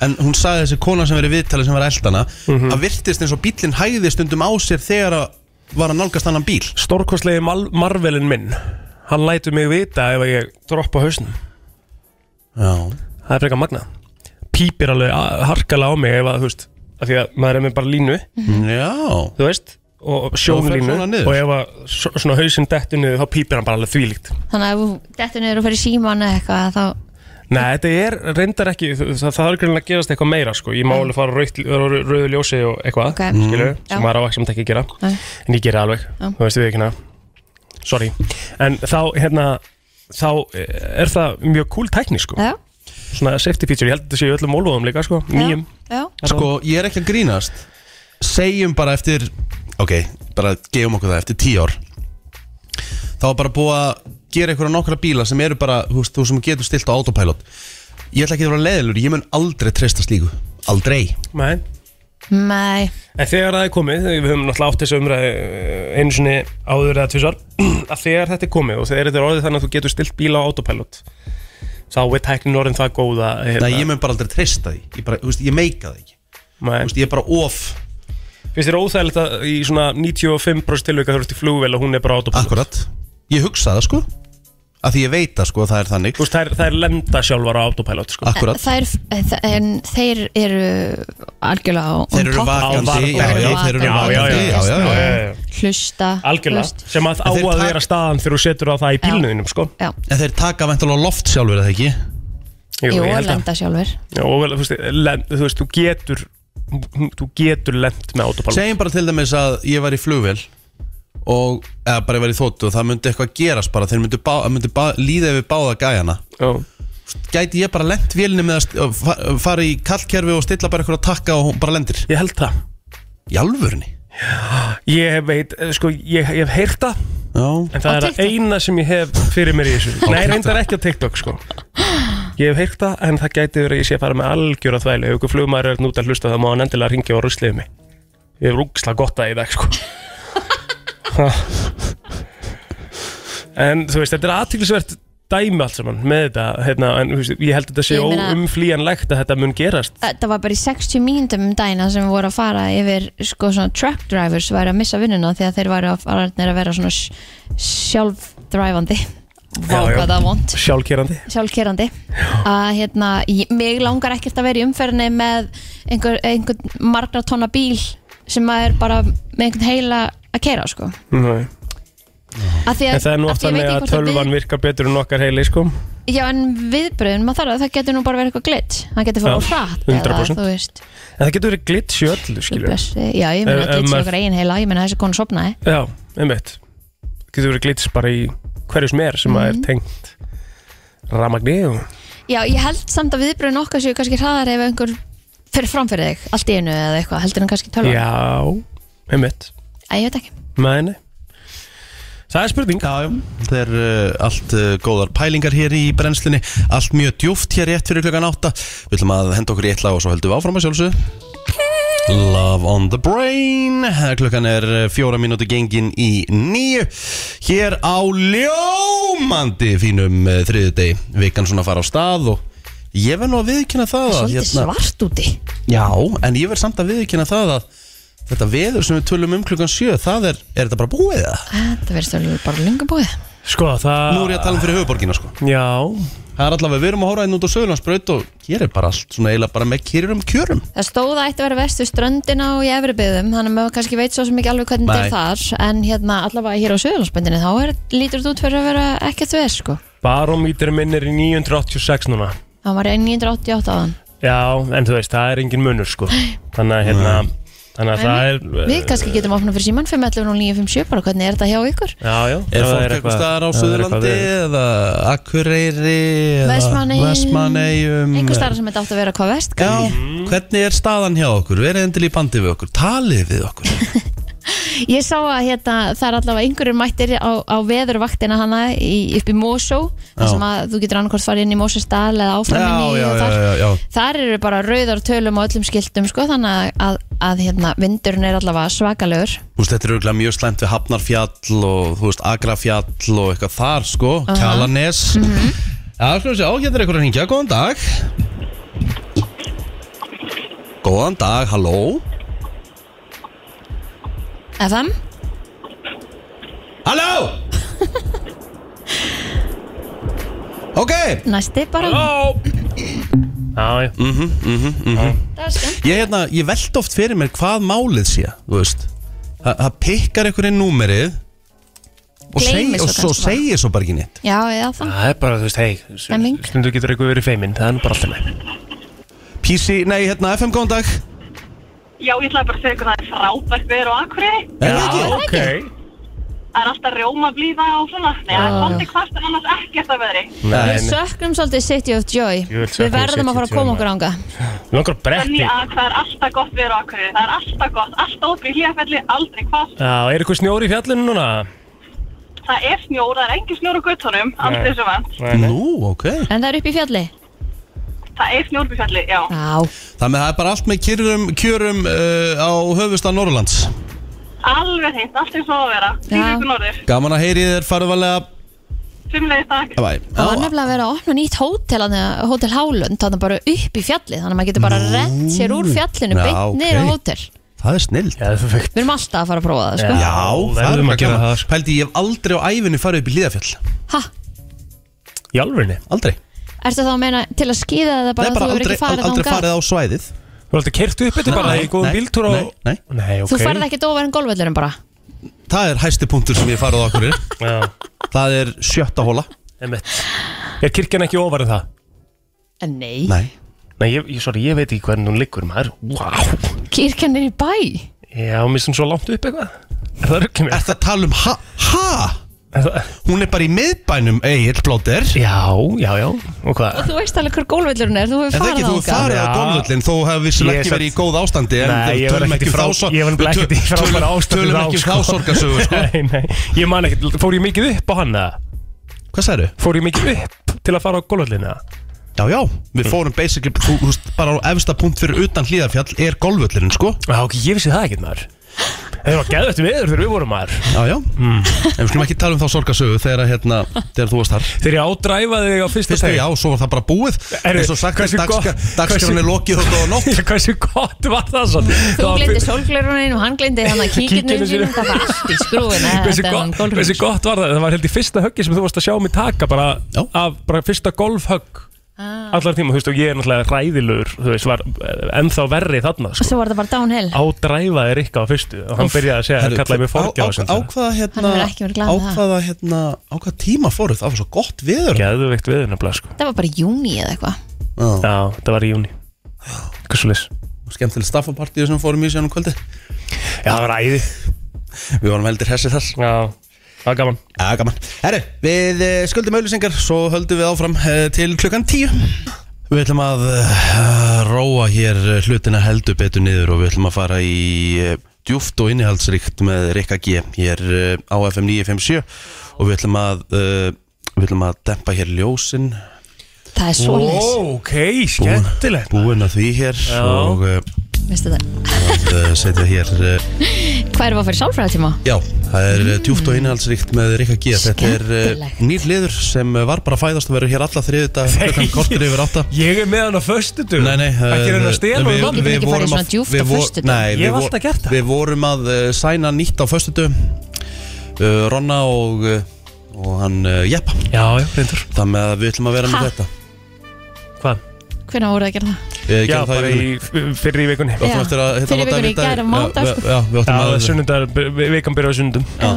C: en hún sagði þessi kona sem verið viðtalið sem var eldana
E: Mhm.
C: að virtist eins og bílinn hægði stundum á sér þegar að var að nálgast annan bíl
E: stórkostlegi mal Marvelin minn hann lætur mig vita ef ég droppa hausnum
C: Já.
E: það er frekar magna pípir alveg a- harkalega á mig ef að þú veist af því að maður er með bara línu
D: Mhm.
C: Já
E: þú veist og
C: fer
E: sjónlínu
C: svona niður.
E: og ef að s- svona hausinn dettur niður þá pípir hann bara alveg þvílíkt
D: Þannig að ef þú dettur niður og fer í síman eða eitthvað þá
E: Nei, þetta er reyndar ekki það, það er greinlega að gerast eitthvað meira sko. ég má alveg fara á rautt- á rau- rauðu ljósi og eitthvað
D: Mm. Ok. Mm.
E: skilur,
D: Já.
E: sem maður á ekki sem þetta ekki að gera
D: Nei.
E: en ég gera það alveg,
D: Já.
E: þú veist við ekki hana sorry, en þá hérna, þá eh, er það mjög cool tækni sko,
D: Já,
E: svona safety feature ég held að þetta sé í öllum ólúðum líka sko, nýjum
D: já,
C: Sko, ég er ekki að grínast Segjum bara eftir Ok, bara gefum okkur það eftir tíu ár Þá er bara búið að gera einhverja nokkra bíla sem eru bara þú, veist, þú sem getur stilt á autopilot Ég ætla ekki að vera leðilur Ég mun aldrei treysta slíku Aldrei
E: Nei.
D: Nei,
E: En þegar það er komið, við höfum náttúrulega átt þessu umræði eh, einu sinni áður eða tvisar (clears throat) að þegar þetta er komið og þegar þetta er orðið þannig að þú getur stilt bíla á autopilot þá er tæknin orðin það eh, góða
C: Nei, ég mun bara aldrei treysta því Ég, bara, þú veist, ég meika það ekki Þú
E: hérna- Nei,
C: veist, Ég er bara of
E: finnst þér óþægilegt að í svona 95% tilvika þú ert í flugvél og hún er bara á autopilot
C: Akkurat Ég hugsa það sko Af því ég veit það sko, það er þannig
E: Þú veist, þær, þær lenda sjálfar á autopilot sko.
C: Akkurat
D: þær, eh, þ- en þeir eru algjörlega á- on
C: Þeir eru
D: top.
E: Á
C: vakandi Já,
E: vakandi.
C: já, þeir eru
E: Já, já, já,
C: vakandi
E: já,
C: Já, já,
E: já,
C: já
E: já, já.
D: Hlusta
E: Algjörlega,
D: þú veist.
E: sem að á
C: En þeir
E: að
C: taka-
E: vera staðan þegar þú setur á það í
D: Já.
E: bílnuðinum sko.
D: Já,
C: En þeir taka veintalega loft sjálfur eða ekki
D: jú,
E: ég
D: að
E: held að
D: lenda sjálfur
E: Já, og vel, þú veist, lend, þú, veist, þú getur þú getur lent með autopilot
C: Segjum bara til dæmis að ég var í flugvél og eða bara ég var í þóttu og það myndi eitthvað gerast bara þeir myndi, bá, myndi bá, líða yfir báða gæjana
E: Já.
C: gæti ég bara lent vélinni með að st- fa- fara í kallkerfi og stilla bara eitthvað að takka og hún bara lendir
E: Ég held það
C: í alvörunni
E: Ég veit, eh, sko, ég, ég hef heyrt það
C: já,
E: En það
D: Á
E: er að
D: TikTok?
E: eina sem ég hef fyrir mér í þessu Nei,
C: TikTok.
E: reyndar ekki á TikTok, sko Ég hef heyrt það, en það gæti verið að ég sé að fara með algjöra þvæli Ef ykkur flugmaður er nút að hlusta það má hann endilega ringja og rusliði mig Ég hef rúksla gott að í dag, sko Ha. En, þú veist, þetta er aðtiklisvert dæmi allt saman með þetta hérna, En þú veist, ég held að þetta sé
D: Ég meina-
E: óumflýjanlegt að þetta mun gerast
D: Þetta var bara í 60 mínútum um dæna sem voru að fara yfir sko svona truck drivers væri að missa vinnuna því að þeir væri að, farnir að vera svona sj- sjálfdræfandi Vá
E: Já, já.
D: hvað það vond
E: Sjálfkerandi
D: sjálfkerandi að hérna, ég- mig langar ekkert að vera í umferðinni með einhver, einhver margra tonna bíl sem að er bara með einhvern heila að keira sko
E: Nei.
D: að því að,
E: En það er nú
D: af
E: oft
D: því ég
E: þannig
D: veit
E: að
D: ekki hvort
E: tölvan
D: við,
E: virkar betur en okkar heili, sko
D: já en viðbröðin, maður þarf að það getur nú bara verið eitthvað glitt hann getur fór
E: Já,
D: á hratt
E: 100%.
D: þú veist
E: En það getur verið glitch í öllu,
D: Guð
E: skilur
D: blessi. eh, já ég meina
E: Ef-
D: að
E: ef
D: glitsi
E: maður-
D: okkar eigin heila ég meina að þessi konu sopnaði
E: Já, einmitt Getur verið glitch bara í hverju sem er sem mm
D: Mhm.
E: er tengt ramagni og
D: já ég held samt að viðbröðin okkar séu kannski hraðar ef einhver fyrir framfyrir þig allt í einu eða eitthvað heldur hann kannski tölvan
E: Já, einmitt
D: Æ, ég veit ekki
E: Mæni Það er spurning
C: já, það er uh, allt uh, góðar pælingar hér í brennslinni allt mjög djúft hér rétt fyrir klokkan átta við ætlum að henda okkur í eitt lag og svo höldum við áfram að sjálfsög Love on the brain klukkan er uh, fjóra mínúti gengin í nýju hér á ljómandi fínum uh, þriðudegi vikan svona að fara á stað og ég verð nú að viðkynna það að, hérna-
D: svolítið svart úti
C: Já, en ég verð samt að viðkynna það að þetta veður sem við tölum um klukkan sjö, það er, er þetta bara búið það?
D: þetta verður svolítið bara lungabóið
E: Sko, það
C: Nú er ég að tala um fyrir höfuborgina sko
E: Já,
C: Það er allavega, við erum að hóra einn út á Söðurlandsbraut og hér er bara allt svona eiginlega bara með kýrum kjörum
D: Það stóð að ætti að vera vest við ströndina og í efribyðum þannig að maður kannski veit svo sem ekki alveg hvernig
C: Nei.
D: þetta er þar en hérna allavega hér á Suðurlandsbendinu þá er, lítur þetta út fyrir að vera ekkert vest sko
E: barómítur minn er í 986 núna
D: Það var 988 á þann
E: Já, en þú veist, það er engin munur sko Þannig að hérna Þannig að það er eh,
D: Við kannski getum opnað fyrir síman 511 og 957 bara hvernig er þetta hjá ykkur?
E: Já, já ef
C: Er
E: það
C: fólk eitthvað staðar á
E: ef það er eitthvað
C: Söðurlandi
E: veður.
C: eða Akureyri eða
D: Vestmannaeyjum.
C: Vestmannaeyjum?
D: Einhver starf sem þetta átti að vera hvað vest
C: Já,
D: kannski.
C: hvernig er staðan hjá okkur? Verið endil í bandi við okkur, talið við okkur
D: Ég sá að hérna, það er allavega einhverjir mættir á, á veðurvaktina hana í, upp í Mosó
C: Já.
D: þar sem að þú getur annarkvort farið inn í Mosestal eða áfram inn í
C: já,
D: og
C: já,
D: þar.
C: já, já.
D: Þar eru bara rauðar tölum og öllum skiltum sko, þannig að, að, að hérna, vindurinn er allavega svakalegur
C: Þú veist, þetta er auðvitað mjög slæmt við Hafnarfjall og, þú veist, Agrafjall og eitthvað þar, sko, Kjalanes.
D: Mhm.
C: Já, skulum sjá, hérna er eitthvað að hringja, góðan dag. Góðan dag, halló.
D: FM? (laughs)
C: Halló! ok,
D: Næsti bara
E: Já, já
D: Það er skemmt.
C: Mhm, ég hérna, ég velt oft fyrir mér hvað málið sé, þú veist. Þa- Það pikkar einhvern veginn númerið og,
D: Gleymir
C: seg, og
D: svo
C: svo
D: kannski bara.
C: segir svo bara ekki neitt.
D: Já, eða það
E: Það er bara, þú veist, hei
D: Stemming.
E: Stundu getur eitthvað verið feiminn Það er nú bara alltaf með
C: PC, nei, hérna, FM, góðan dag.
F: Já, ég ætlaði bara að segja ykkur að það er frábært veður á Akureyri.
C: Er það ekki?
E: ok
F: Það er alltaf rjóma blíða og svona. Nei,
E: Ah.
F: það er svolítið hvart en annars ekkert að veðri.
E: Nei,
D: Við
E: nei.
D: söknum svolítið City of Joy
E: vil sökna
D: Við verðum
E: City
D: að fara
E: of
D: að koma
E: Joy,
D: okkur ánga
E: Mig langar að bretti
F: Þannig að það er alltaf gott veður á Akureyri. Það er alltaf gott, alltaf opið hlíðafelli, aldrei hvart.
E: Já, er eitthvað snjór í fjallinu núna?
F: Það er snjór, það er engin snjór á guttunum, aldrei
E: Nei.
F: sem vant.
E: Nei,
C: Nú, ok.
D: En það er upp í fjalli
F: Það er snjórbyrfjalli, já.
D: Já,
C: Þannig að það er bara allt með kjörum, kjörum uh, á höfustan Norrlands
F: Alveg hreint, allt eins og það á að vera. Þýr ykkur norður.
C: Gaman að heyri þér farið varlega
F: Fimmlegið takk.
C: Bye bye.
D: það var nefnilega að vera að opna nýtt hótel þarna- Hótel Hálund, þannig bara upp í fjalli Þannig að maður getur bara rent sér úr fjallinu
C: Já,
D: Beint
C: ok.
D: niður á hótel
C: Það er snill
E: Já, það fækt
D: Við erum alltaf að fara að prófa það, sko
E: Já, verðum að gera það, sko.
C: Pældi, ég hef aldrei á ævinni farið upp í Líðafjall
D: Ha,
E: Í alvörinni
C: Aldrei
D: ertu þá að meina til að skýða það bara,
C: Nei, bara
D: að Þú hefur
C: aldrei,
D: ekki farið
C: aldrei
D: þangað?
C: farið á svæðið
E: Þú er alltaf kertu upp þetta bara í góðum
C: Nei,
E: bíltúr og...
C: nei, nei.
E: nei, ok
D: Þú farið ekkert ofar en golfvellurum bara
C: Það er hæsti punktur sem ég hef farið á okkur
E: Já,
C: Það er sjötta hóla
E: emitt Er kirkjan ekki ofar en það?
D: En nei,
C: Nei
E: Nei, ég, ég, sorry, ég veit ekki hvernig hún liggur maður Vá,
D: kirkjan er í bæ
E: já, mistum svo langt upp eitthvað Er það ruggið mér?
C: Er það að tala um ha? Ha?
E: Er það-
C: Hún er bara í miðbænum Egil Blóter
E: Já, já, já, og hvað?
D: Þú veist alveg hver golfvellurinn er, þú hefur
C: En það
D: farið
C: ekki þú hefur
D: þangað.
C: farið á
E: Já.
C: golvöllin Þú hefur vissulega
E: Ég
C: ekki
E: satt-
C: verið í góð ástandi en
E: Nei, ég var
C: tölum
E: ekkert í
C: ekki um
E: frá-
C: þá sor-
E: ég var nefnilega ekkert í
C: töl-
E: frábæra
C: tölum-
E: ástandi
C: Tölum
E: þá,
C: ekki um
E: sko.
C: þá sorgarsögu sko.
E: (laughs) Nei, nei, ég man ekkert, fór ég mikið upp á hann eða?
C: Hvað særu?
E: Fór ég mikið upp til að fara á golföllina?
C: Já, já, við fórum basically þú, þú, veist, bara á efsta punkt fyrir utan hlíðarfjall er golvöllurinn, sko
E: Já, ok, ég vissi það ekkert maður Það var geðvægt veður þegar við vorum maður
C: Já, já, Mm. en við skulum ekki tala um þá sorgarsögu þegar, að, hérna, þegar þú varst þar
E: Þegar ég ádræfaði þig á fyrsta
C: Fyrstu,
E: teg
C: já, svo var það bara búið
E: Heyrðu,
C: eins og sagt,
E: hversu gott-
C: dagskra- dagskráin er
E: hversu-
C: lokið og góða nótt
E: (laughs) Hversu gott var það svo
D: Þú glindi sólglerunin og hann glindi þannig að kíkirnum
E: Kíkirnum
D: sínum,
E: sínum.
D: það var allt í skrúin
E: Hversu
D: um
E: gott, hversu gott var það? Það var held í fyrsta höggi sem þú varst að sjá mig taka bara
C: Já.
E: af bara fyrsta golfhögg
D: Ah.
E: allar tíma, þú veist, og ég er náttúrulega ræðilur þú veist, var eh, ennþá verri þarna
D: Og
E: sko.
D: svo var það bara downhill
E: ádræfaði Rikka á fyrstu og hann byrjaði að segja,
C: Herru,
E: Heru, kallaði mig
C: á- á- Á
E: forgjáð
C: hvaða
D: Hann
C: hérna,
D: hefur ekki verið glaður
C: á
D: með það.
C: hvaða hérna á hvaða tíma fóruð, það var svo gott viður Já,
E: Geðveikt við nefnilega, sko
D: Það var bara í júni eða eitthvað
E: Já, það var í júni Hversu leys?
C: skemmtileg staffapartíu sem fórum í um sérnum kvöldi
E: Já, það var æði
C: Við vorum heldur hessi þar
E: Já, það var gaman
C: Já, gaman Herru, við eh, skuldum auðlýsingar Svo höldum við áfram eh, til klukkan tíu Við ætlum að eh, róa hér eh, hlutina heldur betur niður og við ætlum að fara í eh, djúft og innihaldsrikt með Rikka G hér eh, á FM 957 og við ætlum að eh, við ætlum að dempa hér ljósin
D: Það er svo leys,
E: Ó, ok, skemmtilegt
C: búin að því hér og eh,
D: veistu það (laughs)
C: að eh, setja hér eh,
D: Hvað erum við að fara í sálfræðatíma?
C: Já, það er mm. djúft og innhaldsríkt með Rikka G Þetta er uh,
D: Skemmtilegt.
C: nýr liður sem eh, var bara að fæðast og verður hér alla þriðu dag klokkan kortur yfir átta
E: Ég er með hann á föstutum
C: Nei, nei eh,
E: Ekki reyna að stela
C: við-
E: um hann
D: Getum
C: við
D: ekki farið
C: vorum
D: svona
C: að-
D: djúpt
C: við
D: á
C: vor-
D: föstudögum?
C: Nei,
E: Ég
C: við
E: hef
C: vor-
E: alltaf gert það.
C: Við vorum að uh, sæna nýtt á föstutu uh, Ronna og, uh, og hann uh, Jeppa
E: Já, já, reyndur
C: Þannig að við ætlum að vera
D: Ha?
C: með þetta
E: Hvað?
D: Hvenær voru það að gera það?
C: Við
E: Já,
C: gerum það
E: bara
C: vikunni.
E: í fyrir í vikunni
C: Við
D: Já,
C: áttum eftir að hitta
D: fyrir
C: láta
D: vikunni í
C: vita-
D: gær og mánudag,
C: Já,
D: sko.
C: við- já, við áttum
E: Já,
C: að-
E: sunnundar, vikan byrja á sunnundum
C: já.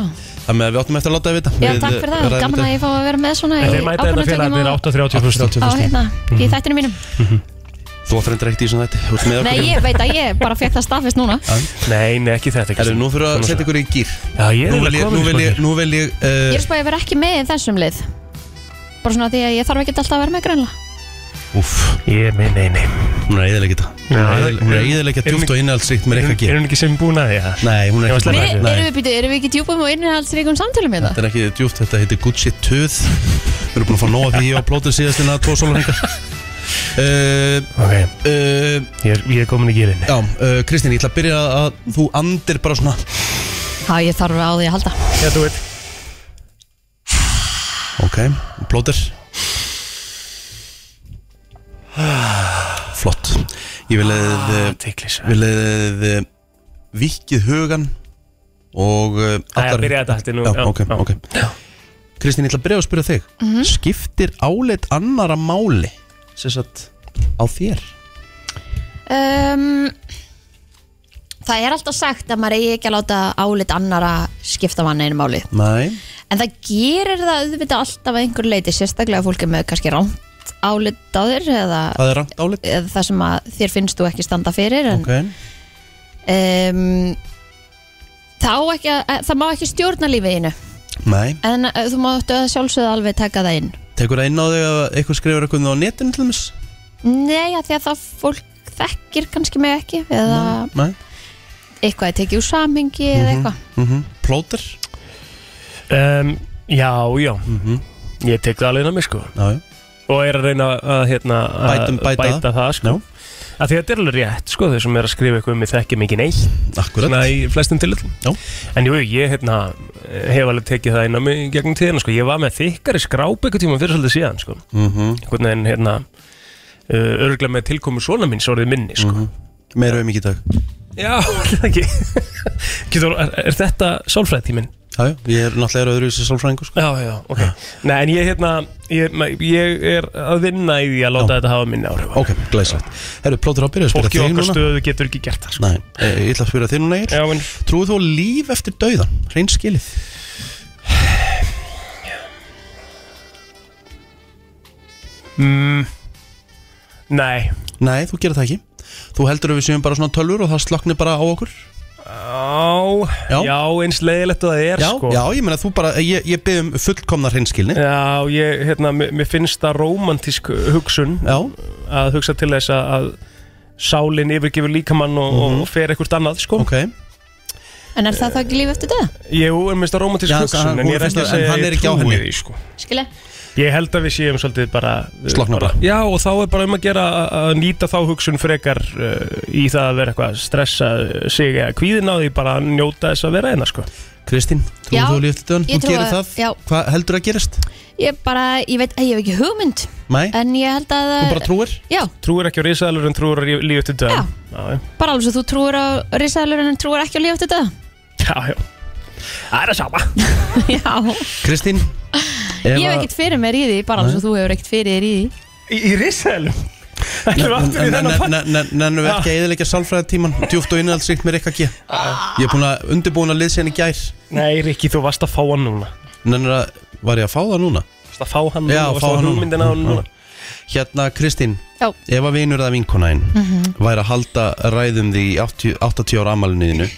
C: Þannig að við áttum eftir að láta það vita
D: Já,
C: Við,
D: takk
C: eh,
D: fyrir það,
C: ræðum
D: gaman
C: þetta.
D: að ég fá að vera með svona
E: En þeir mæta þetta félagarnir 8.30
C: 8:30.
E: fyrstu
D: á hérna, í þættinu mínum
C: Þú áttur endur eitt í svona þetta Þú ert með okkur
D: Nei,
C: hérna.
D: ég veit að ég bara fekk það staðfist núna
E: Nei, nei, ekki þetta ekki
C: Herru, nú þurfum við að setja ykkur í gýr
E: Já, ég
C: Nú
E: er
C: vil ég,
E: eiginlega
C: nú vil
E: komin í
C: ég, nú vil ég
D: Ég
C: uh,
D: er spæðið að vera ekki með í þessum lið Bara svona því að ég þarf ekki alltaf að vera með greinlega
C: Úff,
E: sko. Ég, nei, nei, nei
C: hún er eðilegget Hún
E: Já,
C: er eyðilegg- hún er
E: er
C: eðilegget
E: hún
C: djúft
E: ekki-
C: og innhaldsrikt með
E: Er
C: Rikka G
E: er hún ekki sem búin að því, ja?
C: Nei, hún er
E: Ég var
C: ekki
E: sleppa
C: bara-
E: þessu.
D: Við, erum
C: Nei,
D: við, býtu, erum við ekki djúpum og innihaldsríkum samtölum með
C: Þetta er ekki djúft, þetta heitir Gucci Töð Við erum búin að fá nóg af því ég og plótið síðast en að tvo sólarhengar
E: (laughs)
C: uh,
E: Ok,
C: uh,
E: ég er, ég er komin í gýrinni
C: Já, uh, Kristín, ég ætla að byrja að þú andir bara svona
D: Já, ég þarf á því að halda
E: Já, þú veit
C: Ok, plóter Flott Ég vil
E: Ah,
C: að uh,
E: Tiklis
C: Við leðið vikið hugan eh, og uh,
E: Það er að byrja þetta eftir nú
C: Já, ok, ok Kristín, ég ætla að byrja að spyrja þig Skiptir áleitt annara máli Sessat á þér
D: um, Það er alltaf sagt að maður eigi ekki að láta álit annara skipta mann einu máli
C: Nei
D: en það gerir það auðvitað alltaf að einhver leiti sérstaklega fólki með kannski rámt álit á þér eða,
C: Það er rangt áleitt
D: eða það sem að þér finnst þú ekki standa fyrir en
C: Ok
D: um, það, á ekki, að- eh, það má ekki stjórna lífiðinu
C: Nei
D: en uh, þú máttu að sjálfsögðu alveg taka það inn
C: Tekur það inn á þig að eitthvað skrifur eitthvað á netinu til þess?
D: Nei, að því að það fólk þekkir kannski mig ekki eða
C: Nei Mhm.
D: eitthvað er tekið úr samhengi eða eitthvað
C: Plóter?
E: um, Já, já Ég tek það alveg inn á mig, sko
C: Mhm. Já, já
E: og er að reyna að hérna, að
C: Bætum bæta.
E: bæta það sko. að því að þetta er alveg rétt sko, þau sem er að skrifa eitthvað um mig þekkja mikið neitt
C: Akkurat
E: svona í flestum tilöldum
C: Já.
E: en jú, ég hérna, hef alveg tekið það inn á mig í gegnum tíðina sko. ég var með þykkari skráp eitthvað tíma fyrir svolítið síðan sko. mm
C: Mhm.
E: -hmm. en hérna uh, örgulega með tilkomu svona mín svo orðið minni sko.
C: Meira um ekki í
E: (laughs)
C: dag
E: já, er það ekki Getur, er, er þetta sálfræðtíminn?
C: Já, já, ég er náttúrulega öðru í þessu sálfræðingur sko.
E: Já, já, ok Nei, en ég, hérna, ég, ma- ég er að vinna í því að láta þetta hafa minni áhrif
C: Ok, glæslegt Herru, plótur á að byrja að spyrja
E: Fólki í
C: þig
E: okkar
C: núna
E: stöðu getur ekki gert það sko.
C: Nei, eh, ég ætla að spyrja þig núna
E: Já,
C: Egil
E: en
C: Trúið þú á líf eftir dauðan? Reynskilið
E: mm, Nei
C: Nei, þú gerir það ekki Þú heldur að við séum bara svona tölvur og það sloknir bara á okkur
E: Á,
C: Já.
E: já. eins leiðilegt að það er
C: Já,
E: sko
C: já, ég meina þú bara, ég, ég byrð um fullkomna reynskilni
E: Já, ég, hérna, mér mér finnst það rómantísk hugsun
C: Já,
E: að hugsa til þess að, að sálinn yfirgefur líkamann og, og fer ekkert annað, sko
C: Mhm. ok
D: En er það þá ekki líf eftir döða?
E: Jú, mér finnst það rómantísk
C: Já,
E: hugsun
C: hann-
E: en ég er
C: hún finnst
E: ekki að
C: það- en
E: segja
C: hann
E: að
C: er
E: ég
C: ekki á
E: trúi
C: henni.
E: því, sko
D: Skilja?
E: Ég held að við séum svolítið bara eh,
C: Slokkna bara.
E: Já og þá er bara um að gera að- að nýta þá hugsun frekar uh, í það að vera eitthvað að stressa eh, sig eða kvíðin á því bara að njóta þess að vera eina sko
C: Kristín,
D: Já,
C: trúið þú á líf eftir dauðan?
D: ég
C: Þú
D: trúi
C: gerir
D: að-
C: það?
D: já.
C: Hvað heldur að gerist?
D: Ég bara, ég veit, ég hef ekki hugmynd
C: Nei,
D: En ég held að
C: þú bara trúir?
D: Eh, Já,
E: Trúir ekki á risaðalur en trúir á líf- líf eftir döðum Já,
D: bara alveg svo þú trúir á risaðalur en trúir ekki á líf
C: (laughs)
D: eftir döða
E: já, já Það er það sama
D: Já,
C: Kristín
D: ég hef ekkert fyrir mér í því Bara alveg svo þú hefur ekkert fyrir þér í því
E: Í, í risaðalum Það er aftur í þennan pall Ah.
C: Nennu við ekki að eðilegja sálfræðatíman Djúft og innhaldsrikt með Rikka G Ég er búin að undirbúin að liðsinn í gær
E: Nei Rikki þú varst að fá hann núna
C: Nennu að, var ég að fá það núna?
E: Varst að fá hann
C: Já,
E: núna varst
C: fá
E: að fá
C: hann núna. Ah.
E: hugmyndina á hann núna
C: Hérna Kristín,
D: Já, Mhm.
C: ef að vinur eða vinkonaðin væri að halda ræðum því 80, 80 ára ammæliniðinu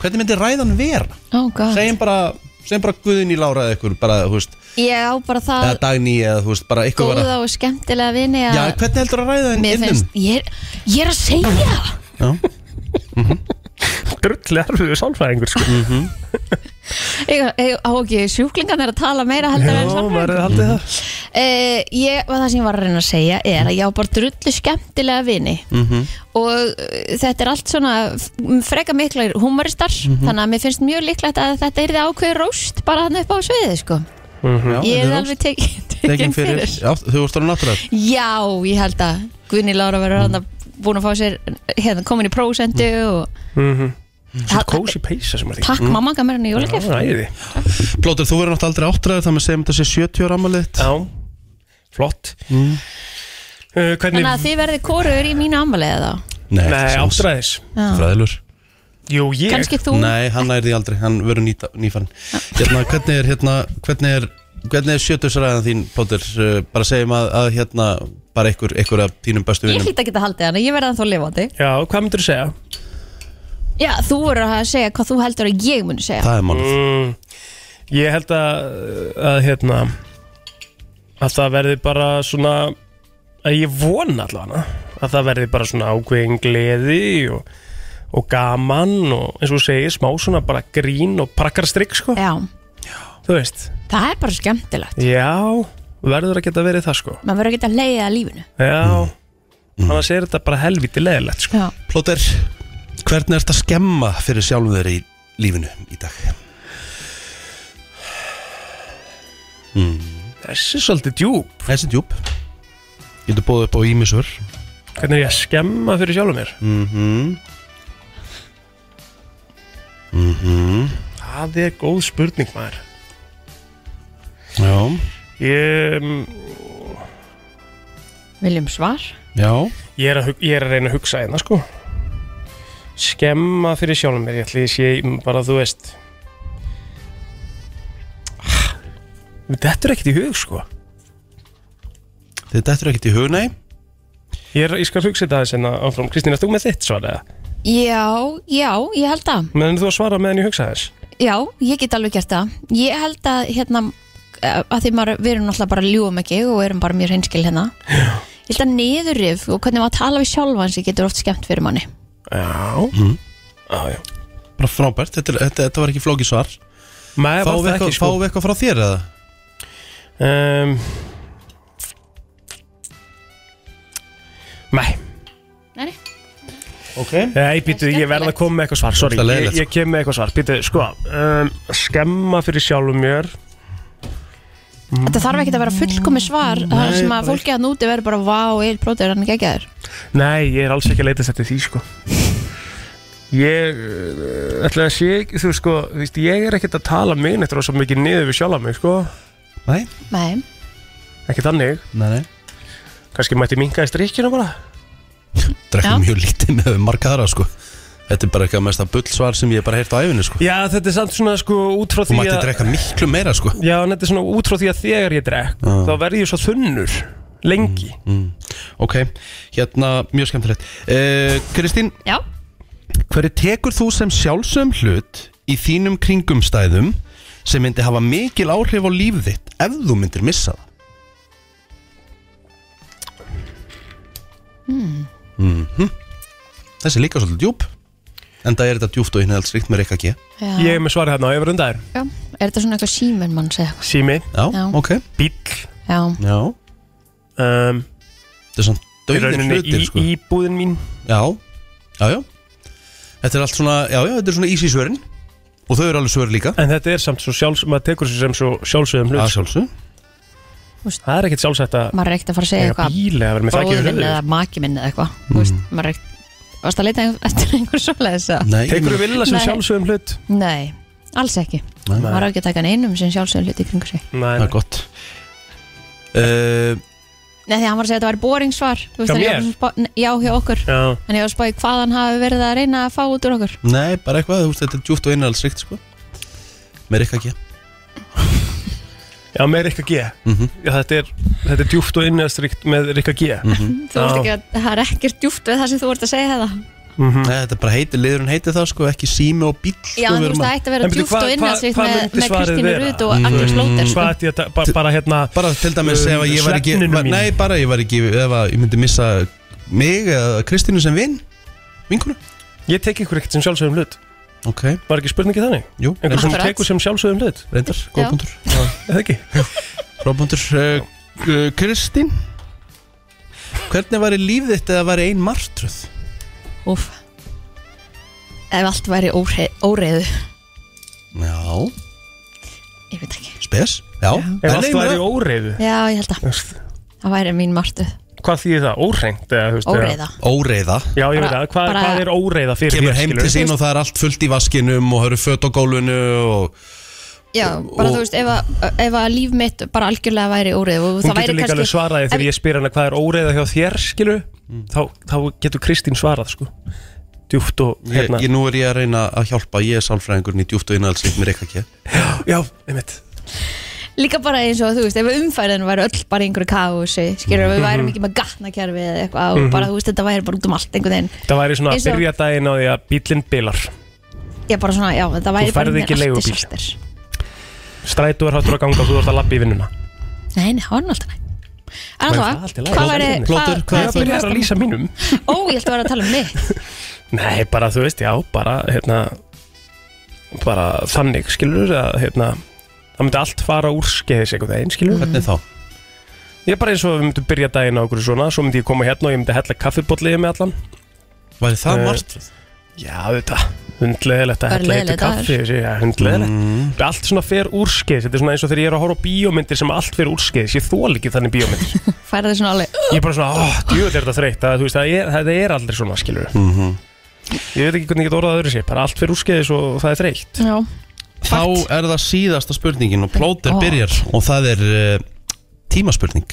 C: Hvernig myndi ræðan vera?
D: ó gott
C: Segjum bara, segjum bara Guðin í Lára eða ykkur bara, þú veist,
D: Ég á bara
C: eða
D: það
C: Dagný eða þú veist, bara ykkur
D: Ah. góða
C: vera
D: og skemmtilega vini að
C: Já, hvernig heldur að ræða henn
D: Mér
C: innum?
D: finnst, ég er, ég er að segja það.
C: Já,
E: Drulli erfiðu sálfræðingur sko
C: Mhm.
D: Ég ég- á ekki sjúklingan er að tala meira heldur en
E: maður
D: samfélagin
E: er haldið það
D: Eh, ég, og það sem ég var að reyna að segja er að ég á bara drullu skemmtilega vini
E: Mhm.
D: og eh, þetta er allt svona f- freka miklar humoristar
C: Mhm.
D: þannig að mér finnst mjög líklegt að þetta er það ákveður róst bara hann upp á sviðið sko
E: Mhm.
C: já,
D: ég
C: þetta
D: er
C: er
D: alveg (laughs) tekin,
C: tekin fyrir Já, þú vorst alveg náttúrulega
D: já, ég held að Guðni Lára verður hann búin að fá sér hérna komin í prósendu
C: Mm.
D: og
E: Mhm. Svo kósi peisa sem er því
D: Mm-hmm. takk mamma gamar hann í jólagjöf
E: Það er því
C: Plótur, Mm. þú verður náttúrulega aldrei áttræður þannig að segjum þetta sé 70 ára Mm. ammælið
E: Já, flott uh, Hvernig
D: þannig að þið verði kóruður í mínu ammaliða þá
E: Nei, áttræðis
D: Já.
C: Fræðilur
E: Jú, ég
D: Ah. kannski þú Ah.
C: Nei, hann er því aldrei, hann verður nýta- nýfarinn Hérna, hvernig er, hérna, hvernig er Hvernig er sjötusræðan þín, Plótur? Uh, Bara segjum að, að hérna bara ykkur, ykkur af þínum bestu
D: ég
C: vinnum
D: hlýt að geta haldið hann ég verði hann þó lifandi
E: Já, hvað myndirðu segja?
D: Já, þú verður að segja hvað þú heldur að ég muni segja
C: Það er málið
E: Mm, ég held að, að hérna að það verði bara svona að ég vona allavega að það verði bara svona ákveðin gleði og, og gaman og eins og þú segir, smá svona bara grín og prakkarstrykk sko,
D: Já,
E: þú veist
D: það er bara skemmtilegt
E: Já, verður að geta verið það sko
D: Maður verður að geta leiðið að lífinu
E: Já,
C: Mm.
E: annars er þetta bara helviti leðilegt sko.
D: Já.
C: Plóter, hvernig ert að skemma fyrir sjálfum þeir í lífinu í dag?
E: Þessi er svolítið djúp
C: Hmm. Þessi djúb Getur bóðið upp á ímisur
E: Hvernig er ég að skemma fyrir sjálfum mér? Mhm mm Mhm Það er góð spurning maður
C: Já,
E: Ég, mm,
D: Viljum svar
C: já
E: ég, er, að, hug- ég er að reyna að hugsa hérna sko Skemma fyrir sjálfum mér Ég ætli ég sé mm, bara þú veist Ah, Þetta er ekkert í hug sko
C: Þetta eftir ekkert í hug, nei
E: Ég, er, ég skal hugsa þetta aðeins en áfram Kristín, erst þú með þitt svara?
D: Já, já, ég held að
E: Meðan þú að svara meðan ég hugsa þess
D: Já, ég get alveg gert það Ég held að hérna að því maður, við erum náttúrulega bara ljúum ekki og erum bara mjög hreinskil hérna já. Ég held að niðurrif og hvernig maður tala við sjálfan sig getur oft skemmt fyrir manni
E: Já mm. ah, já
C: Mhm. Bara frábært, þetta, er- þetta, þetta var ekki flókið svar
E: Nei, var það
C: Fáum
E: sko.
C: við
E: ekki
C: eitthvað
E: sko
C: fá eitthva frá þér eða?
E: um, Nei,
D: Nei, nei.
E: Nei, býtu, ég verð að koma með eitthvað svar Sorry,
C: Það er
E: ég,
C: leiðilegt,
E: ég kem með eitthvað svar Býtu, sko, um, skemma fyrir sjálfum mér
D: Þetta þarf ekki að vera fullkomi svar þar sem að fólki að núti verður bara Vá, eil plótur, hann er geggjaður
E: Nei, ég er alls ekki að leita þetta því, sko Ég uh, ætla að sé, ekki, þú veist, sko þú veist, Ég er ekkert að tala mig neitt rosa mikið niður við sjálfa mig, sko
C: Nei,
D: Nei,
E: Ekki þannig,
C: nei, nei
E: kannski mætti minkaði strikkinu bara
C: Drekkum
D: Já.
C: mjög lítið með marga aðra sko Þetta er bara eitthvað mesta bullsvar sem ég hef bara heyrt á æfinni sko
E: Já, þetta er samt svona, sko, út frá
C: Þú
E: því
C: mætti
E: að
C: drekka miklu meira sko
E: Já, en þetta er svona út frá því að þegar ég drekk
C: Já.
E: Þá verð ég svo þunnur, lengi
C: Mm, Ok, hérna, mjög skemmtilegt Eh, Kristín,
D: já,
C: hverju tekur þú sem sjálfsögum hlut í þínum kringumstæðum sem myndi hafa mikil áhrif á líf þitt ef þú myndir missa það? Mm. Þessi er líka svolítið djúb en það er þetta djúpt og innhaldsrikt með Rikka G Já,
D: já,
E: Ég er með svarið hérna á yfir undar
D: já. Er þetta svona eitthvað símen mann segja?
E: Sími,
D: Já.
C: ok
E: bíll
D: Já,
C: Já,
E: um,
C: þetta er svona
E: í
C: döðir
E: rauninni
C: hlutir
E: í-
C: sko
E: Íbúðin mín
C: Já, já, já Þetta er allt svona, já, já, þetta er svona easy svörin og þau eru alveg svör líka
E: En þetta er samt svo sjálfs, maður tekur sér sem svo sjálfsögum hlut
C: að
E: sko.
C: sjálfsög
E: Það er ekkert sjálfsætt að
D: maður er ekkert að fara að segja
E: eiga
D: eitthvað
E: bíl eða vera með þakki
D: bróðin
E: við
D: eða
E: höfuð
D: maki minn eða eitthvað Þú veist, maður er ekkert Varst að leita ein- eftir einhver svoleiðis að
C: Nei, ég
E: Tekur
C: meina-
E: þú vilja sem
D: Nei.
E: sjálfsögum hlut?
D: Nei, alls ekki
C: Nei.
D: Maður á ekki að taka neinum sem sjálfsögum hluti kringu sig
E: Nei,
C: Það er gott uh,
D: Nei, því að hann var að segja að þetta var boring svar Þú veist,
E: Hjá
D: en ég var
E: mér?
D: að spá- Nei, Já, hjá okkur
E: Já,
D: En ég var að spáði hvað hann hafi verið að reyna að fá út úr okkur
C: Nei, bara eitthvað, þú veist, þetta er djúft og innhaldsrikt sko. Með Rikka G
E: já með Rikka G
C: Mhm.
E: Já, þetta er, þetta er djúft og innæðstrikt með Rikka G
C: Mhm.
D: Mhm. Þú veist ekki að það er ekkert djúft við það sem þú ert að segja þetta
E: Mhm.
C: Nei, þetta bara heitir, liðurinn heitir það sko, ekki sími og bíll sko,
D: Já,
C: við
D: en þú
C: erum
D: veist, það
C: að-
D: ætti að vera
E: En bíddu,
D: djúft
E: hvað-
D: og
E: hvað-
D: innhaldsvíkt
E: hvað
D: með,
E: myndi
D: með
E: svarið
D: Kristínu
E: vera?
D: Rut og Agnes Lóter sko.
E: Hvað ætti ég að, bara, bara hérna
C: Bara til dæmis
E: Um,
C: ef að ég var ekki
E: svefninum
C: var,
E: mínum.
C: Nei, bara ég var ekki, ef að ég myndi missa mig eða Kristínu sem vinn Vinkuna
E: Ég tek ykkur ekkert sem sjálfsögum hlut
C: Ok,
E: Var ekki spurningi þannig?
C: jú,
E: Einhver sem
D: Akkurat.
E: tekur sem sjálfsögum hlut
C: reyndar,
D: Já.
C: góðbundur
E: Eða ekki?
C: Róbundur uh, uh, Kristín Hvernig væri líf þitt eða væri ein martröð?
D: Úff. Ef allt væri óre- óreiðu
C: Já,
D: Ég veit ekki
C: spes Já,
E: Ef
C: En
E: allt
C: nei,
E: væri
C: meina-
E: óreiðu
D: Já, ég held að
E: Þú veist,
D: það væri mín martu
E: Hvað þýðir það? Óreint? eða, þú veist, eða-
D: Óreiða
C: óreiða
E: Já, ég veit
D: Bara-
E: að, hvað,
D: bara-
E: hvað er óreiða fyrir
C: kemur
E: þér,
C: heim
E: skilurðu?
C: til sín og það er allt fullt í vaskinum og það eru fött á gólfinu og
D: Já, bara
C: Og-
D: þú veist, ef að, ef að líf mitt bara algjörlega væri óreiðu
E: Hún
D: og það
E: getur
D: væri
E: líka alveg
D: kannski
E: svaraði þegar
D: ef-
E: ég spyr hana hvað er óreiða hjá þér, skilur
C: Mm.
E: þá, þá getur Kristín svarað, sko djúft og
C: ég,
E: hérna
C: ég, nú er ég að reyna að hjálpa, ég er sálfræðingurinn í djúft og innhaldsvík með Rikka K
E: Já, einmitt
D: líka bara eins og þú veist, ef umfærðin væri öll bara í einhverju kási, skilur
E: Mhm.
D: við værum ekki með gatnakerfi eða eitthvað og bara þú veist, þetta væri bara út um allt einhvern veginn
E: Það væri svona
D: Eins
E: að
D: og-
E: byrja daginn á því að bílinn bilar
D: Ég bara svona, já, þetta væri bara
E: færð ekki
D: allt
E: leigubíl.
D: disaster.
E: strætu er hættur að ganga og þú ert að labba í vinnuna
D: Nei, nei, það var náttúrulega næ En
E: Væri
D: alltaf,
E: það allt í lagi?
D: hvað
E: Plótur,
D: væri
C: plótur, hvað
E: Ég
C: er
D: þín
E: byrja að
D: versta-
E: lýsa mínum
D: Ó, ég ætti að vera að tala um mig
E: Nei, bara þú veist, já, bara hérna, bara þannig, skilur að, hérna, það myndi allt fara úr skeiðis einhvern veginn, skilur
C: Mm. Hvernig þá?
E: Ég er bara eins og við myndum byrja daginn á okkur svona, svo myndi ég koma hérna og ég myndi hella kaffibolliði með allan
C: Væri það
E: Eh,
C: martröð?
E: Já, þetta, hundleðilegt að
D: Bara
E: hella heitu
D: leiðinlegt
E: kaffi þessi, já, hundleðilegt
C: Mm.
E: Allt svona fer úrskeis, þetta er svona eins og þegar ég er að horfa á bíómyndir sem allt fer úrskeis, ég þól ekki þannig bíómyndir
D: Færa þig svona alveg
E: Ég er bara svona, óh, djúvel er þetta þreytt, að, þú veist, það er, það er aldrei svona, skilur mm
C: Mhm.
E: Ég veit ekki hvernig ég get orðað öðru sér, bara allt fer úrskeis og það er þreytt
D: Já,
C: Þá er það síðasta spurningin og plóter
D: Ó.
C: byrjar og það er uh, tímaspurning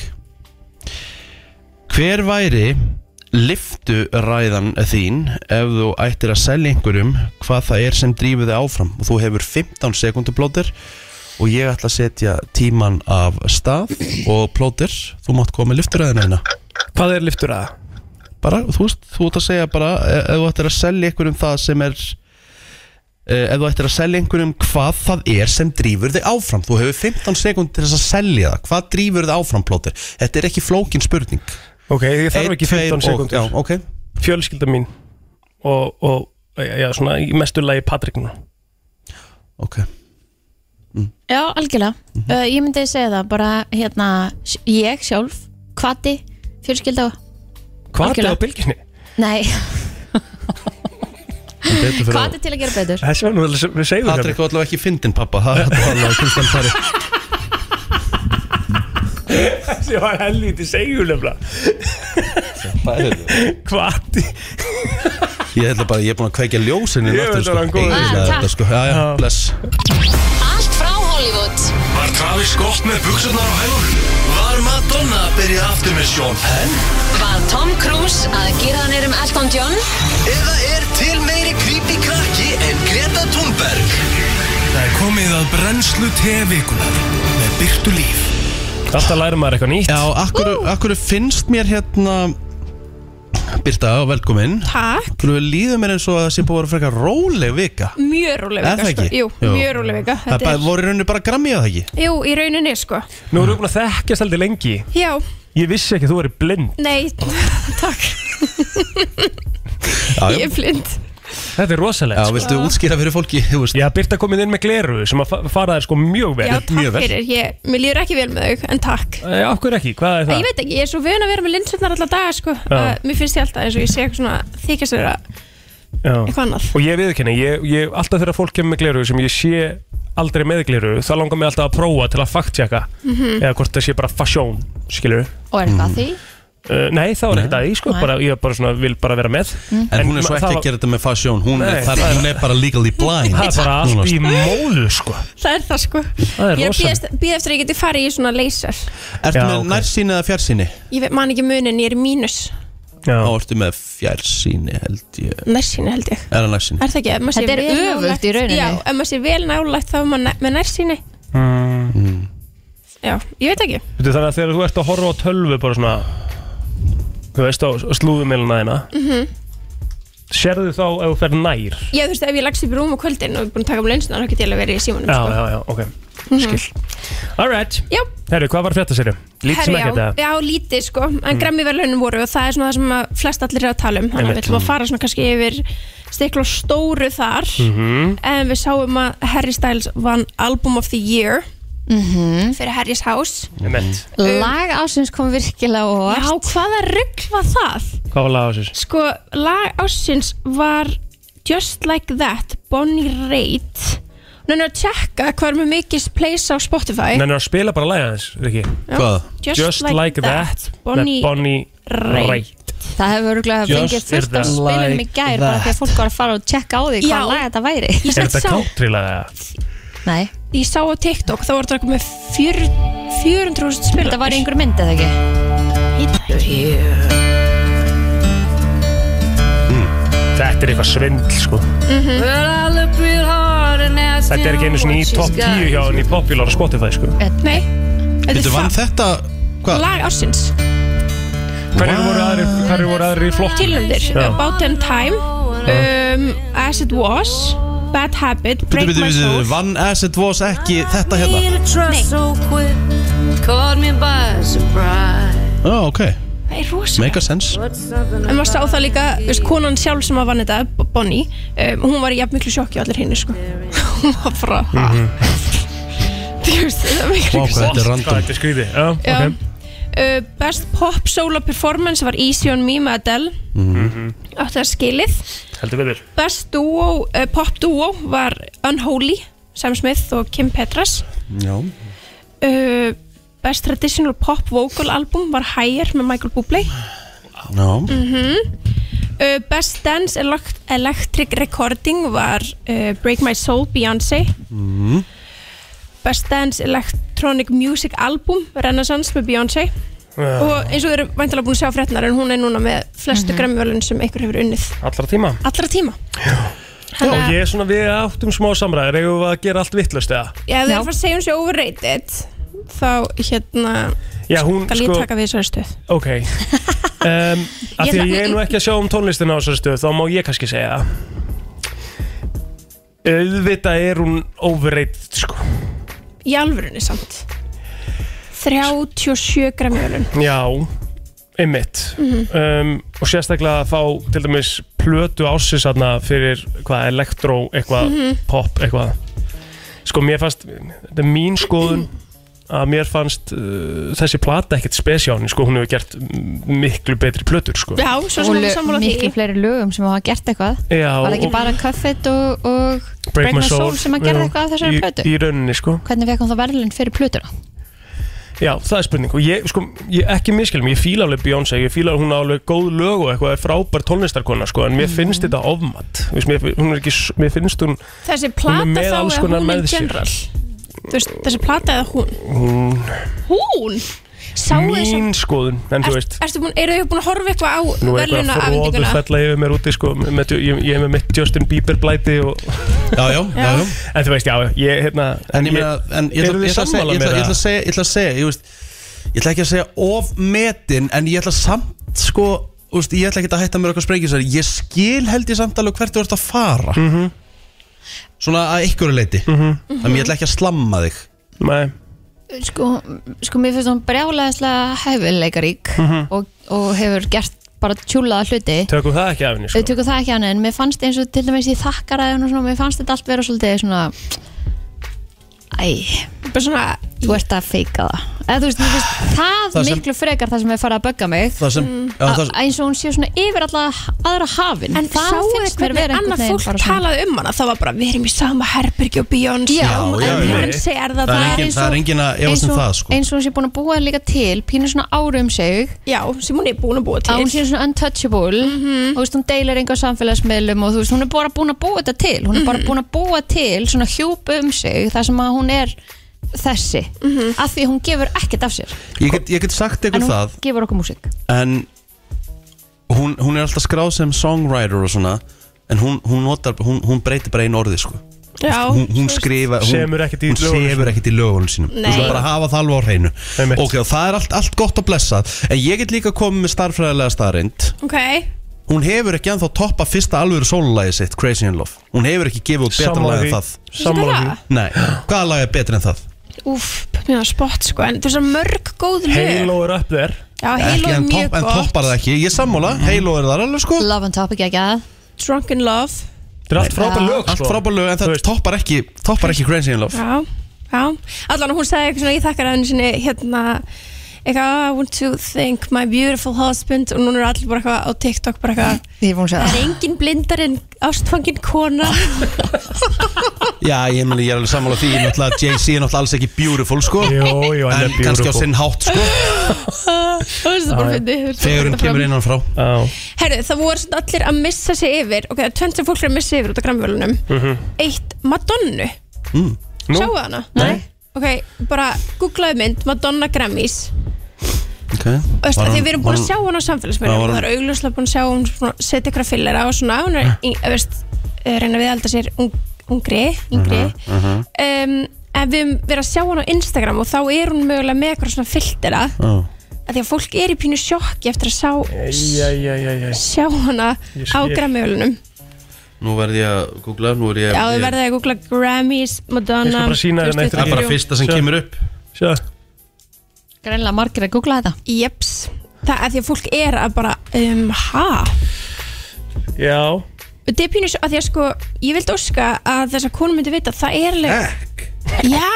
C: Hver væri lifturæðan þín ef þú ættir að selja einhverjum hvað það er sem drífur þig áfram og þú hefur 15 sekundu plóter og ég ætla að setja tíman af stað og plóter þú mátt koma með lifturæðina þína
E: Hvað er liftur að?
C: bara, þú veist, þú ert að segja bara e- ef þú ættir að selja einhverjum það sem er e, ef þú ættir að selja einhverjum hvað það er sem drýfur þig áfram þú hefur 15 sekund til þess að selja það hvað drýfur þig áfram, plóter? Þetta er ekki flókin spurning
E: Ok, ég þarf
C: Einn,
E: ekki
C: tveir
E: 15
C: og- Já,
E: sekundur
C: ok
E: Fjölskylda mín og, og já, svona í mestu lagi Patrik núna
C: Ok,
D: já algjörlega
E: Mhm.
D: uh, Ég myndi segja það bara, hérna, s- ég sjálf Kvati, fjölskylda
E: Hvað er
D: Algjörlega.
E: á (laughs) bylginni?
D: Nei,
C: Betur
D: (laughs)
C: fyrir
D: hvað
C: að-
D: er til að gera betur?
E: Þessi var nú alveg sem við segjum
C: Patrik var allavega ekki fyndin pappa Það er allavega Kristján Pari
E: Þessi var helviti segjum nefnilega (laughs) Hvað?
C: Ég ætla bara, ég er búin að kveikja ljósin sko.
E: Ég veit að hann góður.
D: Ah,
C: Þetta
D: takk.
C: sko, já já,
E: Já.
C: bless
G: Allt frá Hollywood
A: Var Travis gott með buksurnar á hælunum? Var Madonna að byrja aftur með Sean Penn?
G: Var Tom Cruise að gera hann er um Elton John
A: Eða er til meiri creepy krakki en Greta Thunberg? Það er komið að brennslu tevikunar með byrtu líf.
E: Alltaf læra maður eitthvað nýtt
C: Já, akkur, akkur finnst mér hérna Birta og velkomin
H: Takk,
C: Akkur líður mér eins og að það sé búið að vera frekar róleg vika
H: mjög róleg
C: Er það
H: vika sko.
C: ekki?
H: Jú,
C: Jú.
H: mjög róleg vika
C: Það er
H: Mm, Þetta
C: bara,
H: er-
C: voru í rauninni bara grammið að það ekki
H: Jú, í rauninni sko
E: Nú erum við búin að þekkjast aldrei lengi
H: Já,
E: Ég vissi ekki að þú verið blind
H: nei, takk
C: Já,
H: Ég
C: já,
H: er blind
E: Þetta er rosalegt
C: já
E: sko.
C: viltu útskýra fyrir fólki þú veist?
E: Já, Birta komið inn með gleru sem að fa- fara þér sko mjög vel
H: Já, takk
C: mjög vel.
H: fyrir, ég, mér líður ekki vel með þau En takk
E: Já, okkur ekki, hvað er
H: Nei,
E: það?
H: Ég veit ekki, ég er svo vön að vera með linsunar alla daga sko að Mér finnst ég alltaf eins og ég sé eitthvað svona Þykist vera
E: Já.
H: eitthvað annað
E: Og ég viðkynni, ég, ég, alltaf þegar fólk kemur með gleru sem ég sé aldrei með gleru þá langar mig alltaf að prófa til að faktjaka
H: Mhm.
E: eða hvort það sé bara fasjón, skilur
D: Og
C: Mhm.
D: er eitthvað að því?
E: Uh, nei, það var ekkert að því, sko, bara, ég bara svona, vil bara vera með
H: Mhm.
C: En hún er svo
E: ma-
C: ekki
E: það
C: að gera þetta með fasjón Hún,
E: Nei,
C: er, þar, hún er bara legally blind
E: Það er bara
C: Núna,
E: allt í
C: sko.
E: móðu, sko
H: Það er það sko
E: Það er
H: Ég er að
E: rosalegt.
H: býða- býða eftir að ég geti farið í svona laser
C: Ertu
E: Já,
C: með
E: ok.
C: nærsýni eða fjarsýni?
H: Ég veit- man ekki munin, ég er í mínus
E: Já,
C: Já, ertu með fjarsýni held ég
H: Nærsýni held ég
C: Er það nærsýni?
H: Er það ekki? ef maður sé
D: Þetta er
H: vel
D: öfugt
H: nálægt-
D: í rauninni.
H: Já, ef maður sé vel nálægt þá er maður næ- með nærsýni
C: Mm.
H: Já, ég veit ekki
E: Veitu, þannig að þegar þú ert að horfa á tölvu bara svona Þú veist á slúðumilina þína
H: Mhm.
E: Sérðu þá ef þú fer nær
H: Já, þú veist, ef ég lagst upp í rúm á kvöldin og er búin að taka um lensunar, þá get ég alveg verið í símanum
E: Já,
H: sko.
E: já, já, ok, skil Alright,
H: Já.
E: herru, hvað var frétta sérum? Lítið sem
H: Herri,
E: ekkert
H: já,
E: eða?
H: já, lítið sko, en mm. verðlaunin voru og það er svona það sem að flest allir er að tala um þannig að við ætlum að fara svona kannski yfir stikla á stóru þar
E: Mhm.
H: en við sáum að Harry Styles vann Album of the Year fyrir Harry's House
E: Einmitt.
D: Mhm.
H: Mm.
D: Lag ásins kom virkilega
H: Já,
D: og
H: hvaða rugg var það?
E: Hvað var laga sér?
H: Sko, lag ásins var Just Like That, Bonnie Raitt Nú erum við að tjekka hvað er með mikið plays á Spotify
E: Nennar að spila bara laga þess, Riki
C: Hvað?
H: Just, Like, That,
E: Bonnie,
H: Bonnie,
E: Bonnie
H: Raitt.
E: Raitt
D: það hefur örgulega fengið
E: Just
D: fullt
E: er
D: af
E: that
D: spilum í
C: like
D: gær bara því að fólk var að fara og tjekka á því
H: Já.
D: hvað lag þetta væri
H: Ég
E: Er
H: satt
E: þetta
H: sá-
E: country laga?
D: Nei,
H: ég sá á TikTok þá var þetta komið 400.000 spil
D: þetta var í einhver mynd eða ekki
E: Þetta er eitthvað svindl, sko Þetta er ekki einu svona í top 10 hjá henni í popular á Spotify, sko
H: nei, þetta
C: Þetta
H: er
C: vann
H: það
C: þetta Hvað?
H: lag ásins
E: Hverju voru aðrir, hverju voru aðrir í flokk?
H: tilnöndir,
E: Já.
H: About in Time um, As It Was Bad Habit,
C: Bittu,
H: Break
C: bittu,
H: My
C: bittu,
H: Soul
C: Vann Asset Was ekki þetta hérna Já, ok,
H: það er rosa
C: make a sense
H: en maður sá það líka, þú veist, konan sjálf sem að vann þetta B- Bonnie, um, hún var í jafn miklu sjokki og allir henni sko (laughs) hún var bara ha?
E: Mhm.
H: þú veist, það er
C: Vá,
H: miklu
C: hvað þetta er
E: Hvað
C: random
E: þetta er skrítið? Já,
H: Já.
E: ok
H: uh, Best Pop Solo Performance var Easy on Me með Adele mm
C: Mhm.
H: -hmm. átti það skilið
E: Mhm. Heldur betur
H: Best duo, uh, Pop Duo var Unholy, Sam Smith og Kim Petras
C: Já.
H: uh, Best Traditional Pop Vocal Album var Higher með Michael Bublé
C: Já.
H: uh, Best Dance elect Electric Recording var uh, Break My Soul, Beyoncé
C: Mhm.
H: Best Dance Electronic Music Album Renaissance með Beyoncé og eins og þau eru væntalega búin að sjá fréttnar en hún er núna með
E: Mhm.
H: flestu mm sem einhver hefur unnið
E: Allra tíma
H: allra tíma
E: Já,
H: Þannig að
E: ég er svona við áttum smá samræður Eða við að gera allt vittlust eða
H: ef þau eru
D: Já.
H: að fara að segja um sig overrated þá hérna
E: Já, hún
H: skal ég
E: sko
H: taka við þessari stöð
E: (laughs) Ok um, að Því að ég er nú ekki að sjá um tónlistina á þessari stöð Þá má ég kannski segja Auðvitað er hún overrated sko
H: í alvörunni samt 37 græmjölun
E: Já, einmitt
D: Mhm.
E: um, Og sérstaklega að fá til dæmis plötu ásins þarna fyrir hvað,
D: Mhm.
E: elektró, eitthvað, pop, eitthvað Sko, mér fannst, þetta er mín skoðun að mér fannst uh, þessi plata ekkert spesjáni sko, hún hefur gert m- miklu betri plötur sko.
H: Já, svo
D: og
H: sem við
D: lög-
H: sammála því
D: miklu fleiri lögum sem hafa gert eitthvað
E: Já,
D: var það ekki
E: og-
D: bara Cuffit og, og Break My Soul sem að
E: já,
D: gerði eitthvað af þessari
E: í-
D: plötu
E: Í rauninni sko
D: hvernig fekk hún það verðlun fyrir plötuna
E: Já, það er spurning og ég, sko, ég ekki miskilum, ég fíla alveg Beyoncé, ég fíla að hún á alveg góð lög og eitthvað er frábær tónlistarkona, sko, en
H: Mhm.
E: mér finnst þetta ofmat, Þú veist, mér, hún er ekki, s- mér finnst hún, Hún
H: Þessi
E: er
H: plata
E: með
H: þá
E: alls
H: eða
E: konar
H: hún
E: með
H: in
E: sér.
H: general Þú veist, Þessi plata eða hún Hún? Sáu þessu
E: mín skoðun, en þú veist,
H: Ertu búin, eru þau búin að horfa eitthvað á
E: nú er
H: veluna
E: eitthvað fróður
H: afhendinguna?
E: fella yfir mér úti, sko, með, ég, ég er með mitt Justin Bieber blæti og,
C: Já, já,
E: (laughs)
C: já, já.
E: en þú veist, já, ég, hérna,
C: En ég meina, en ég ætla-
E: eru
C: ég
E: þið
C: ætla að segja,
E: sammála
C: ég ætla-
E: mér
C: ég ætla að segja, ég ætla að segja, ég veist, ég ætla ekki að segja ofmetin, en ég ætla samt, sko, úst, ég ætla ekki að hætta mér okkar sprengisar, ég skil held ég samt alveg hvert þú ert að fara, svona að einhverju leiti, þannig ég ætla ekki að slamma þig.
E: Nei,
D: sko, sko mér finnst hún brjálæðislega hefileikarík
C: Mhm.
D: og, og hefur gert bara tjúlaða hluti
E: tökum það ekki af henni,
D: við
E: sko,
D: tökum það ekki hann en mér fannst eins og til dæmis í þakkaræðun og svona, mér fannst þetta allt vera svolítið svona æ,
H: Bara svona
D: þú ert að feika það eða þú veist, mér finnst
C: (sighs)
D: það,
C: Það sem-
D: miklu frekar það sem er farið að bögga mig
C: Það sem, já, það,
D: A- eins og hún sé svona yfir alla aðra hafin
H: Mm. En
D: það
H: sáu þau
D: finnst mér
H: hvernig
D: vera einhvern
H: annað
D: veginn
H: fólk
D: bara svona-
H: talaði um hana Það var bara, við erum í sama herbergi og Beyoncé
D: Já,
H: og
C: já, já, já.
H: Beyoncé er það
C: það er
H: það
C: engin,
H: eins
C: það er
H: og
C: engin að efast
D: eins
C: um
D: og,
C: það, sko.
D: eins og hún sé búin að búa líka til pínu svona árum um sig
H: Já, sem hún er búin að búa
D: að hún
H: til Mhm.
D: sé svona untouchable og þú veist, hún deilir einhver samfélagsmiðlum og þú veist, hún er bara búin að búa þetta til hún er
H: Mhm.
D: bara búin að búa til svona hjúp um sig þar sem að hún er þessi
H: Mhm.
D: af því hún gefur ekkert af sér
C: Ég get, ég get sagt
D: en
C: ykkur
D: hún
C: það,
D: gefur okkur músík
C: en hún, hún er alltaf skráð sem songwriter og svona, en hún, hún, notar, hún, hún breytir bara einu orði, sko.
H: Já,
C: hún, hún
H: svo-
C: skrifa hún,
E: Semur ekkert í
C: hún
E: lögunum
C: semur ekkert í lögunum sínum
H: Nei.
C: þú skal bara hafa það alveg á hreinu
E: Einmitt.
C: ok, og það er allt, allt gott að blessa en ég get líka komið með starffræðilega staðrind
H: (laughs) Ok,
C: hún hefur ekki ennþá toppa fyrsta alvöru sólulægi sitt Crazy in Love, hún hefur ekki gefið út betra
E: Sammála
C: lag
E: því.
C: en það
E: sammála því.
H: Veistu það?
C: nei, hvaða lag er betra en það?
H: úff, mér var spott sko En þú veist að mörg góð lög
E: Halo er upp þér,
H: Já, Halo
C: ekki,
H: er
C: en,
H: mjög
C: topp- en
H: gott
C: toppar það ekki, ég er sammála Halo er það alveg sko
D: Love on Topic, ekki að
H: Drunk in Love
E: þetta er allt frábær lög, sko.
C: allt frábæð lög en
E: Þú
C: það
E: veist.
C: toppar ekki, toppar ekki Crazy in Love
H: Já, já Allan hún sagði eitthvað svona, ég þakkar að henni sinni hérna eitthvað, "Oh, I want to thank my beautiful husband og núna er allir bara eitthvað á TikTok bara eitthvað
D: ég er búin að segja
H: Það
D: það
H: er engin blindar en ástfangin kona
C: (laughs) já, ég, meni, ég er alveg sammála því náttúrulega Jay-Z er náttúrulega alls ekki beautiful sko
E: Jú, jú, hann
C: en
E: er
C: kannski á
E: beautiful.
C: sinn hátt sko
H: Það er bara fyndið
C: þegar hún kemur innan frá
E: Já.
H: Herru, það voru svona allir að missa sig yfir Ok, það er tvent sem fólk er að missa yfir út af græmvölunum
E: Mhm.
H: Eitt, Madonnu
E: Nú?
H: Sjáu hana? Nei Ok, bara googlaðu mynd, Madonna Grammys
C: okay.
H: Þú veist,
C: Var
H: af því
C: hún-
H: við erum búin
C: var
H: að sjá hann á
C: Já,
H: samfélagsmiðlum
C: var
H: og það
C: hún-
H: er augljóslega búin að sjá hún svona setja ykkur að fyllera og svona hún er, í- þú veist, eh, reyna við alltaf sér ung, ungri, yngri um, en við erum verið að sjá hann á Instagram og þá er hún mögulega með eitthvað svona fylltera
C: Já.
H: af því að fólk er í pínu sjokki eftir að sjá
E: Mhm. Æ, æ, æ, æ, æ.
H: sjá hana
E: Ég
H: á
E: skil.
H: Grammyölunum
C: Nú verð ég að googla, nú er ég
H: Já, við
C: ég-
H: verðum að googla Grammys,
E: Ég skal
H: Madonna
E: bara sýna þér neitt
C: Það er bara
H: 2023.
C: fyrsta sem
E: Sjá.
C: kemur upp
E: Sjá,
D: greinlega margir að googla þetta
H: Jeps, það er því að fólk er að bara um, ha?
E: já,
H: Þetta er pínu svo að því að sko ég vildi óska að þess að konum myndi vita að það er alveg Já,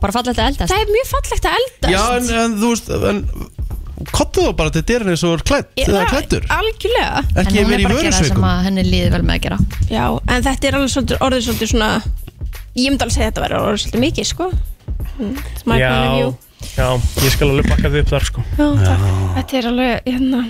D: bara falla þetta eldast
H: það er mjög fallegt að eldast
C: Já, en, en þú veist en, Kottu þá bara til dyrinu eins og er klætt
H: Ég-
C: Eða
H: það-
C: klættur
H: Algjörlega
D: en
C: Ekki
D: hún er
C: verið í
D: bara að gera það sem
C: vörusveikum
D: að henni líði vel með að gera
H: Já, en þetta er alveg svolítið, orðið svolítið svona Ég myndi alveg segja að þetta væri orðið svolítið mikið, sko Mm, it's my point of
E: já,
H: view.
E: já, ég skal alveg bakka þið upp þar sko.
H: Já, takk. Þetta er alveg, hérna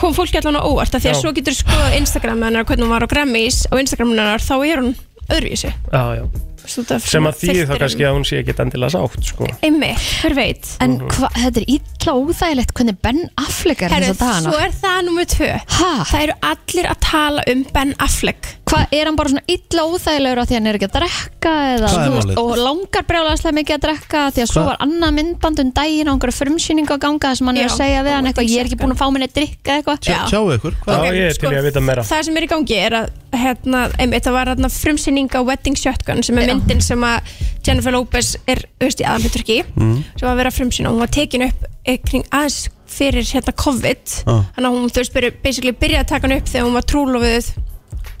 H: Kom fólki allan á óvart af því að
E: Já.
H: svo getur sko Instagram hennar, hvernig hún var á Grammys á Instagram hennar, þá er hún öðruvísi
E: já, já.
H: Þú veist, út af
E: sem
H: svona
E: að því þá
H: filterum.
E: kannski að hún sé ekki endilega sátt sko.
H: Einmitt, hver veit
D: en
C: Mhm.
D: hva, þetta er illa óþægilegt hvernig Ben Affleck er
H: Herru,
D: þess að dagana
H: svo er það nummer tvö
D: Ha?
H: Það eru allir að tala um Ben Affleck
D: Hvað er hann bara svona illa óþægilegur af því að hann er ekki að drekka eða,
C: Það er
D: þú veist,
C: málið.
D: og langar brjálæðislega mikið að drekka af því að svo
C: Hvað?
D: var annað myndband um daginn á einhverju frumsýningu að ganga þar sem hann er
H: Já,
D: að segja við
H: og
D: hann eitthvað, ég er ekki
H: dingsakan.
D: búin að fá minni að drikka eitthvað
H: Já. Sko,
C: Sjáu ykkur
E: Já,
C: hvað?
E: ég er til í að vita meira.
H: Það sem er í gangi er að hérna, einmitt, það var hérna, frumsýning á Wedding Shotgun sem er myndin sem að Jennifer Lopez er veist, í aðanbytturki mm. sem var að vera frumsýna og hún var tekin upp eh, kring aðeins fyrir hérna COVID
C: Ah.
H: þannig að hún þú veist byrja, basically byrjaði að taka hann upp þegar hún var trúlofuð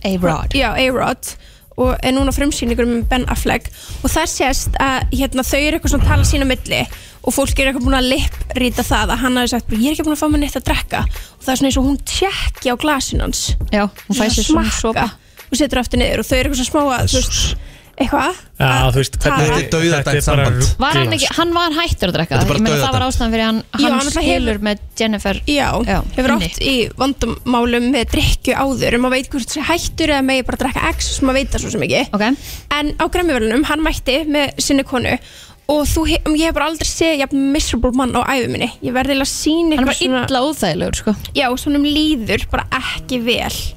D: A-Rod
H: Já, A-Rod og er núna frumsýningur með Ben Affleck og það sést að hérna, þau eru eitthvað svona að tala sína á milli og fólk er eitthvað búin að lipprýta það að hann hafi sagt, ég er ekki búin að fá mér neitt að drekka og það er svona eins og hún tjekki á glasin hans
D: Já, hún fæ sér svona sopa
H: og setur aftur niður og þau eru eitthvað svona smá að þú veist, eitthvað
E: Já,
H: að
E: þú veist,
H: tala.
E: hvernig
C: Þetta er dauðadæmt
E: þetta er bara
C: samband.
E: rugl,
D: Var hann
E: sko.
D: ekki, hann var hættur að drekka
C: Þetta er bara
D: Ég meina það
C: dauðadæmt.
D: var ástæðan fyrir hann,
H: Já,
D: hann
H: hann alltaf
D: skilur
H: hefur-
D: með Jennifer
H: Já,
D: Já,
H: hefur
D: inni.
H: átt í vandamálum með drikku áður en maður veit hvort það sé hættur eða megi bara drekka X sem maður veit það svo sem ekki
D: Ok,
H: en á græmiverlunum, hann mætti með sinni konu og þú, he- ég hef bara aldrei séð jafn miserable mann á æfi minni ég verði eiginlega að sína
D: hann er bara illa óþægilegur sko
H: já, svona um líður bara ekki vel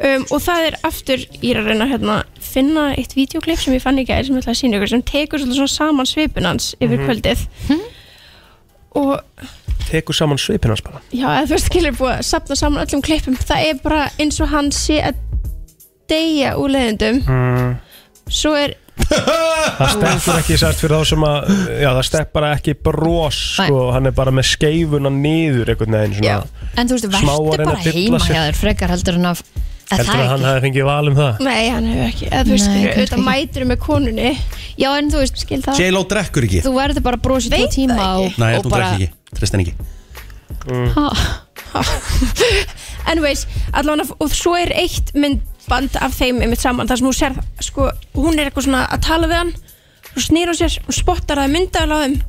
H: um, og það er aftur, ég er að reyna að hérna, finna eitt videoklip sem ég fann í gæri sem ég ætla að sína ykkur sem tekur svolítið svona saman svipin hans yfir
D: Mhm.
H: kvöldið
D: Hm?
H: og
E: Tekur saman sko. svipin hans bara
H: Já, eða þú veist skilur búið að sapna saman öllum klippum Það er bara eins og hann sé að deyja úr leðendum Svo er,
E: Það stekkur ekki sært fyrir þá sem að Já, það stekk bara ekki bros sko, Hann er bara með skeifuna niður einhvern veginn svona
H: Já.
D: En þú veist,
E: Smá að
D: verður
E: reyna
D: bara
E: að dilla
D: heima
E: sér.
D: hjá þér frekar heldur en að Eða
E: Heldur
D: það
E: að hann
D: ekki.
E: hafi fengið val um það
H: nei hann hefur ekki Eða þú veist
D: Nei,
H: skilur,
D: kannski
H: auðvitað
D: ekki.
H: mætur með konunni
D: Já, en þú veist,
H: Skil það
C: J-Lo drekkur ekki
D: þú verður bara að brosa í
H: Veit
D: tvo
H: það
D: tíma
H: ekki.
D: og,
C: Nei,
D: og
C: hún
D: bara
C: drekkur ekki Trist henni ekki
E: Mm.
H: Anyways, allavega, og svo er eitt myndband af þeim einmitt saman þar sem hún sér, sko, hún er eitthvað svona að tala við hann Svo snýr hún sér, hún spottar að mynda á þeim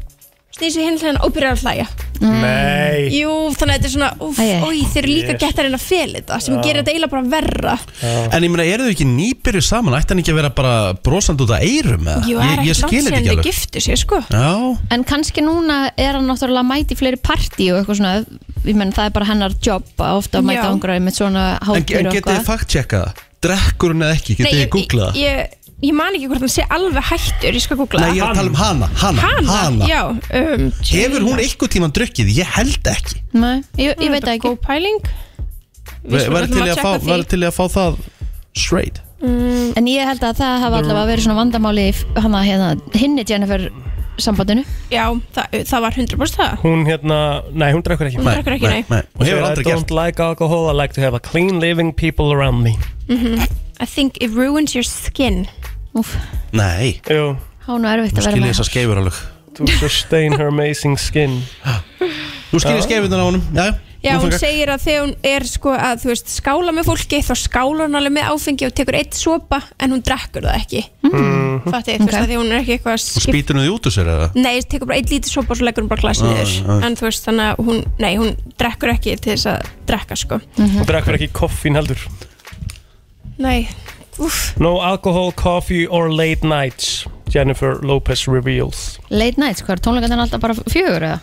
H: Snýr sér hinn hlæðan og byrjar að hlæja
E: Nei,
H: Jú, þannig að þetta er svona, úf,
D: Æ, æ.
H: ói, þeir eru líka
E: Yes.
H: gett að reyna að fela þetta sem gerir þetta eiginlega bara verra
C: En ég meina, eru þau ekki nýbyrju saman? Ætti hann ekki að vera bara brosand út af eyrum? eða?
H: Jú, það er
C: Ég- ég
H: ekkert
C: skil
H: langt
C: þetta
H: síðan þið
C: alveg.
H: giftu sér, sko.
C: Já,
D: En kannski núna er hann náttúrulega að mæti fleiri partí og eitthvað svona Ég menn, það er bara hennar jobb að ofta að mæta
H: Já.
D: ángra með svona
C: en,
D: hátir
C: en
D: og
C: getið þið
D: eitthvað
C: fakt tjekkað það? Drekkur hún eða ekki? Getið
H: Nei,
C: þið googlað það?
H: Ég, ég, ég man ekki hvort hann sé alveg hættur, ég skal googla
C: Nei, ég er að tala um hana, hana, hana,
H: já. Um,
C: Hefur hún einhver tíman drukkið? Ég held ekki
D: Nei, ég, ég veit það ekki
H: Góð pæling. Við skulum
C: Verður
H: ætlum
C: til,
H: að
C: í að
H: checka
C: fá-
H: því.
C: væri til í að fá það straight
D: Mm. En ég held að það hafa allavega verið svona vandamáli í hana, hérna, hinni Jennifer sambandinu
H: Já, það, það var 100% það.
E: hún hérna Nei, hún drekkur ekki
H: Hún drekkur ekki, nei.
C: Hún hefur aldrei
E: I
C: gert
E: don't like alcohol, I like to have a clean living people around me
D: Mhm.
H: I think it ruins your skin.
D: Úf,
C: Nei,
E: Jú,
D: há nú
C: nú
D: erfitt að vera
C: skil ég
D: með
C: þessar skeifur alveg
E: to sustain her amazing skin
C: Nú skil ég skeifurnar á honum Já,
H: Já,
C: nú
H: hún
C: frekar.
H: segir að þegar hún er sko að, þú veist, skála með fólki, þá skála hún alveg með áfengi og tekur eitt sopa, en hún drekkur það ekki. Mm. Fattið, þú veist,
D: Ok.
H: að því hún er ekki eitthvað að
C: Hún
H: skipta
C: Mm-hmm. spýtur hún því út úr sér eða?
H: Nei, ég tekur bara eitt lítið sopa og svo leggur hún bara glasið
C: já,
H: niður En þú veist þannig að hún, nei, hún drekkur ekki til þess að drekka sko
E: Hún drekkur ekki koffín heldur
H: Nei, uff,
E: No alcohol, coffee or late nights Jennifer Lopez reveals
D: Late nights, hvað er tónleikandan alltaf bara fjögur eða?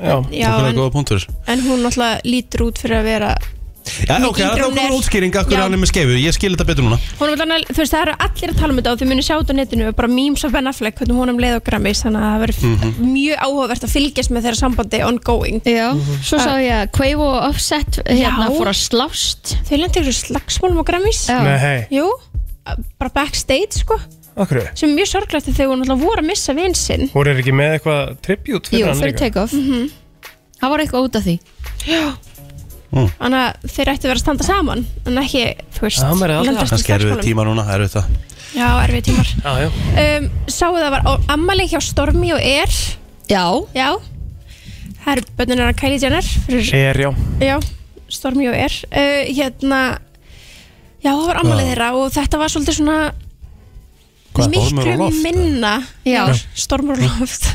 E: Já,
H: já,
C: Hún er
H: en,
C: góða punktur
H: en hún náttúrulega lítur út fyrir að vera
C: Já, ok, það er
H: yngri hún
C: góð
H: er.
C: útskýring Akkur
H: Já.
C: hann er með skeifur, ég skil þetta betur núna
H: Hún vil annað, þú veist, það eru allir að tala um þetta og þau munir sjá þetta á netinu og bara memes af Ben Affleck hvernig honum leið og grammis þannig að það verður
C: Mhm.
H: mjög áhugavert að fylgjast með þeirra sambandi ongoing
D: Já, svo sá ég að Quavo og Offset hérna
H: Já.
D: fór að slást
H: Þau lendir ykkur slagsmálum á grammis
D: Já.
E: nei, hei,
H: Jú, bara backstage sko
E: okkur
H: sem er mjög sorglegt þegar hún náttúrulega voru að missa vin sinn
E: Hún er ekki með eitthvað tribute fyrir
D: Jú,
E: hann
D: fyrir
E: líka
D: take-off
H: Mhm.
D: Það var eitthvað út af því
H: Þannig að þeir ættu að vera að standa saman En ekki, þú veist
E: Mm. Já, maður er aldrei
H: lendast í
C: Kannski erum við
H: slagsmálum.
C: tíma núna, það eru þetta
H: Já, erfið tímar
E: Já, já
H: um, Sáu það var á- ammali hjá Stormi og Er
D: Já,
H: Já Það eru bönnir hennar Kylie Jenner fyrir,
E: Er, já
H: Já, Stormi og Er uh, Hérna Já, það var ammali
C: Já.
H: þeirra og þetta var svolítið svona
C: Hvað, ormur
H: miklu
C: og loft?
H: minna
D: Já.
H: Stormur og loft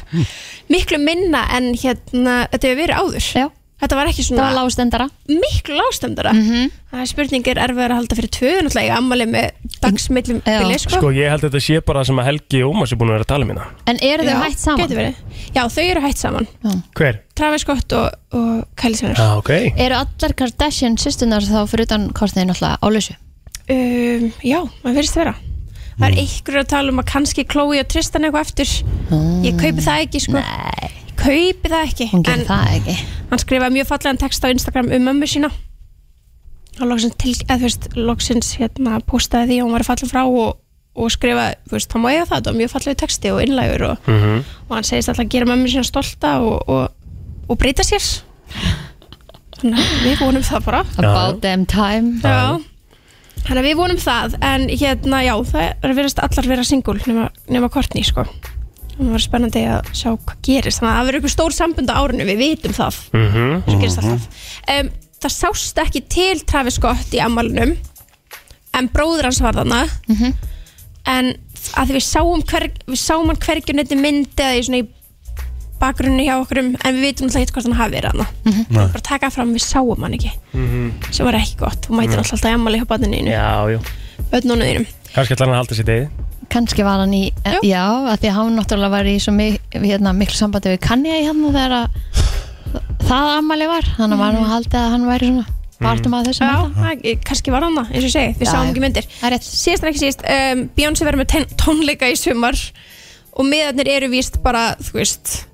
H: Miklu minna en hérna Þetta hefur verið áður
D: já,
H: Þetta var ekki
D: það
H: svona
D: var Mhm. lágstendara
H: miklu lástendara mm -hmm. það er spurningir erfiðar að halda fyrir tvö náttúrulega ég ammali með dagsmillum
D: Já.
H: bili sko.
E: Sko, ég held að þetta sé bara það sem að Helgi og Ómas er búin að vera að tala um hérna
D: En eru þau
H: Já,
D: hægt saman?
H: gæti verið. já, þau eru hætt saman
E: Hver?
H: Travis Scott og, og Kylie Jenner
E: Já, Ah, ok
D: Eru allar Kardashian sýstunar þá fyrir utan kostniðin alltaf á lausu?
H: um, já, maður verðist vera það
D: Mm.
H: er einhverju að tala um að kannski Chloe og Tristan eitthvað eftir ég kaupi það ekki sko.
D: Ah. Nei,
H: ég kaupi það ekki
D: hún gerir
H: en
D: það ekki
H: hann skrifaði mjög fallegan text á Instagram um mömmu sína og loksins, til, eða, þú veist, loksins hérna, postaði því að hún var fallin frá og, og skrifaði, þú veist, þá má ég það það var mjög fallegu texti og innlægur og,
E: Mhm.
H: og hann segist alltaf að gera mömmu sína stolta og, og, og breyta sér þannig að við vonum það bara
D: About them time
H: Já, Þannig að við vonum það, en hérna, já, það er verið allar vera singul nema, nema Courtney, sko. Það var spennandi að sjá hvað gerist. Þannig að það verður eitthvað stór sambund á árinu, við vitum það. Mm -hmm. Svo gerist
D: Mhm.
H: alltaf. Um, það sást ekki til Travis Scott í ammálunum, en bróður hans var þarna. En að því við sáum, hver, við sáum hann hvergjum neitt myndi eða í svona í bakgrunni hjá okkur en við vitum alltaf eitthvað hvort hann hafi verið hann
C: Nei.
H: bara taka fram, við sáum hann ekki sem var ekki gott, hún mætir alltaf í ammali hjá banninu
E: Mhm. Já, jú
H: bönnunum þínum
E: Kannski ætlar hann að halda sér degi
D: kannski var hann í já, já að því að hann náttúrulega var í svo mik hérna, miklu sambandi við Kanye hérna þegar að það ammali var þannig var nú haldið að hann væri svona
E: Mm.
D: partum að þessum
H: Já, það- kannski var hann það, eins og ég segi, við
D: Já,
H: sáum
D: já.
H: ekki myndir
D: Það er rétt.
H: Síðast en ekki síðast, um, Beyonce verður með tén- tónleika í sumar og miðarnir eru víst bara, þú veist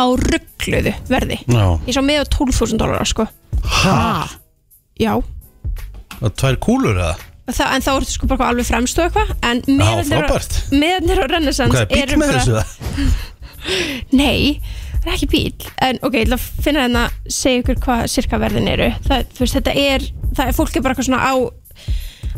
H: á ruggluðu verði
C: Já,
H: Ég sá miða á 12.000 dólarar, sko
D: Ha?
H: Já,
C: það er tvær kúlur eða?
H: Þa, en þá ertu sko bara alveg fremst og eitthvað en miðarnir á-
C: frábært.
H: miðarnir á Renaissance
C: Hvað er bíl
H: eru
C: með
H: bara-
C: þessu það?
H: Nei, það er ekki bíl En ok, ég ætla að finna hérna segja ykkur hvað sirkaverðin eru það, þú veist, Þetta er, það er, fólk er bara eitthvað svona á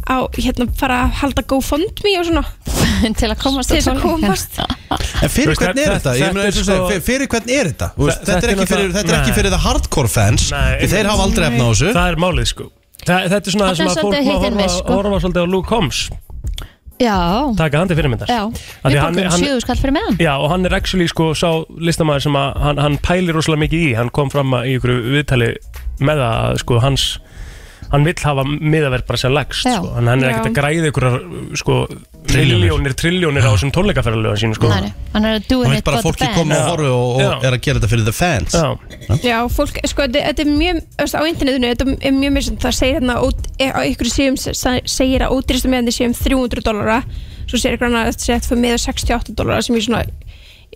H: á, hérna, fara að halda GoFundMe og svona
D: (laughs) til að komast
H: til þess að
D: tónleikunum. (laughs)
H: komast
C: En
E: Þú
C: fyrir
E: veist,
C: hvern er
E: þetta-
C: þetta?
E: þetta
C: Ég meina,
E: er
C: eins og segja,
E: sko-
C: fyr- Fyrir hvern er þetta? Þú veist,
E: Þa-
C: Þetta
E: þetta er
C: er ekki fyrir-
E: náttúrulega-
C: þetta er ekki
E: Nei.
C: fyrir það hardcore fans
E: Nei,
C: því Þeir hafa aldrei efna á þessu
E: Það er málið sko Þa, Þetta er svona það
D: Þetta
E: sem að
D: er
E: fólk má
D: svolítið hit and
E: horfa,
D: miss, sko.
E: horfa svolítið á Luke Combs
D: já,
E: Taka hann til fyrirmyndar
D: já
E: Af því
D: við
E: hann-
D: bókum
E: hann-
D: sjöðu skall fyrir meðan
E: Já, og hann er actually sko sá listamæður sem að hann, hann pælir rosalega mikið í hann kom fram að í ykkur viðtali með það að sko hans hann vill hafa miðaverð bara sem leggst
D: Já.
E: sko. hann, hann er
H: Já.
E: ekkert að græða ykkur sko,
C: Trilljónir.
E: miljónir, trilljónir á þessum tónleikaferðalöðu sín sko.
D: Nei, nei, hann er að
C: Það
D: doing
C: veit
D: it
C: bara að
D: for
C: fólki
D: the
C: koma og
D: band
C: horfa og, og
E: Já.
C: er að gera þetta fyrir the fans
E: Já,
H: Já, fólk, sko, þetta, þetta er mjög þú veist, á internetinu, þetta er mjög mjög það segir hérna, ód- e- á ykkur síðum sa- segir að ódýrstu meðan þið séum 300 dólara svo segir ykkur annað að þetta sett fyrir meða 68 dólara sem ég svona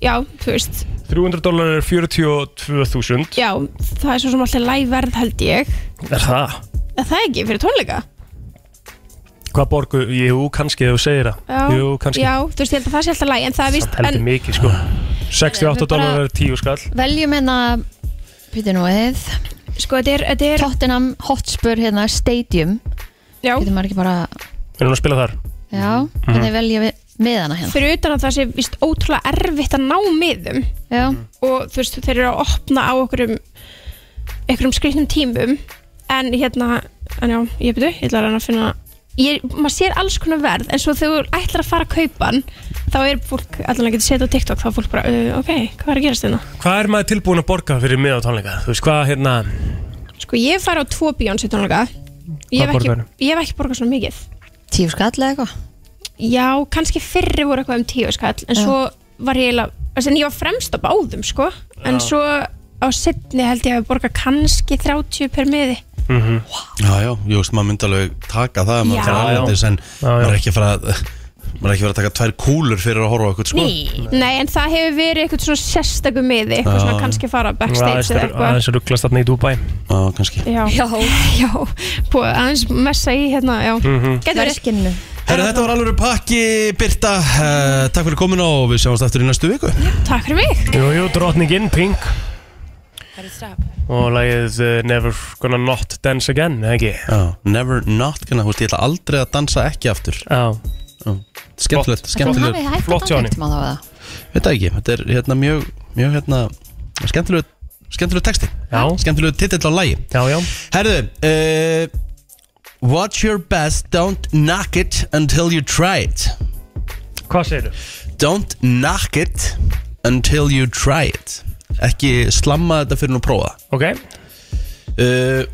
H: já, þú veist,
E: 300 dólar er 42.000
H: já, það er svo sem alltaf lægverð held ég,
E: Er það?
H: er það ekki fyrir tónleika?
E: Hvað borgu? Jú, kannski ef þú segir það
H: Já,
E: Jú, kannski
H: Já, þú veist, ég held að það sé alltaf læg En það er víst,
E: Heldur
H: en
E: mikið sko 68
D: Við bara-
E: dólar er 10 skall
D: veljum hérna Pítur nú eð
H: sko, þetta er, þetta er
D: Tottenham Hotspur hérna Stadium
H: já,
D: getur maður ekki bara
E: Er hún að spila þar?
D: já,
C: Mhm.
D: hvernig velja við miðana hérna
H: Fyrir utan að það sé víst ótrúlega erfitt að ná miðum
D: já,
H: Og þú veist, þeir eru að opna á okkurum Ekkurum skrýtnum tímum En hérna, en já, ég byrju Ég ætla að reyna að finna ég, Maður sér alls konar verð En svo þegar þú ætlar að fara að kaupa hann Þá er fólk, allan að geta setið á TikTok Þá er fólk bara, uh, ok, hvað er að gerast hérna?" þetta?
E: Hvað er maður tilbúin að borga fyrir miðatónleika? Þú veist hvað hérna
H: Sko, ég fara á tvo Beyoncé tónleika Ég hef
E: Hvað
H: ekki,
E: borgarðu?
H: ég hef ekki borgað svona mikið
D: tíu skall eða eitthvað
H: Já, kannski fyrri voru eitthvað um tíu skall En
D: Já.
H: svo var ég eiginlega Þannig að ég var fremst á báðum sko En svo á setni held ég að borga kannski 30 per miði
C: Já, já, ég veist, maður myndi alveg taka það ef maður
H: Já.
C: fyrir aðlendis en
E: Mhm. já.
C: maður er ekki að fara að maður er ekki að fara að taka tvær kúlur fyrir að horfa okkur sko
D: Í.
H: Nei, en það hefur verið eitthvað svona sérstakum miði Eitthvað
C: Já.
H: svona kannski fara backstage
E: aðeins
H: eða eitthvað
E: aðeins að rugglast þarna í Dubai
C: Já, kannski
H: Já, já, (laughs) já Búið aðeins messa í hérna, já Getur verið
D: verðskinnu
C: Herra, þetta var alveg pakki, Birta uh, Takk fyrir komin og við sjáumst aftur í næstu viku
H: Takk fyrir mig
E: Jú, jú, drottningin, Pink Og lagið uh, Never Gonna Not Dance Again, eða ekki?
C: Já, never not gonna, hú veist, ég ætla aldrei að dansa ekki aftur
E: Já,
C: Skemmtilegt,
D: Hún
C: skemmtilegt
D: hafi hægt
E: flott
D: að
E: hjá henni.
D: dagveikt maður á það
C: Veit það ekki, þetta er hérna mjög, mjög hérna skemmtilegu, skemmtilegu texti
E: Já.
C: Skemmtilegu titill á lagi
E: já, já
C: Herðu, uh, watch your best, don't knock it until you try it
E: Hvað segirðu?
C: Don't knock it until you try it Ekki slamma þetta fyrir nú prófa
E: Ok, er
C: uh,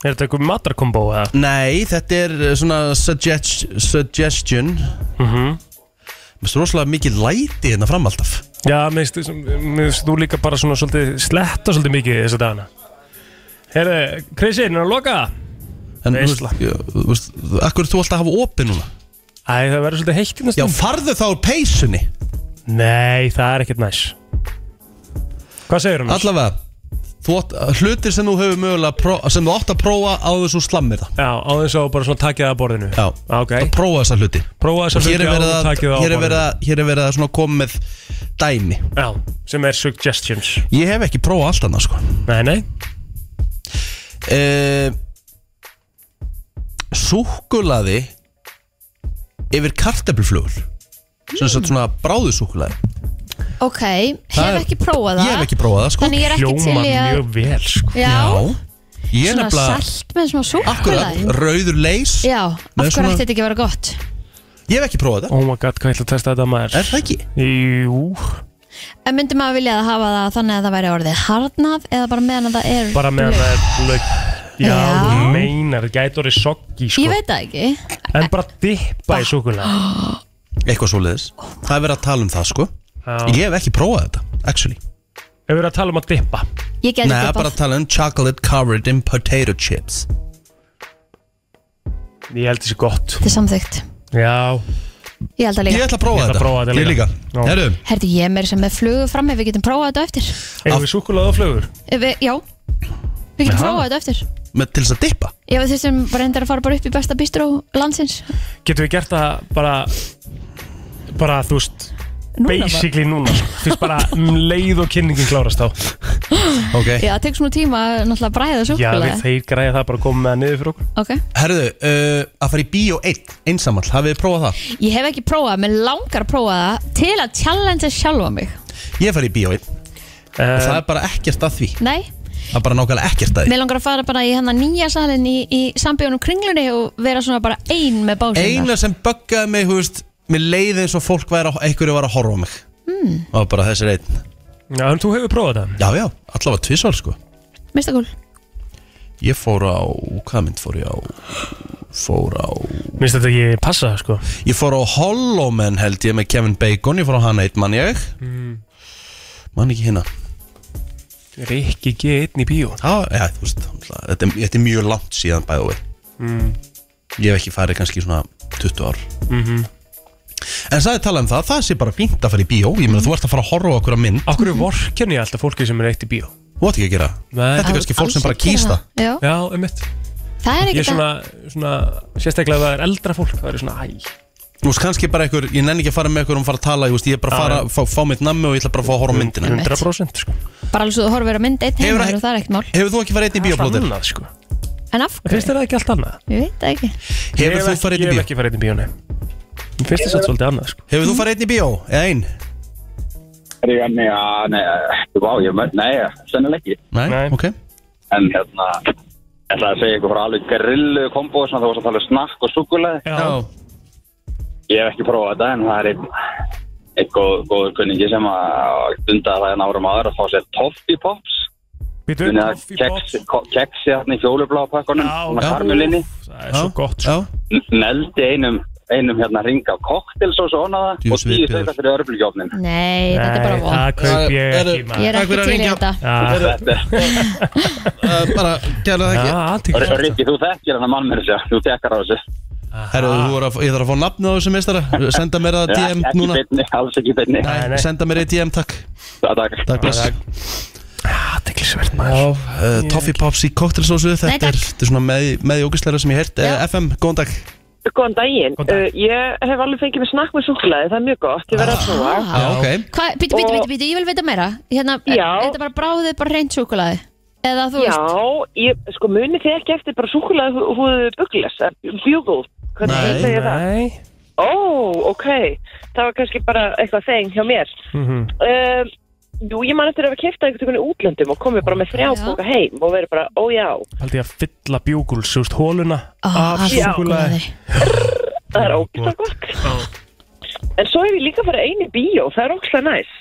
E: þetta eitthvað matarkombó eða?
C: Nei, þetta er uh, svona suggest, suggestion
E: Mm -hmm.
C: Mér finnst rosalega mikið læti hérna fram alltaf
E: Já, minnst, minnst þú líka bara svona svolítið sletta svolítið mikið þessu dagana Herðu, Krissi, er að loka?
C: En þú
E: Veisla.
C: veist, ég- þú veist, akkur þú alltaf að hafa opið núna
E: Æ, það verður svolítið heitt hérna í
C: Já,
E: næstum
C: farðu þá úr peysunni
E: Nei, það er ekkert næs Hvað segir hann?
C: Allavega þú átt, Hlutir sem þú hefur mögulega pró, sem þú átt að prófa á þessu slammir það
E: Já, á þess að bara svona takja það að borðinu
C: Já,
E: ok
C: að prófa þessa hluti
E: Prófa þess
C: Og
E: að
C: hér er verið að, hér er verið að, hér er verið að svona koma með dæmi
E: Já, sem er suggestions
C: Ég hef ekki prófað allt annað sko
E: Nei,
C: E,
E: nei
C: uh, súkkulaði yfir kartabluflugur sem sagt svona bráðu súkkulaði
D: Ok,
C: Það
D: hef
C: er-
D: ekki prófað það
C: Ég hef ekki prófað það sko
D: Þannig ég er ekki til
E: Hljómar
D: í að
E: mjög vel sko.
D: Já,
C: Já Ég er
D: svona
C: nefnilega
D: salt með svona
C: Akkurat,
D: súkkulaði
C: rauður leys
D: Já, af
C: Með
D: hverju
C: svona-
D: ætti þetta ekki að vera gott
C: Ég hef ekki prófað það
E: Oh my god, hvað ætla að testa þetta maður
C: Er það ekki?
E: Jú,
D: En myndi maður vilja að hafa það þannig að það væri orðið harnað eða bara meðan að það er
E: bara meðan það er lög Já,
D: Já.
E: þú meinar, gæti orðið soggi sko.
D: Ég veit það ekki
E: En bara dippa í súkulega
D: (gasps)
C: Eitthvað svoleiðis
D: Oh
C: Það er verið að tala um það sko Ég hef ekki prófað þetta, actually
E: Ef við erum að tala um að dippa
D: Ég geti
C: Nei, það er
D: dippað.
C: bara að tala um chocolate covered in potato chips
E: Ég held þessi gott
D: Þetta er samþygt
E: Já,
D: Ég held að
C: Ég ætla
D: líka
C: að
E: Ég ætla
C: prófa
E: að
C: þetta
E: prófa þetta
C: Ég
E: líka.
C: líka
E: Já.
C: Herru,
D: Herði, ég er meira sem með flugu frammi, við getum prófað þetta eftir
E: erum við súkulega og flögur
D: Ef við, Já, við getum
E: Jaha.
D: prófað þetta eftir
C: með- til þess að dippa
D: Ég við þessum bara reyndar að fara bara upp í besta bistró landsins
E: Getum við gert það bara Bara, þú veist
D: Núna bara.
E: Basically núna sko. Þú veist bara um leið og kynningin klárast
D: (laughs)
E: þá
C: Ok
D: Já, það tekur svona tíma að náttúrulega bræða
E: Já,
D: súkkulaði
E: við þeir græja það bara að koma með það niður fyrir okkur
D: Ok,
C: Herðu, uh, að fara í bíó 1 einsamall, hafið þið prófað það?
D: ég hef ekki prófað, menn langar að prófa það til að challenge sjálfa mig
C: Ég fari í bíó 1 og það
E: um,
C: er bara ekkert að því
D: Nei,
C: Það er bara nákvæmlega ekkert að því
D: mér langar að fara bara í hennar nýja salin í, í sambjónum kringlunni og vera svona bara ein með básinnar
C: Eina sem böggaði mig, þú veist Mér leiði eins og fólk væri að, einhverju var að horfa á mig mm.
D: Hmm,
C: Og bara þessi einn
E: Já, en þú hefur prófað það
C: Já, já, allavega tvisvar sko
D: Mistakúl,
C: Ég fór á, hvaða mynd fór ég á? Fór á
E: Minnst þetta ekki passa sko
C: Ég fór á Hollow Man held ég með Kevin Bacon Ég fór á hana einn mann ég Mann ekki hérna
E: Rikki G1 í bíó
C: Já, já, þú veist, náttúrulega, þetta er, þetta er mjög langt síðan bæðu við
E: Mm.
C: Ég hef ekki farið kannski svona 20 ár
E: Mhm.
C: En það er talað um það, það sé bara fínt að fara í bíó Ég meina þú ert að fara að horfa á okkur að mynd
E: Akkur er vorkenni alltaf fólki sem er eitt í bíó
C: Þú átt ekki að gera
E: Nei.
C: Þetta er kannski fólk sem bara
D: Alls ekki
C: kýst það
D: gera það. Já,
E: Já, einmitt
D: það er
E: Ég er
D: ekki það
E: svona, svona sérstaklega ef það er eldra fólk Það er ég svona, æ
C: Þú veist kannski bara einhver, ég nenni ekki að fara með einhver og fara að tala Ég, veist, ég er bara að fara, fá, fá mitt nammi og ég ætla bara að fá að horfa á myndina
E: 100% sko
D: Bara alveg svo þú horfir að vera mynd einn
C: Hefur-
D: heimar og það er ekkert mál
C: Hefur þú ekki farið einn í
E: Það er
C: bíóplótir?
E: annað sko
D: En af
E: Það finnst
D: hverju?
E: þér það ekki allt annað
D: Ég veit það ekki
C: Hefur þú farið einn
E: Ég
C: í
E: hef
C: bíó?
E: ekki farið einn í bíó, nei Mér finnst þér samt svolítið annað sko
C: Hefur þú farið einn í bíó? Eða einn?
B: Er ég enni að, nei, vá, ég með, nei, sennileg ekki.
C: Nei,
E: Nei.
C: ok
B: En hérna, ég ætla að segja ykkur frá alveg grillu kombo, sem það var að tala um snakk og súkulega.
E: Já,
B: Ég hef ekki prófað þetta, en það er einn, einn góð, góður kunningi sem að dunda það en árum áður að fá sér Toffee Pops.
E: býtu
B: Þannig að
E: Toffee Pops.
B: keksi, ko- keksi hérna í fjólublápakkunum,
E: Já,
B: svona
E: já.
B: karmulinni.
E: Það er svo gott sko.
C: Já,
B: Neldi einum, einum hérna ring af koktelsósu og hana
C: Djú,
B: og tíu
C: svipiður.
B: þauka fyrir örflugjófnin.
D: Nei,
E: Nei,
D: þetta er bara von
E: það kaup ég
C: Eru-
E: ekki
D: Ég
E: maður
D: er
C: Takk
D: ekki
C: fyrir að
D: til í
C: hringja.
D: þetta
E: Já, (laughs)
B: Þetta er...
C: uh, bara gerðu það
E: já,
C: ekki
E: athygli-
B: Rikki, þú þekkir hann að mann mér þessu, þú tekkar á þessu.
C: Herru,
E: Ah.
C: þú voru að, ég þarf að fá nafn á þessu meistara Senda mér það DM
B: ekki
C: núna
B: beinni, alls ekki beinni.
E: Nei, nei.
C: Nei, Senda mér það DM, takk
B: Það er
C: Takk, bless
E: Athyglisvert
C: Já,
E: maður
C: uh, Toffee Pops í koktelsósu
D: Nei,
C: Þetta
D: takk.
C: er, þetta er svona með, með í ógæsleira sem ég heirt uh, FM, góðan dag
I: Góðan daginn.
E: Góðan dag.
I: Uh, ég hef alveg fengið mér snakk með súklaði, það er mjög gott, ég verð að prófa.
D: Ah.
C: Já, ok
D: Hvað, bíti, bíti, bíti, bíti, ég vil vita meira Hérna, er
I: Já.
D: þetta bara bráðið, bara reynd súkulaði Eða þú
I: Já,
D: veist,
I: ég, sko muni þið ekki eftir bara súklaði húðu buglas, bugle, hvernig
C: Nei,
I: þið segja það?
E: Nei,
I: Ó, ok, það var kannski bara eitthvað þeng hjá mér.
E: Mhm.
I: Um, jú, ég man eftir að hafa kæftið einhvern veginn í útlöndum og komið bara með þrjá
D: Já.
I: bóka heim og verið bara, ó já,
E: haldi ég að fylla bjúguls, þú veist, hóluna
D: Ah,
E: af
D: já.
E: súkkulaði.
I: það er ógæslega gott. En svo hef ég líka farið einu bíó, það er ógæslega næs.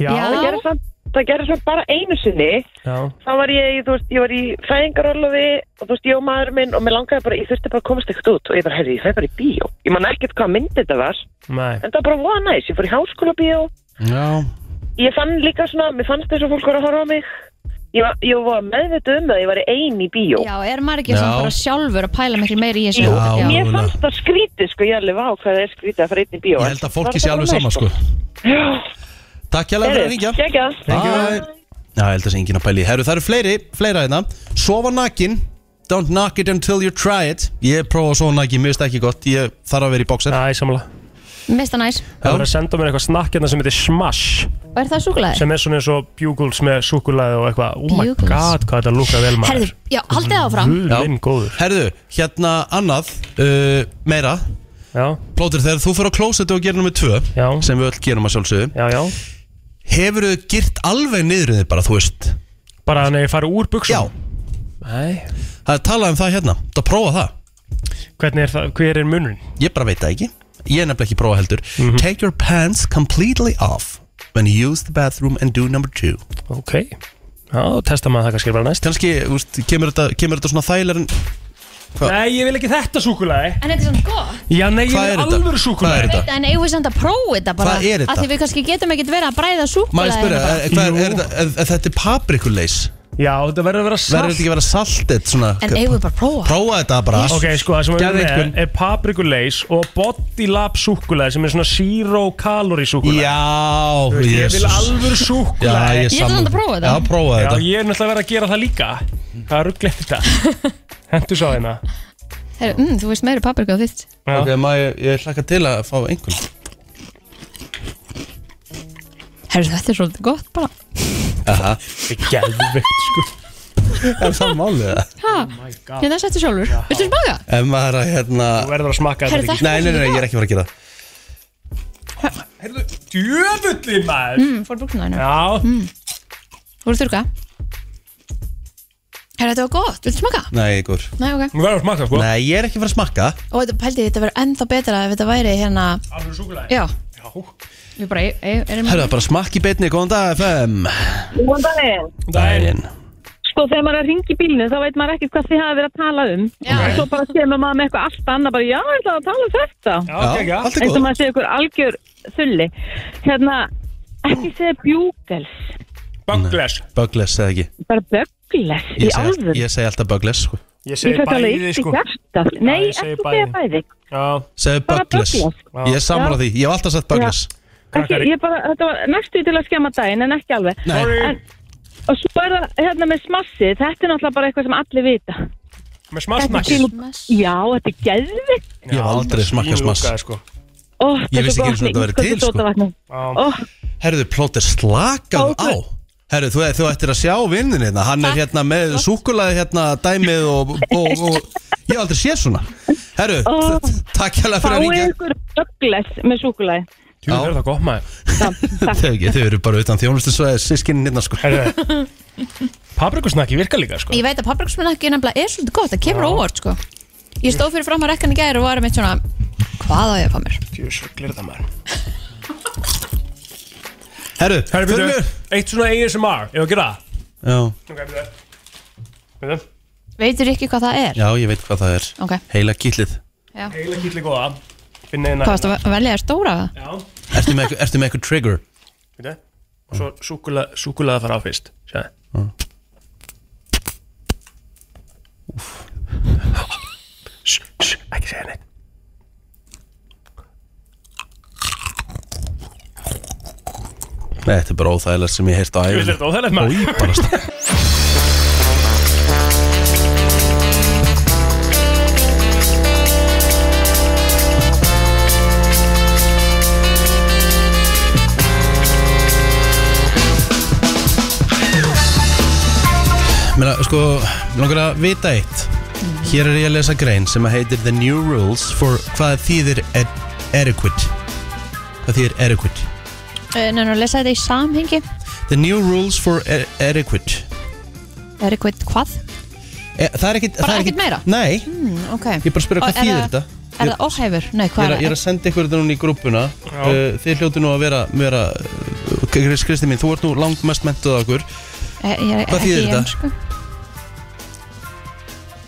E: Já,
I: Það gerir samt, það gerir samt bara einu sinni.
E: já
I: þá var ég, í, þú veist, ég var í fæðingarorlofi og þú veist, ég og maður minn og mér langaði bara, ég þurfti bara að komast ekkert út og ég bara, herri, ég fæði bara í bíó. Ég man ekkert hvað mynd þetta var,
E: Nei,
I: en það var bara voða næs, ég fór í háskóla bíó,
C: Já,
I: ég fann líka svona, mér fannst þess að fólk var að horfa á mig. Ég var, ég var meðvitað um það, ég var ein í bíó.
D: Já, er maður ekki svona
C: Já.
D: bara sjálfur að pæla miklu meira í þessu?
I: Jú,
C: Já,
I: mér
C: mögulega.
I: fannst það skrítið sko, ég alveg vá hvað það er skrítið að fara einn í bíó.
C: ég
I: en
C: held að
I: var
C: fólki sé
I: bara
C: alveg
I: næs,
C: saman sko Takk hérlega fyrir að
I: Heyrðu,
C: ringja
I: geggjað.
C: Bye. Já, ég held að sé enginn að pæli Herru, það eru fleiri, fleira hérna Sofa nakin Don't knock it until you try it Ég prófa að sofa nakin, mér finnst það ekki gott Ég þarf að vera í bókser
E: næ, samla
D: Mesta næs
E: Það var að senda mér eitthvað snakk hérna sem heitir Smash
D: Og er það súkulaði?
E: sem er svona eins og bugles með súkulaði og eitthvað oh my
D: Bugles.
E: god hvað þetta lúka vel maður
D: Herðu, já, haldið áfram
E: Guð minn góður
C: Herðu, hérna annað uh, meira
E: já,
C: Plótur, þegar þú fyrir á klósetu og gerir nummið tvö
E: já,
C: sem við öll gerum að sjálfsögum
E: já, já
C: Hefur þau girt alveg niður þið bara, þú veist
E: bara þannig að ég fari úr
C: Já,
E: buksum Nei.
C: það er talað um það hérna Það prófa það
E: hvernig er það, hver er munurinn Mhm.
C: Ég bara veit það ekki Ég er nefnilega ekki prófa heldur Take your pants completely off When you use the bathroom and do number two
E: ok, já, þá testa maður það kannski bara næst
C: Kanski, úst, kemur þetta, kemur þetta svona þægilegar en
E: nei, ég vil ekki þetta súkulaði
D: En þetta er svona gott
E: já, nei, ég
C: Hvað
E: vil
C: er þetta?
E: alvöru
C: Hvað er
E: súkulaði
C: þetta?
D: En eigum við samt að prófa þetta bara
C: Hvað er þetta?
D: Af Því við kannski getum ekkert verið að bræða hérna.
C: Má ég
D: súkulaði
C: spyrja, eh, er, hvað er,
E: Jú.
C: er, þetta- er, er þetta paprikuleis?
E: já, þetta verður að vera
C: Verður
E: saft
C: þetta ekki að vera saltet svona
D: En eigum við bara að prófa
C: Prófa þetta bara
E: ok, sko, það sem við
C: Gerðu
E: erum
C: einhvern-
E: með er paprikuleis og body lab súkulaði sem er svona zero calorie súkulaði
C: Já,
E: ég
C: Jesus.
E: vil alvöru
C: Já,
E: súkulaði
C: ég
D: Ég ætla
C: sammála.
D: samt að prófa þetta.
C: Já, prófa
E: Já,
C: þetta
E: ég er náttúrulega verið að gera það líka Það er ruggleitt þetta
D: (laughs)
E: Hentu hérna. sá þeina
D: Herru, mm, Þú veist meiri paprika á þitt
C: Ok, maður, ég, ég hlakka til að fá einhvern
D: Herru, þetta er svolítið gott bara
C: Aha,
E: Þetta er gelvitt sko
C: er það málið það?
I: Oh
D: Ég það Hérna, settu sjálfur Viltu smaka?
C: Ef maður að, hérna
E: Þú verður að smaka
D: Herðu,
E: þetta
D: þetta-
E: ekki
C: Nei, nei, nei, ég er ekki að fara að gera það
E: Herðu, djöfulli maður
D: Mm, fór buksna hérna
E: Já,
D: Þú voru þurka Herru, þetta var gott Viltu smaka?
C: Nei, Ígur
D: Nei, ok
E: þú verður að smaka sko
C: Nei, ég er ekki að fara að smakka
D: Og þetta pældi, þetta verður ennþá betra ef þetta væri hérna
E: Alveg súkulega
D: Já,
E: Já,
D: við bara e- e- erum
C: Hörðu, bara smakk í beinni, góðan dag FM
I: Góðan daginn.
C: Dæin
F: Sko þegar maður er að ringa í bílinu þá veit maður ekkert hvað þið hafa verið að tala um
D: Já.
F: og svo bara kemur maður með eitthvað allt annað bara já, ég ætlaði að tala um þetta
E: Já,
C: Já,
E: ok, já
C: allt er
F: eins og
C: góð
F: maður sé ykkur algjör þulli hérna, ekki segja bjúkels
E: Bangles
C: Bögles, eða ekki
F: bara bögles í
C: Ég segi,
F: alvöru
C: all- ég segi alltaf bögles sko.
E: Ég
F: Ég
E: segi
F: fætti alveg
E: bæði
F: illt í
E: sko
F: hjartað. Nei,
E: ég
F: ekki
E: segi
F: segja
E: bæði.
F: bæði.
E: Já,
C: Segðu
F: Bara
C: bögles
E: Já.
C: Ég er sammála því, ég hef alltaf sagt bögles
F: Ekki,
E: krakkar
F: ég bara, þetta var næstu til að skemma daginn, en ekki alveg.
C: Nei,
E: Sorry,
F: En, og svo er það hérna með smassið, þetta er náttúrulega bara eitthvað sem allir vita.
E: með
F: Þetta
E: smassnakki
F: er
D: Smass.
F: Já, þetta er geðvikt.
C: Ég hef aldrei smakkað smass.
E: sko.
F: Ó,
C: Ég
F: þetta
C: vissi
F: er
C: ekki
F: gott
C: einu sinni að
F: með
C: þetta væri til,
F: ísköldu
C: sko.
F: sódavatni. Ó,
C: herðu, plótið slakað á Herru, þú, þú ættir að sjá vinnin hérna Hann er hérna með súkulaði hérna dæmið og, og, og ég hef aldrei séð svona Herru,
F: Ó.
C: oh. takk hérlega fyrir að
F: fáið
C: ringja
F: ykkur bögles með súkulæði.
E: Þú verður það gott maður
C: Þau ekki, þau eru bara utan þjónustu svo að sískinni hérna sko
E: Herðu Paprikusnakki virkar líka sko
D: Ég veit að papriksmunakki nefnilega er svolítið gott, það kemur óvart sko. Ég stóð fyrir fram að rekkan í gæri og var meitt svona, hvað á ég að fá mér?
E: Tjúsuglir það maður
C: Herru,
E: Herðu, byrju,
C: þurfum
E: eitt svona ASMR, ég var að gera það
C: Já,
E: Ok, byrju Byrju
D: Veitur ekki hvað það er?
C: já, ég veit hvað það er
D: Ok,
C: Heila gillið
E: Heila kýtli góða Finn eina hérna.
D: hvað varst að velja þér stóra?
E: Já
C: Ertu með eitthvað- ertu með eitthvað trigger?
E: Veitu Og svo súkula, súkulaða fara á fyrst Sjáðu Shh, shh, Ekki segja neitt
C: Nei, þetta er bara óþægilegt sem ég heirt á
E: Þú veist
C: æfum
E: þetta óþægilegt maður
C: Í bara stað Meina, sko, mig langar að vita eitt
D: Mhm.
C: Hér er ég að lesa grein sem að heitir The New Rules for hvað þýðir er, adequate Hvað þýðir adequate
D: Eh, Nei, nú lesa þetta í samhengi.
C: The New Rules for E, a- adequate
D: Er eitthvað hvað?
C: E, það er ekkit,
D: Bara
C: það er
D: ekkit meira?
C: Nei,
D: Mm, ok.
C: ég er bara að spyrja hvað
D: Og er
C: þýðir
D: það-
C: þetta
D: Er það óhæfur? Nei,
C: Ég er,
D: hvað
C: að- ég er að senda ykkur þetta núna í grúpuna
E: Já.
C: uh, Þið hljótu nú að vera, vera uh, Krist, Kristi mín, þú ert nú langt mest mentuð af okkur
D: Eh, ég er
C: Hvað
D: ekki
C: þýðir
D: í
C: þetta?
D: ensku.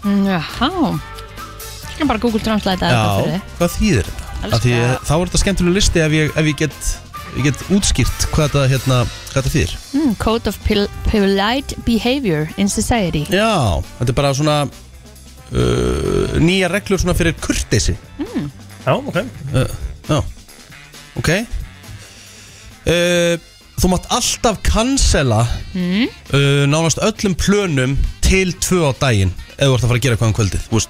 D: Mm, Jaha. Ég skal bara Google Translate þetta
C: Já,
D: fyrir þig.
C: hvað þýðir þetta?
D: Elska.
C: Af Því, að þá er þetta skemmtileg listi ef ég, ef ég get ég get útskýrt hvað þetta hérna, hvað þetta þýðir
D: Mm, Code of Pil- Polite Behavior in Society.
C: Já, þetta er bara svona uh, nýja reglur svona fyrir kurteisi Uh,
E: Já, ok
C: Já, ok uh, Þú mátt alltaf cancela
D: Mm.
C: uh, nánast öllum plönum til tvö á daginn ef þú ert að fara að gera eitthvað um kvöldið þú veist,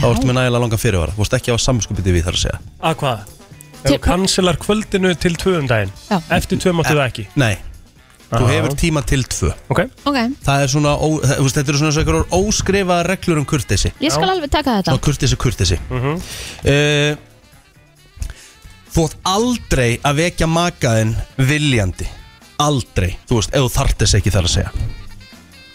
C: þá ertu með nægilega langan fyrirvara þú veist ekki að hafa samskupið við þar að segja
E: (laughs) Að hvað? Ef þú kanselar kvöldinu til tvöum daginn
D: Já.
E: Eftir tvö máttu það ekki
C: Nei, þú hefur tíma til tvö
E: Ok,
D: Ok,
C: Það er svona, ó, það, þú veist, þetta eru svona svona einhverjar óskrifaðar reglur um kurteisi
D: ég skal alveg taka þetta
C: Svona kurteisi, kurteisi mm Þú átt aldrei að vekja makaðinn viljandi Aldrei, þú veist, ef þú þarft þess ekki þar að segja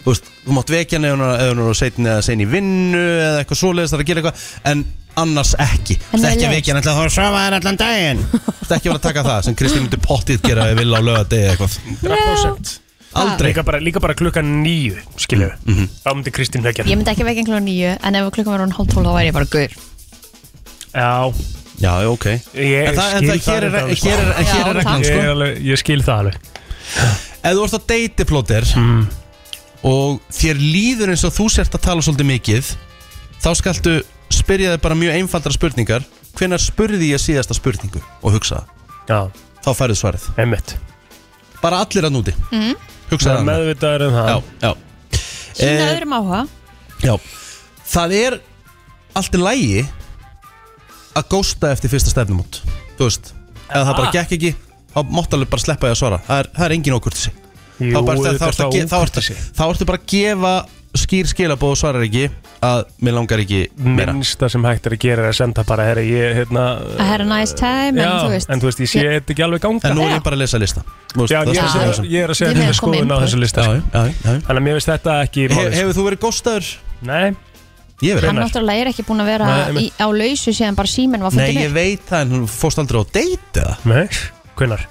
C: Þú veist, þú mátt vekja hann ef hann- ef hann er seitin eða sein í vinnu eða eitthvað svoleiðis þar að gera eitthvað En annars ekki Þú
D: En
C: veist, ekki að
D: leiðist.
C: vekja hann alltaf að það er svafaðar allan
D: (laughs)
C: daginn Þú veist, ekki að vera að taka það sem Kristín myndi pottið gera ef vilja á lögadegi eða eitthvað
E: 100%
C: Aldrei Mhm.
E: líka bara, líka bara klukkan nýju, skilju mm -hmm. Þá myndi Kristín vekja
D: Ég myndi ekki vekja einhverjum nýju En ef klukkan var hún hálf tólf þá væri ég bara gaur
E: Já,
C: Já, já, ok
E: Ég
C: En það, en
E: skil
C: það, hér er,
E: það alveg,
C: hér er,
D: sko.
C: hér er
D: Já,
C: reglan
E: ég,
C: sko
E: er alveg, ég skil það alveg
C: Ef þú ert á deytiplótir mm. Og þér líður eins og þú sért að tala svolítið mikið Þá skaltu spyrja þig bara mjög einfaldra spurningar Hvenær spurði ég síðasta spurningu og hugsa það?
E: Já,
C: Þá færið svarið
E: einmitt
C: Bara allir að núti mm. Hugsa
E: Það er
C: það með...
E: meðvitaður um það
C: Já, já,
D: Sýna
C: Eh,
D: öðrum áhuga
C: já Það er allt í lægi Að gósta eftir fyrsta stefnumót Þú veist Ef það bara gekk ekki Þá mátt alveg bara sleppa því að svara Það er, það er engin ókurtisi
E: Jú,
C: þá, bara, þá,
E: auðvitað
C: ertu að, ge- þá, ertu,
E: ókurteisi.
C: þá ertu bara að gefa skýr skilabóð og svarar ekki að mér langar ekki meira
E: minnsta sem hægt er að gera er að senda bara herra, ég, hérna,
D: I had a nice time
E: já,
D: En þú veist
E: en þú veist, ég sé þetta ekki alveg ganga
C: en nú er ég bara að lesa lista Þú veist,
E: Já, ég, er
C: það er
E: að
C: svona
E: segja-
C: sem-
E: ég er að segja
D: Þið
E: þetta
D: með komið
E: skoðun á
D: input.
E: þessu lista
C: Já,
E: sko.
C: já, já, já.
E: Þannig að mér veist þetta ekki
C: He,
E: máli, sko.
C: hefur þú verið góstaður?
E: Nei,
C: ég hef verið
D: Hann náttúrulega er ekki búin að vera
E: Nei,
D: í,
E: einmitt.
D: á lausu síðan bara síminn var
C: nei
D: fundin
C: ég
D: upp
C: veit það en hún fórst aldrei á date eða
E: nei, hvenar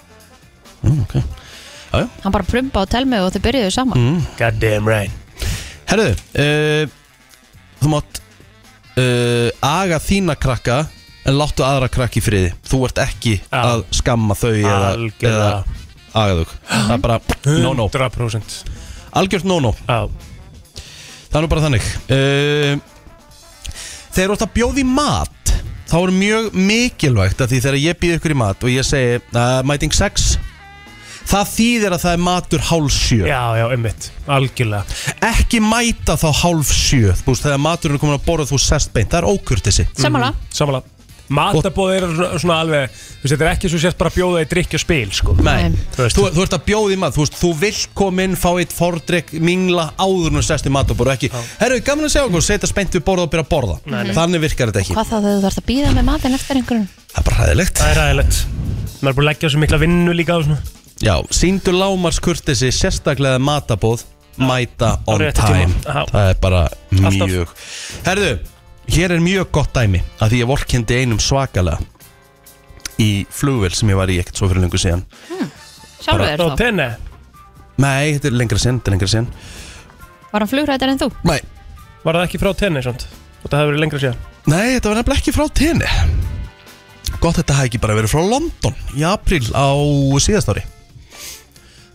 D: Hann bara prumpa og telmi og þau byrjuðu saman
C: Mm.
E: God damn right
C: herruðu uh, þú mátt uh, aga þína krakka en láttu aðra krakki friði þú ert ekki
E: Já.
C: að skamma þau eða, eða
E: Algjörlega
C: aga þau það er bara no no
E: 100%
C: algjört no no
E: Já,
C: Það er nú bara þannig uh, Þegar þú ert að bjóða í mat Þá er mjög mikilvægt að því þegar ég býð ykkur í mat og ég segi uh, mæting 6 Það þýðir að það er matur hálf sjö
E: já, já, einmitt Algjörlega
C: Ekki mæta þá hálf sjö Þú veist þegar maturinn er komin að borða þú sest beint Það er ókurtisi
E: Mhm.
D: Samanlega
E: Samanlega Matabóð er svona- svona alveg Þú veist, þetta er ekki svo sért bara að bjóða í drikk og spil sko.
C: Nei,
D: Nei.
C: þú, þú, ert að bjóða í mat Þú, veist, þú vilt koma inn, fá eitt fordrykk Mingla áður nú sest í mat og borða ekki Herru, gaman að segja okkur, setja spennt við borða og byrja að borða Þannig virkar þetta ekki
D: Hvað þá þegar þú þarfst að býða með matinn eftir einhverjum
C: Það er bara hæðilegt
E: Það er aðeinlegt Maður er búin að leggja svo mikla vinnu líka og svona
C: Já, síndu lámars kurtesi sérstaklega matabóð mæta on
E: réttu
C: time
E: tíma. Já.
C: það er bara
E: Alltaf.
C: mjög Herðu, hér er mjög gott dæmi að því ég vorkendi einum svakalega í flugvél sem ég var í ekkert svo fyrir lengur síðan
D: Sjálfur
E: Ná,
D: þér þá
E: tenni
C: Nei, þetta er lengra síðan, þetta er lengra síðan
D: Var hann flugrætar en þú?
C: Nei,
E: Var það ekki frá tenni svont? Og það hefur verið lengra síðan
C: Nei þetta var nefnilega ekki frá tenni Gott þetta hafði ekki bara verið frá London í april á síðast ári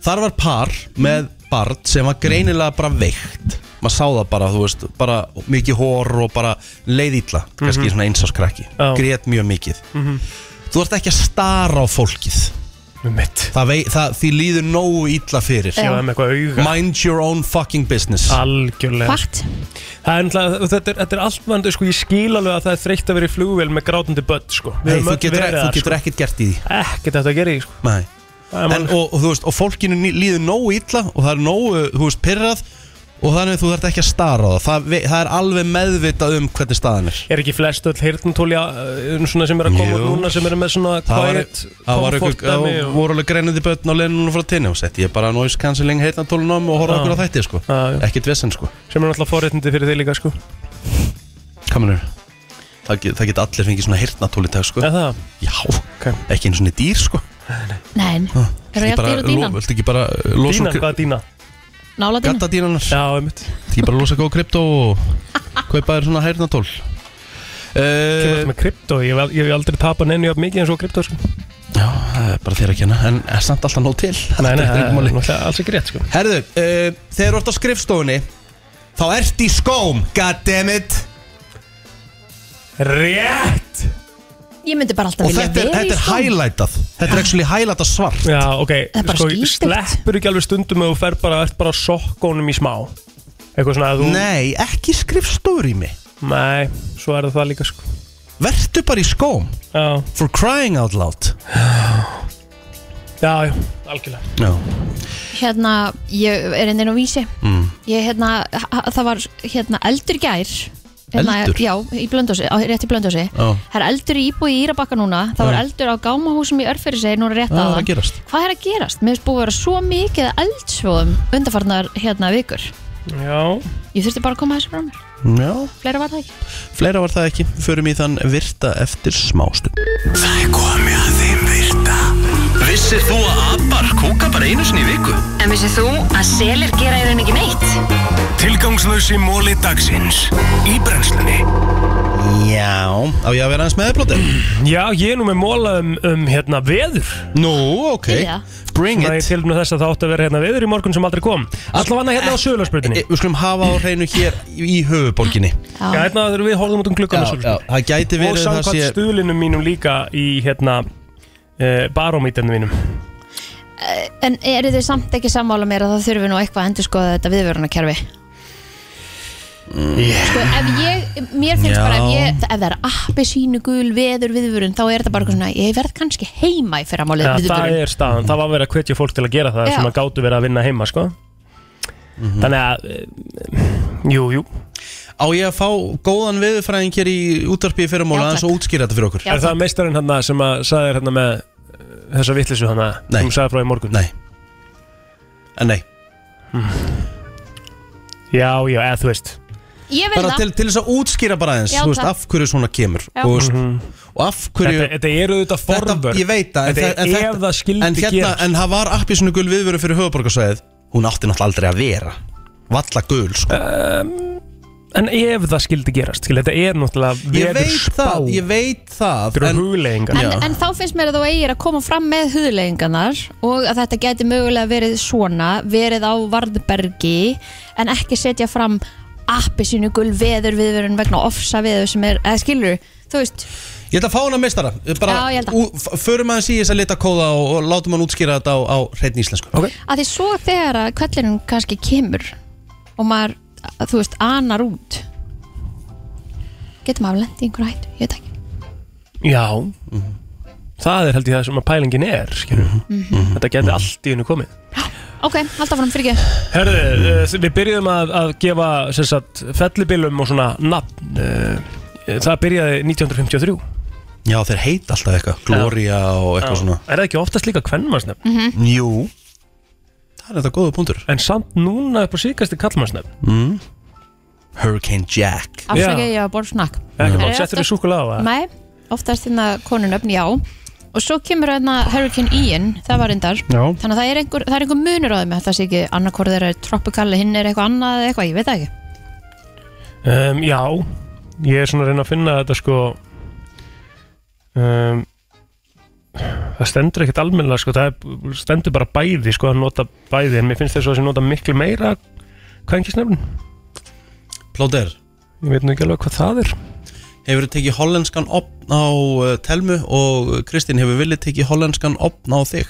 C: Þar var par með barn sem var greinilega bara veikt maður sá það bara, þú veist, bara mikið hór og bara leið illa kannski svona einsáskrakki,
E: Mhm. Já. Mhm.
C: grét mjög mikið Þú ert ekki að stara á fólkið
E: Með mitt
C: það vei, það, Því líður nógu illa fyrir
E: Ég var með eitthvað auga
C: Mind your own fucking business
E: Algjörlega
D: Fakt
E: Það er náttúrulega, þetta er, þetta er allt vandu, sko, ég skil alveg að það er þreytt að vera í flugvél með grátandi börn, sko. Við
C: Hey,
E: höfum
C: þú
E: öll
C: getur, e-
E: verið
C: þú
E: þar,
C: getur ekkert gert í því
E: sko. Ekkert þetta að gera í, sko.
C: Nei
E: Það er
C: en,
E: málið.
C: og, og þú veist, og fólkinu ný- líður nógu illa og það er nógu, þú veist, pyrrað og þannig að þú þarft ekki að stara á það það, ve- það er alveg meðvitað um hvernig staðan er
E: Er ekki flest öll hirtntóli svona sem er að koma
C: Jú.
E: út núna sem eru með svona
C: það var,
E: quiet
C: það var
E: comfort
C: ykkur, það
E: dæmi og-
C: voru alveg greinandi börn á leinunum frá tinni og sett ég bara noise cancelling heitna tólunum og
E: Já.
C: horfa okkur á þætti, sko
E: Já, já.
C: ekkert vesen, sko
E: sem er náttúrulega forréttindi fyrir þig líka sko
C: Kaminur. það, get, það get allir fengið svona heitna tól í dag, sko
E: Er það?
C: já,
E: Ok.
C: ekki einu svona dýr, sko
D: Nein Eru ég að dýra dínan?
C: viltu ekki bara uh, losa
E: Dínan, hvað er dína?
D: Nála dínan?
C: gata dýranar
E: Já, einmitt
C: Því bara losa góð krypto og kaupa þér svona hærnatól
E: Kemur
C: uh,
E: þetta með krypto, ég hef- ég hef aldrei tapað nenni jafn mikið eins og krypto sko
C: Já, það er bara þér að kenna En er samt alltaf nóg til
E: Nei, nei, það
C: Þetta er
E: er
C: ekki máli.
E: náttúrulega alls ekki rétt sko
C: Herðu, uh, þegar þú ert á skrifstofunni Þá ert í skóm Goddammit
E: Rétt!
D: Ég myndi bara alltaf
C: Og
D: vilja
C: þetta er,
D: vera í
C: þetta er
D: skóm
C: highlightað Þetta er actually highlightað svart
E: Já, ok,
D: Það er bara
E: sko,
D: skítugt.
E: sleppur ekki alveg stundum og þú fer bara, ert bara á sokkónum í smá Eitthvað svona að þú
C: Nei, ekki skrifstofur í mig
E: Nei, svo er það það líka sko
C: Vertu bara í skóm
E: Já,
C: For crying out loud
E: já, já, algjörlega
C: Já,
D: Hérna, ég er inn á vísi
C: Mm.
D: Ég, hérna, ha- það var hérna eldur í gær hérna,
C: Eldur? Ah.
D: Já, í blöndósi, á, rétt í blöndósi
C: Já.
D: Það er eldur í íbúi í Írabakka núna Það var
C: Já.
D: eldur á gámahúsum í Örfyrir segir núna
C: Já, Ah.
D: rétt
C: það er
D: áðan.
C: að gerast.
D: Hvað er að gerast? Mér finnst búið að vera svo mikið af eldsvoðum undarfarnar hérna vikur
E: Já,
D: Ég þurfti bara að koma þessu frá mér
C: já
D: Fleira var það ekki
C: Fleira var það ekki, förum í þann virta eftir smástu
A: Það er komið að þeim virta Vissir þú að abar kúka bara einu sinni í viku?
G: En vissið þú að selir gera í raun ekki neitt?
A: Tilgangslösi móli dagsins Í brennslunni
C: Já Á ég að vera aðeins með þér, blóttir?
E: já ég er nú með móla um, um hérna veður
C: Nú, ok
D: Til í það.
C: Bring
E: Það er
C: it
E: tilfnum þess að það átti að vera hérna veður í morgun sem aldrei kom Allavega hérna á sögulegsprutinni
C: E, Við skulum hafa á hreinu hér í höfuborginni
E: Já, hérna þegar við horfum út um gluggan á sögulegsprutinni
C: það gæti
E: og
C: verið að það
E: samkvæmt
C: sé
E: stuðlinum mínum líka í hérna uh, barómítarnum mínum
D: En eru þið samt ekki sammála mér að það þurfi nú eitthvað að endurskoða þetta viðvörunarkerfi? Sko, ef ég, mér finnst bara ef, ég, ef það er appi sínu gul veður viðvörun þá er þetta bara eitthvað svona, ég verð kannski heima í fyrramálið
E: ja, það
D: viðvörun
E: er staðan, það var verið að hvetja fólk til að gera það
D: Já.
E: sem að gátu verið að vinna heima sko. þannig að eh, jú, jú,
C: Mhm. Á ég að fá góðan veðurfræðing hér í útarpíði
D: Já,
C: fyrirmóla aðeins
D: takk.
C: og útskýra þetta fyrir okkur
D: Já,
E: er það meistarinn hann sem að sagði þér hérna með eh, þessa vittlisu hann að
C: Nei.
E: hún sagði frá í morgun Hmm.
C: Nei En nei,
E: já, já, eða þú veist
D: Ég vil
C: bara
D: það,
C: til, til þess að útskýra bara aðeins
D: Já,
C: Þú veist,
D: takk.
C: af hverju svona kemur og, þú veist, og af hverju
E: Mhm. þetta, þetta eru auðvitað forvörn
C: Ég veit það en
E: þetta,
C: en
E: ef það skildi
C: en, hérna,
E: gerast
C: en það var appi svona gul viðvöru fyrir höfuborgarsæðið Hún átti náttúrulega aldrei að vera Valla gul sko.
E: en ef það skildi gerast skil, þetta er náttúrulega
C: Ég veit
E: veðurspá
C: það, ég veit það
E: þetta eru
C: en,
E: hugleggingar
D: en,
C: Já.
D: en þá finnst mér að þú eigir að koma fram með huðleggingarnar og að þetta geti mögulega verið svona, verið á varðbergi en ekki setja fram appi sínu gul veður viðvörun vegna ofsa veður sem er, eða skilur þú veist,
C: Ég ætla að fá hana meistara bara,
D: Já, ég held að.
C: ú- f- Förum aðeins í þess að lita kóða og, og látum hann útskýra þetta á, á hreitn íslensku
D: að því svo þegar að kvellinum kannski kemur og maður, að, þú veist, anar út getur maður lent í einhverju hættu, ég veit ekki
E: Já
C: Mhm.
E: Það er held ég það sem að pælingin er mm
C: Mhm.
E: Þetta geti allt í hennu komið
D: ok, halda fram fyrir ekki
E: Herðu, uh, við byrjuðum að, að gefa sem sagt, fellibilum og svona nafn uh, Það byrjaði 1953
C: Já, þeir heita alltaf eitthvað, Gloria og eitthvað svona
E: Er það ekki oftast líka kvennmannsnefn?
C: Jú Það er þetta góða punktur
E: En samt núna upp á síkasti kallmannsnefn
C: Mm. Hurricane Jack
D: afsakið ég að borða snakk
E: Ekki
D: Er
E: bara,
D: ég
E: settur þið
D: alltaf-
E: súkulega á það?
D: nei, oftast þinn að konunöfn, já og svo kemur hérna Hurricane Ian það var reyndar,
E: Já.
D: þannig að það er einhver, það er einhver munur á þeim, þetta sé ekki annarkvort þeirra er tropical, hinn er eitthvað annað eða eitthvað, ég veit það ekki
E: Um, já, ég er svona að reyna að finna þetta sko um, Það stendur ekkert almennilega sko, það er- stendur bara bæði sko að nota bæði en mér finnst þess að þessi nota miklu meira kvengisnefn,
C: Plóter,
E: ég veit nú ekki alveg hvað það er
C: hefur tekið hollenskan opn á uh, Telmu og Kristín hefur viljið tekið hollenskan opn á þig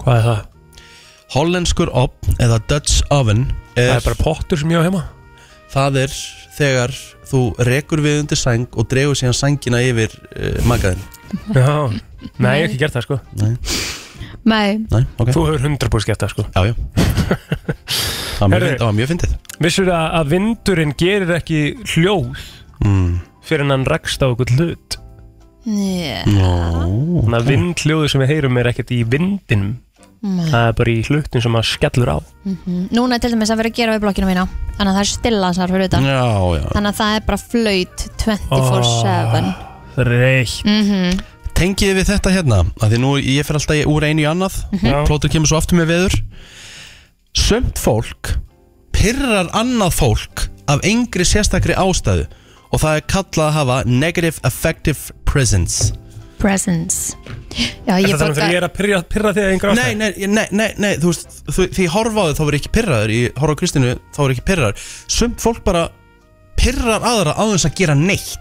E: Hvað er það?
C: Hollenskur opn eða Dutch oven
E: Það
C: er,
E: er bara pottur sem ég á heima
C: það er þegar þú rekur við undir sæng og dregur síðan sængina yfir uh, magaðin
E: Já, nei, ég hef ekki gert það sko
D: nei,
C: Nei, ok
E: Þú hefur hundra búið gert það sko (laughs)
C: Já, já Það var mjög
E: Herri.
C: fyndið- það var mjög fyndið
E: Vissur að, að vindurinn gerir ekki hljóð
C: mm.
E: fyrir en hann rekst á okkur hlut
D: yeah.
C: Nó.
E: Þannig að vindhljóðu sem við heyrum er ekkert í vindinum
C: Mm.
D: Mm.
E: Það er bara í hlutin sem að skellur á
D: Mm-hmm. núna er til dæmis að vera að gera við blokkina mína þannig að það er stilla þar fyrir utan
C: Já, já
D: Þannig að það er bara flaut 24-7
E: Ah. Reitt
D: Mm. Mm-hmm.
C: Tengið við þetta hérna að Því nú ég fer alltaf í- úr einu í annað
E: Já.
C: Plótur kemur svo aftur með veður Sömt fólk Pyrrar annað fólk Af engri sérstakri ástæðu Og það er kallað að hafa Negative affective presence
D: Presence Já, ég
E: Er það þannig þegar ég
D: borga
E: er að pyrra, pyrra því að einhver
C: Nei, nei, nei, nei, nei Þú veist, þú, því ég horfa á þau þá verður ekki pyrraður Ég horfa á Kristínu þá verður ekki pyrraður Sömt fólk bara pyrrar aðra á þess að gera neitt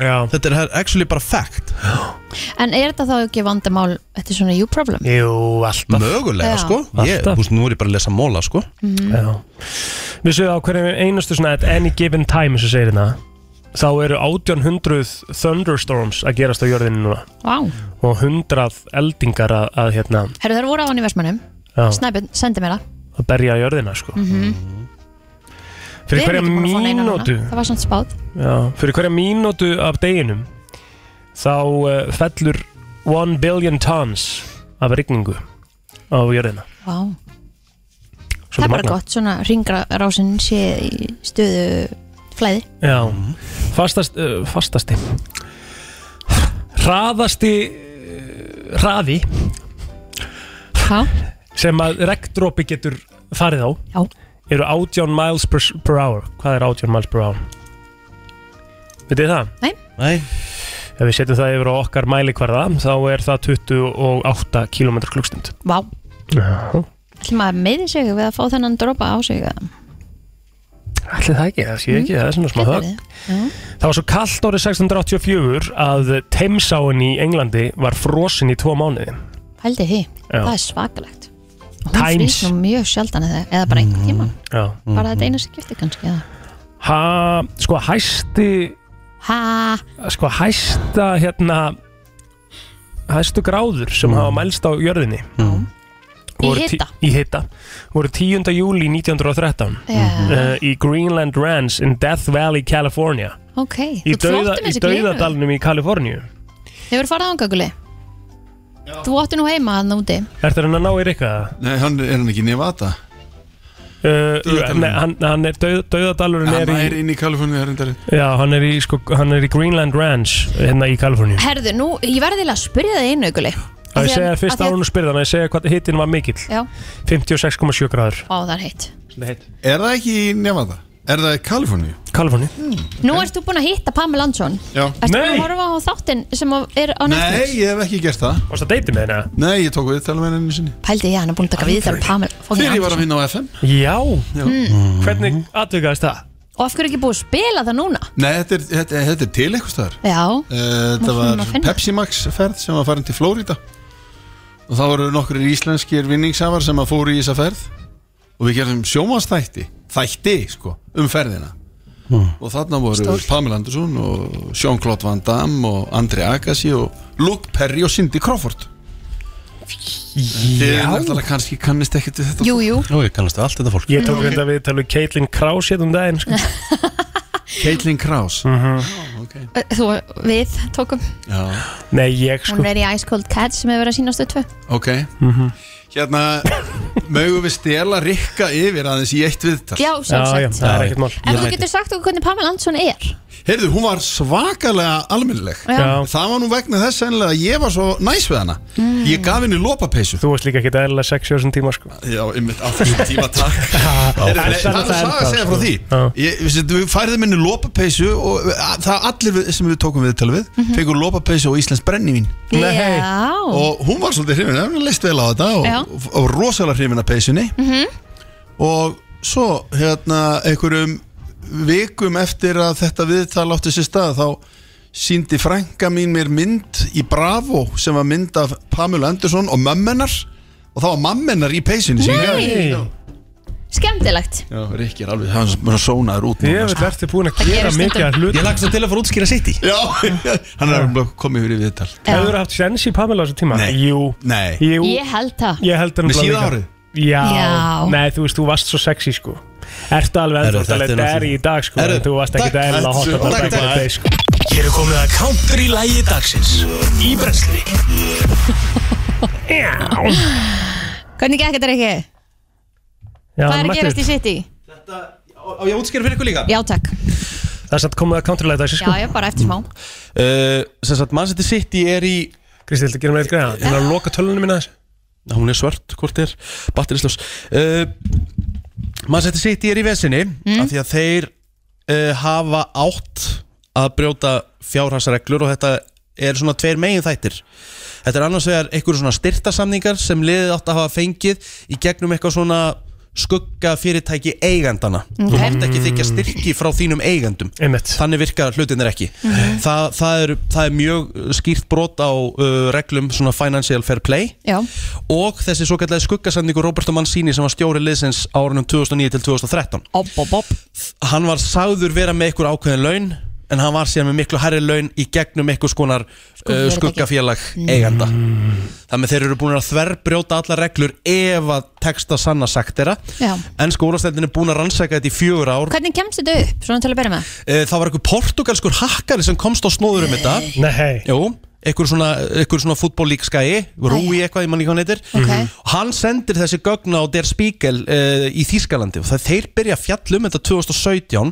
E: Já,
C: Þetta er actually bara fact
D: Mm. En er þetta þá ekki vandamál Þetta er svona you problem
E: jú, alltaf
C: Mögulega
D: Já.
C: sko ég,
E: Alltaf.
C: þú veist, Nú er ég bara að lesa móla sko
E: Já. Við séum á hverju einastu svona at any given time sem segir hérna þá eru 1800 thunderstorms að gerast á jörðinu núna
D: Vá wow.
E: og 100 eldingar að, að hérna
D: Herru þær voru á hann í versmanum
E: Já.
D: Snæbjörn, sendi mér það
E: að berja jörðina sko.
D: Við
E: fyrir hverja
D: erum ekki búin að fá neina núna.
E: mínútu
D: Það var samt spáð
E: já, fyrir hverja mínútu af deginum þá uh, fellur 1 billion tons af rigningu á jörðina
D: Vá
E: Svolítið
D: Það er bara
E: magnað.
D: gott, svona ringrarásin sé í stöðu flæði
E: Já, fastast, uh, fastasti Hraðasti uh, hraði
D: Já,
E: sem að regndrópi getur farið á
D: já
E: eru 18 miles per, per hour Hvað er 18 miles per hour? Vitið þið það?
C: Nei,
E: Ef við setjum það yfir á okkar mælikvarða þá er það 28 km klukkstund
D: Vá,
E: Já,
D: ætlum maður meði sig við að fá þennan dropa á sig eða?
E: allir það ekki, það sé ekki, það er svona smá
D: Gæti
E: högg
D: verið. Já.
E: Það var svo kallt árið 1684 að Thamesáin í Englandi var frosin í tvo mánuði
D: Pældi því,
E: Já.
D: það er svakalegt Og Hún
E: Times.
D: frýst nú mjög sjaldan eða, eða bara
E: Mm,
D: einhvern tíma
E: Já Mm-hmm.
D: Bara
E: mm.
D: þetta eina skipti kannski eða.
E: ha, sko hæsti
D: Ha,
E: sko hæsta hérna hæstu gráður sem hafa mælst á jörðinni
D: Í
E: voru
D: hita.
E: tí- í hita voru 10. júli 1913
D: já,
E: uh, í Greenland Ranch in Death Valley, California
D: ok
E: í,
D: Þú ert flottur
E: dauða,
D: með
E: í
D: þessi gleru.
E: dauðadalnum í Kaliforníu
D: Hefur farið ángöguli? Þú átti nú heima hann úti
E: Ertu hann að ná í rikka það?
J: Nei, hann er hann ekki í Nevada
E: Uh,
J: Dauðadalurinn.
E: nei, hann, hann er dauð, dauðadalurinn
J: Hann
E: er
J: er
E: í,
J: inn í Kaliforni Það
E: já, hann er í, sko, hann er í Greenland Ranch hérna í Kaliforníu
D: Herðu, nú, ég verði til að spyrja það einu auguli
E: Það ég segja fyrst árun og spyrðan að ég segja hvað hittin var mikill
D: Já,
E: 56,7 gráður
D: á það er heitt
J: Er það ekki í Nevada? Er það í Kaliforni?
E: Kaliforníu
D: Nú ert þú búin að hitta Pamela Andersson
J: Já
D: Ertu búin
E: Nei.
D: að horfa á þáttinn sem að er á
J: Nei,
D: Netflix?
J: ég hef ekki gert það
E: Varst að deyti með hérna?
J: Nei, ég tók við tala með henni sinni
D: Pældi ég, hann er búin að taka við þar Pamela fucking
J: Fyrir ég var að
D: Andersson
J: finna á FM
E: Já,
D: Mm.
E: Hvernig atvikaðist það?
D: Og af hverju ekki búið að spila það núna?
J: Nei, þetta er, þetta, þetta er til eitthvað staðar
D: Já,
J: Eh,
D: Má
J: Þetta
D: finna
J: var
D: að finna.
J: Pepsi Max ferð sem var farin til Flórida og þá voru nokkur íslenskir vinningshafar sem að fóru í þessa ferð og við gerðum sjómanstætti þætti sko, um ferðina og þarna voru Pamela Andersson og Jean-Claude Van Damme og Andri Agassi og Luke Perry og Cindy Crawford Þið náttúrulega kannski kannist ekkert við þetta
D: jú, jú
C: nú ég kannast við allt þetta fólk
E: Ég tók hérna við tala um Caitlin Kraus hérna um daginn sko.
D: (laughs)
E: Mhm.
J: Caitlin Ah, Kraus
D: Þú, við tókum
J: Já,
E: Nei, ég sko
D: Hún er í Ice Cold Cats sem hefur verið að sína stöð 2
J: ok
D: (coughs)
J: Hérna, mögum við stela Rikka yfir aðeins í eitt viðtal
D: Já,
E: Já, já,
D: sjálfsagt
E: það er ekkert mál
D: En þú getur sagt okkur hvernig Pamela Andersson er
J: Heyrðu, hún var svakalega almennileg
E: Já.
J: Það var nú vegna þess ennilega að ég var svo næs við hana
E: Mm.
J: Ég gaf henni lópapeysu
E: Þú varst líka ekkert eðlilega sexy á þessum tíma sko.
J: Já, einmitt á þessum tíma
E: (laughs)
J: takk Heyrðu,
E: það er
J: nei, Það er
E: það
J: saga
E: ennþá,
J: að segja frá
E: sko.
J: því
E: Já.
J: Ég- við sem- Við færðum henni lópapeysu og a- það allir við- sem við tókum viðtal við fengur lópapeysu og Íslands brennivín
E: Mhm. Nei.
D: Já,
J: og hún var svolítið hrifin, hún leist vel á þetta og,
D: Já.
J: og, og rosalega hrifin af peysunni
D: Mhm.
J: og svo hérna einhverjum vikum eftir að þetta viðtal átti sér stað þá síndi frænka mín mér mynd í Bravo sem var mynd af Pamela Andersson og mömmennar og það var mammennar í peysunni sem ég hafði.
E: Nei,
D: skemmtilegt
J: Já, Rikki er alveg, það er mér að sónaður út
E: ég
J: núna, sko.
E: veit ertu búin að gera
D: gerist
E: mikið að hlut
C: Ég lagst það til að fara að útskýra sitt í
J: Já, (laughs) hann er alveg komið yfir í viðtal
E: Hefur haft sens í Pamela á þessum tíma?
J: Nei.
E: Jú,
J: Nei,
E: Jú.
D: Ég held það
E: Ég held hann
J: með
E: bara
J: síða
E: líka.
J: árið
E: Já.
D: Já.
E: Nei, þú veist, þú varst svo sexy sko Ertu alveg
C: Herru,
E: ennþá
C: þetta er
E: Það er í
C: náttúrulega-
E: dag sko
C: Herru,
E: en Þú varst ekkert
C: takk.
E: eðlilega hot
J: Takk,
E: þarna
J: takk,
E: back in the
J: takk.
E: day, sko.
A: Hér er komið að kántur í lægi dagsins Í brennslunni
D: Hvernig gekk þetta ekki?
E: Já,
D: Hvað er að
E: magnað.
D: gerast í City?
C: Á ég að útskýra fyrir ykkur líka?
D: Já, takk
E: Það er satt komið að counterlæta þessu
D: Já,
E: sko
D: já, bara eftir smá
C: Uh, sem sagt, mann seti sitt í er í
E: Kristi, þetta gerum við eitthvað Það er að loka tölunum minna
C: hún er svört, hvort er batterislaus uh, mann seti sitt í er í vesinni af því að þeir uh, hafa átt að brjóta fjárhagsreglur og þetta er svona tveir megin þættir þetta er annars vegar einhverjum svona styrtasamningar sem liðið átt að hafa fengið í gegnum eitthvað svona skugga fyrirtæki eigandana þú mátt ekki þykja styrki frá þínum eigandum
E: Einmitt
C: þannig virkar hlutinir ekki Þa, það, er, það er mjög skýrt brot á uh, reglum svona financial fair play
D: Já,
C: og þessi svo kallega skuggasendingu Roberto Mancini sem var stjóri liðsins árunum 2009 til 2013
D: op, op, op
C: hann var sagður vera með einhver ákveðin laun en hann var síðan með miklu herri laun í gegnum einhvers konar uh,
K: Skuggafyrirtæki.
C: skuggafélag
K: Mm.
C: eiganda þannig að þeir eru búin að þverbrjóta allar reglur ef að texta sanna sagt þeirra
D: Já.
C: en skólasteldin er búin að rannsaka þetta í fjögur ár
D: Hvernig kemst þetta upp, svona til að byrja með?
C: Eh, Það var einhver portugalskur hakkari sem komst á snóður um þetta
E: Nei
C: Jú, einhver svona, einhver svona fútbollíkskæi Rúi eitthvað, ég mann ekki hvað hann heitir
D: Ok.
C: Og Hann sendir þessi gögna á Der Spiegel uh, í Þýskalandi og það, þeir byrja að fjalla um þetta 2017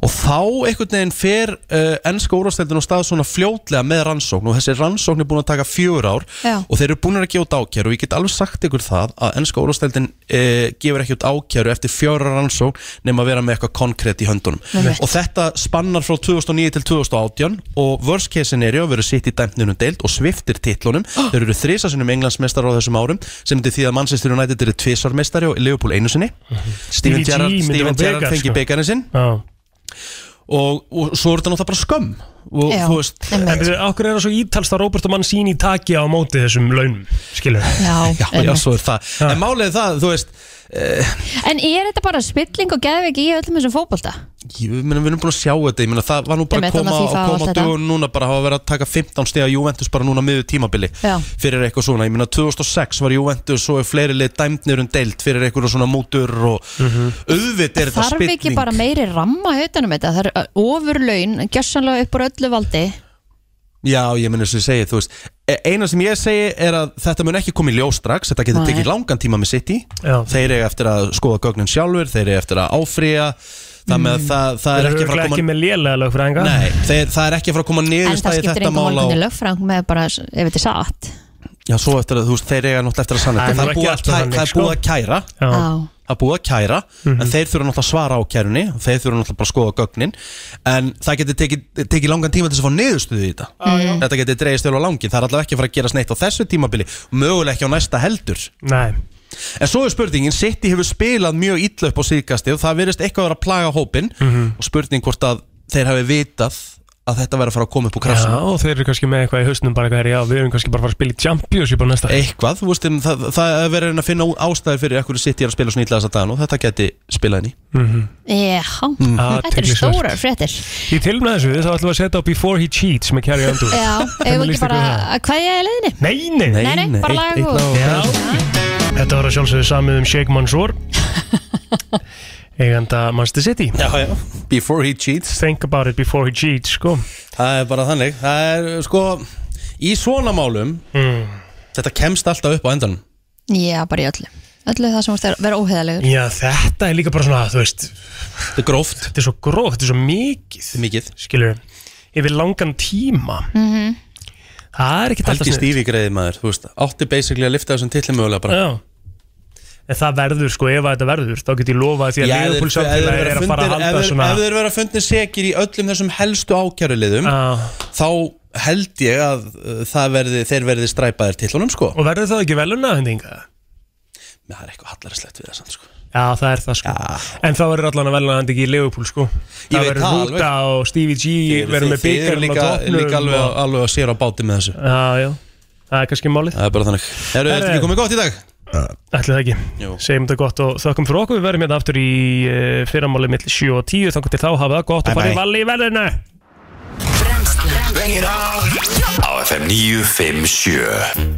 C: og þá einhvern veginn fer uh, ennska úrvasteldin og stað svona fljótlega með rannsókn og þessi rannsókn er búin að taka fjögur ár
K: Já.
C: og þeir eru búin að gefa út ákjæru og ég get alveg sagt ykkur það að ennska úrvasteldin uh, gefur ekki út ákjæru eftir fjóra rannsókn nema að vera með eitthvað konkrétt í höndunum
K: Nei.
C: og þetta spannar frá 2009 til 2018 og worst case scenario verður sitt í dæmnunum deild og sviftir titlunum
D: Ah!
C: þeir eru þrisa sinum englandsmestari á þessum árum sem þetta því að Manchester United eru tvisarmestari og Liverpool einu sinni
D: Mhm.
C: Steven
E: Stevie G
C: Gerrard
E: myndi
C: Steven
E: fá bikar,
C: Gerrard fengi
E: sko.
C: beikarinn sinn
E: og,
C: og svo er þetta náttúrulega bara skömm og
D: Já,
C: þú veist
E: En byrju, okkur er það svo ítalst að Robert og mann sín í taki á móti þessum launum, skilur
D: Já,
C: já, já, svo er það En málið er það, þú veist eh,
D: En er þetta bara spilling og geðveik í öllum þessum fótbolta?
C: Ég meina, við erum búin að sjá þetta Ég meina, það var nú bara að
D: Einmitt,
C: koma,
D: þannig að FIFA
C: að
D: og
C: koma á
D: allt þetta.
C: dögun núna bara hafa verið að taka 15 stiga Juventus bara núna miður tímabili
D: Já.
C: fyrir eitthvað svona, ég meina 2006 var Juventus og er fleiri leið dæmdnir um deilt fyrir eitthvað svona mútur og
E: Mhm.
C: auðvitað er þetta
D: Þarf
C: spilling
D: ekki bara meiri ramma utanum þetta? Það er ofurlaun, gjössanlega upp úr öllu valdi
C: Já, ég meina sem ég segi, þú veist e- eina sem ég segi er að þetta mun ekki koma í ljós strax, þetta getur
D: Nei.
C: tekið langan tíma með City,
E: Já.
C: þeir eru eftir að skoða gögnin sjálfur, þeir eru eftir að áfrýja það með að það, það er
E: Mm. Þeir eru
C: ekki að fara
E: örugglega
C: að koma
E: ekki með lélega lögfræðinga
C: Nei, þeir, það er ekki að fara að koma
D: En það
C: niðurstæði
D: skiptir
C: þetta
D: engum
C: mál á
D: málkundi lögfrang með bara, ef þetta er satt
C: Já, svo eftir að þú veist, þeir eiga náttúrulega eftir að sanna
E: Það er
C: þetta.
E: nú
C: Það er
E: ekki
C: búið að
E: alltaf
C: kæ-
E: þannig,
C: það er
E: sko.
C: búið að kæra
E: Já. Mhm. Já.
C: Það er búið að kæra En þeir þurfa náttúrulega að svara á kærunni og Þeir þurfa náttúrulega bara að skoða gögnin En það getur tekið, tekið langan tíma til þess að fá niðurstöðu í þetta
E: já.
C: Þetta getur dreigist til á langin Það er allavega ekki að fara að gerast neitt á þessu tímabili Mögulega ekki á næsta heldur
E: Nei.
C: En svo er spurningin, City hefur spilað mjög illa upp á síðkasti og það verðist eitthvað að vera að plaga hópin
E: Mhm.
C: og spurning hvort að þeir hafi vitað að þetta verið að fara að koma upp úr krafsum
E: Já, og þeir eru kannski með eitthvað í hausnum bara eitthvað, herri, já, við erum kannski bara að fara að spila í Championship á næsta
C: eitthvað, þú veist, en það, það er verið að finna ástæður fyrir ekkur sitt ég að spila svona illa þess að dagan og þetta geti spilað henni
D: Já,
E: Mm. Ah,
D: þetta eru
E: tyglisvert.
D: stórar fréttir
E: Mhm. Í tilum þessu, þá ætlum við að setja á Before He Cheats með Carrie Underwood
D: Já, ef
E: Hvernig
D: ekki
E: líst ykkur
D: bara
E: á það?
D: að kveðja í leiðinni
E: Nei, nei,
D: Nei, nei, bara lag og
E: Já. Þetta var að sjálfsögðu samið um Sheikh
C: (laughs)
E: Mansour eiganda Manchester City
C: Já, já, before he cheats
E: Think about it before he cheats, sko
C: Það er bara þannig, það er sko í svona málum
E: Mm.
C: þetta kemst alltaf upp á endan
D: Já, bara í öllu Öllu það sem vorst að vera óheðalegur
E: Já, þetta er líka bara svona, þú veist
C: Þetta er gróft
E: Þetta er svo gróft, þetta er svo mikið
C: Mikið
E: Skilur, yfir langan tíma
D: mm -hmm.
E: Það er ekki
C: Helgi Stífi greiði maður, þú veist, átti basically að lifta þessum tillum mögulega bara
E: Já En það verður sko, ef að þetta verður Þá get ég lofað því að
C: ef þeir-
E: Leopold
C: ef þeir
E: samfélagi er
C: vera
E: að fara að
C: fundir-
E: halda
C: ef þeir-
E: svona
C: ef þeir vera fundir sekir í öllum þessum helstu ákjæruliðum þá held ég að uh, það verði, þeir verði stræpaðir tillunum sko
E: Og verður það ekki velunahöndinga?
C: Það er eitthvað hallarslegt við þessan sko
E: Já, það er það sko En það verður allan að velunahöndingi í Leopold sko
C: Ég
E: Það
C: veit
E: verður
C: það
E: Húta og Stevie G Verður með
C: Þið eru
E: byggarinn á
C: líka,
E: topnum
C: líka alveg,
E: og-
C: alveg að sér á báti með þessu
E: Já, já, það er kannski málið
C: Það er bara þannig Eru þetta ekki komið gott í dag?
E: Ætli það ekki, segjum þetta gott og þökkum fyrir okkur Við verðum hérna aftur í uh, fyrramálið mill 7 og 10 Þannig til þá hafa það gott og
A: Bye,
E: farið
A: bye.
E: valli í verðinu
A: Á FM 957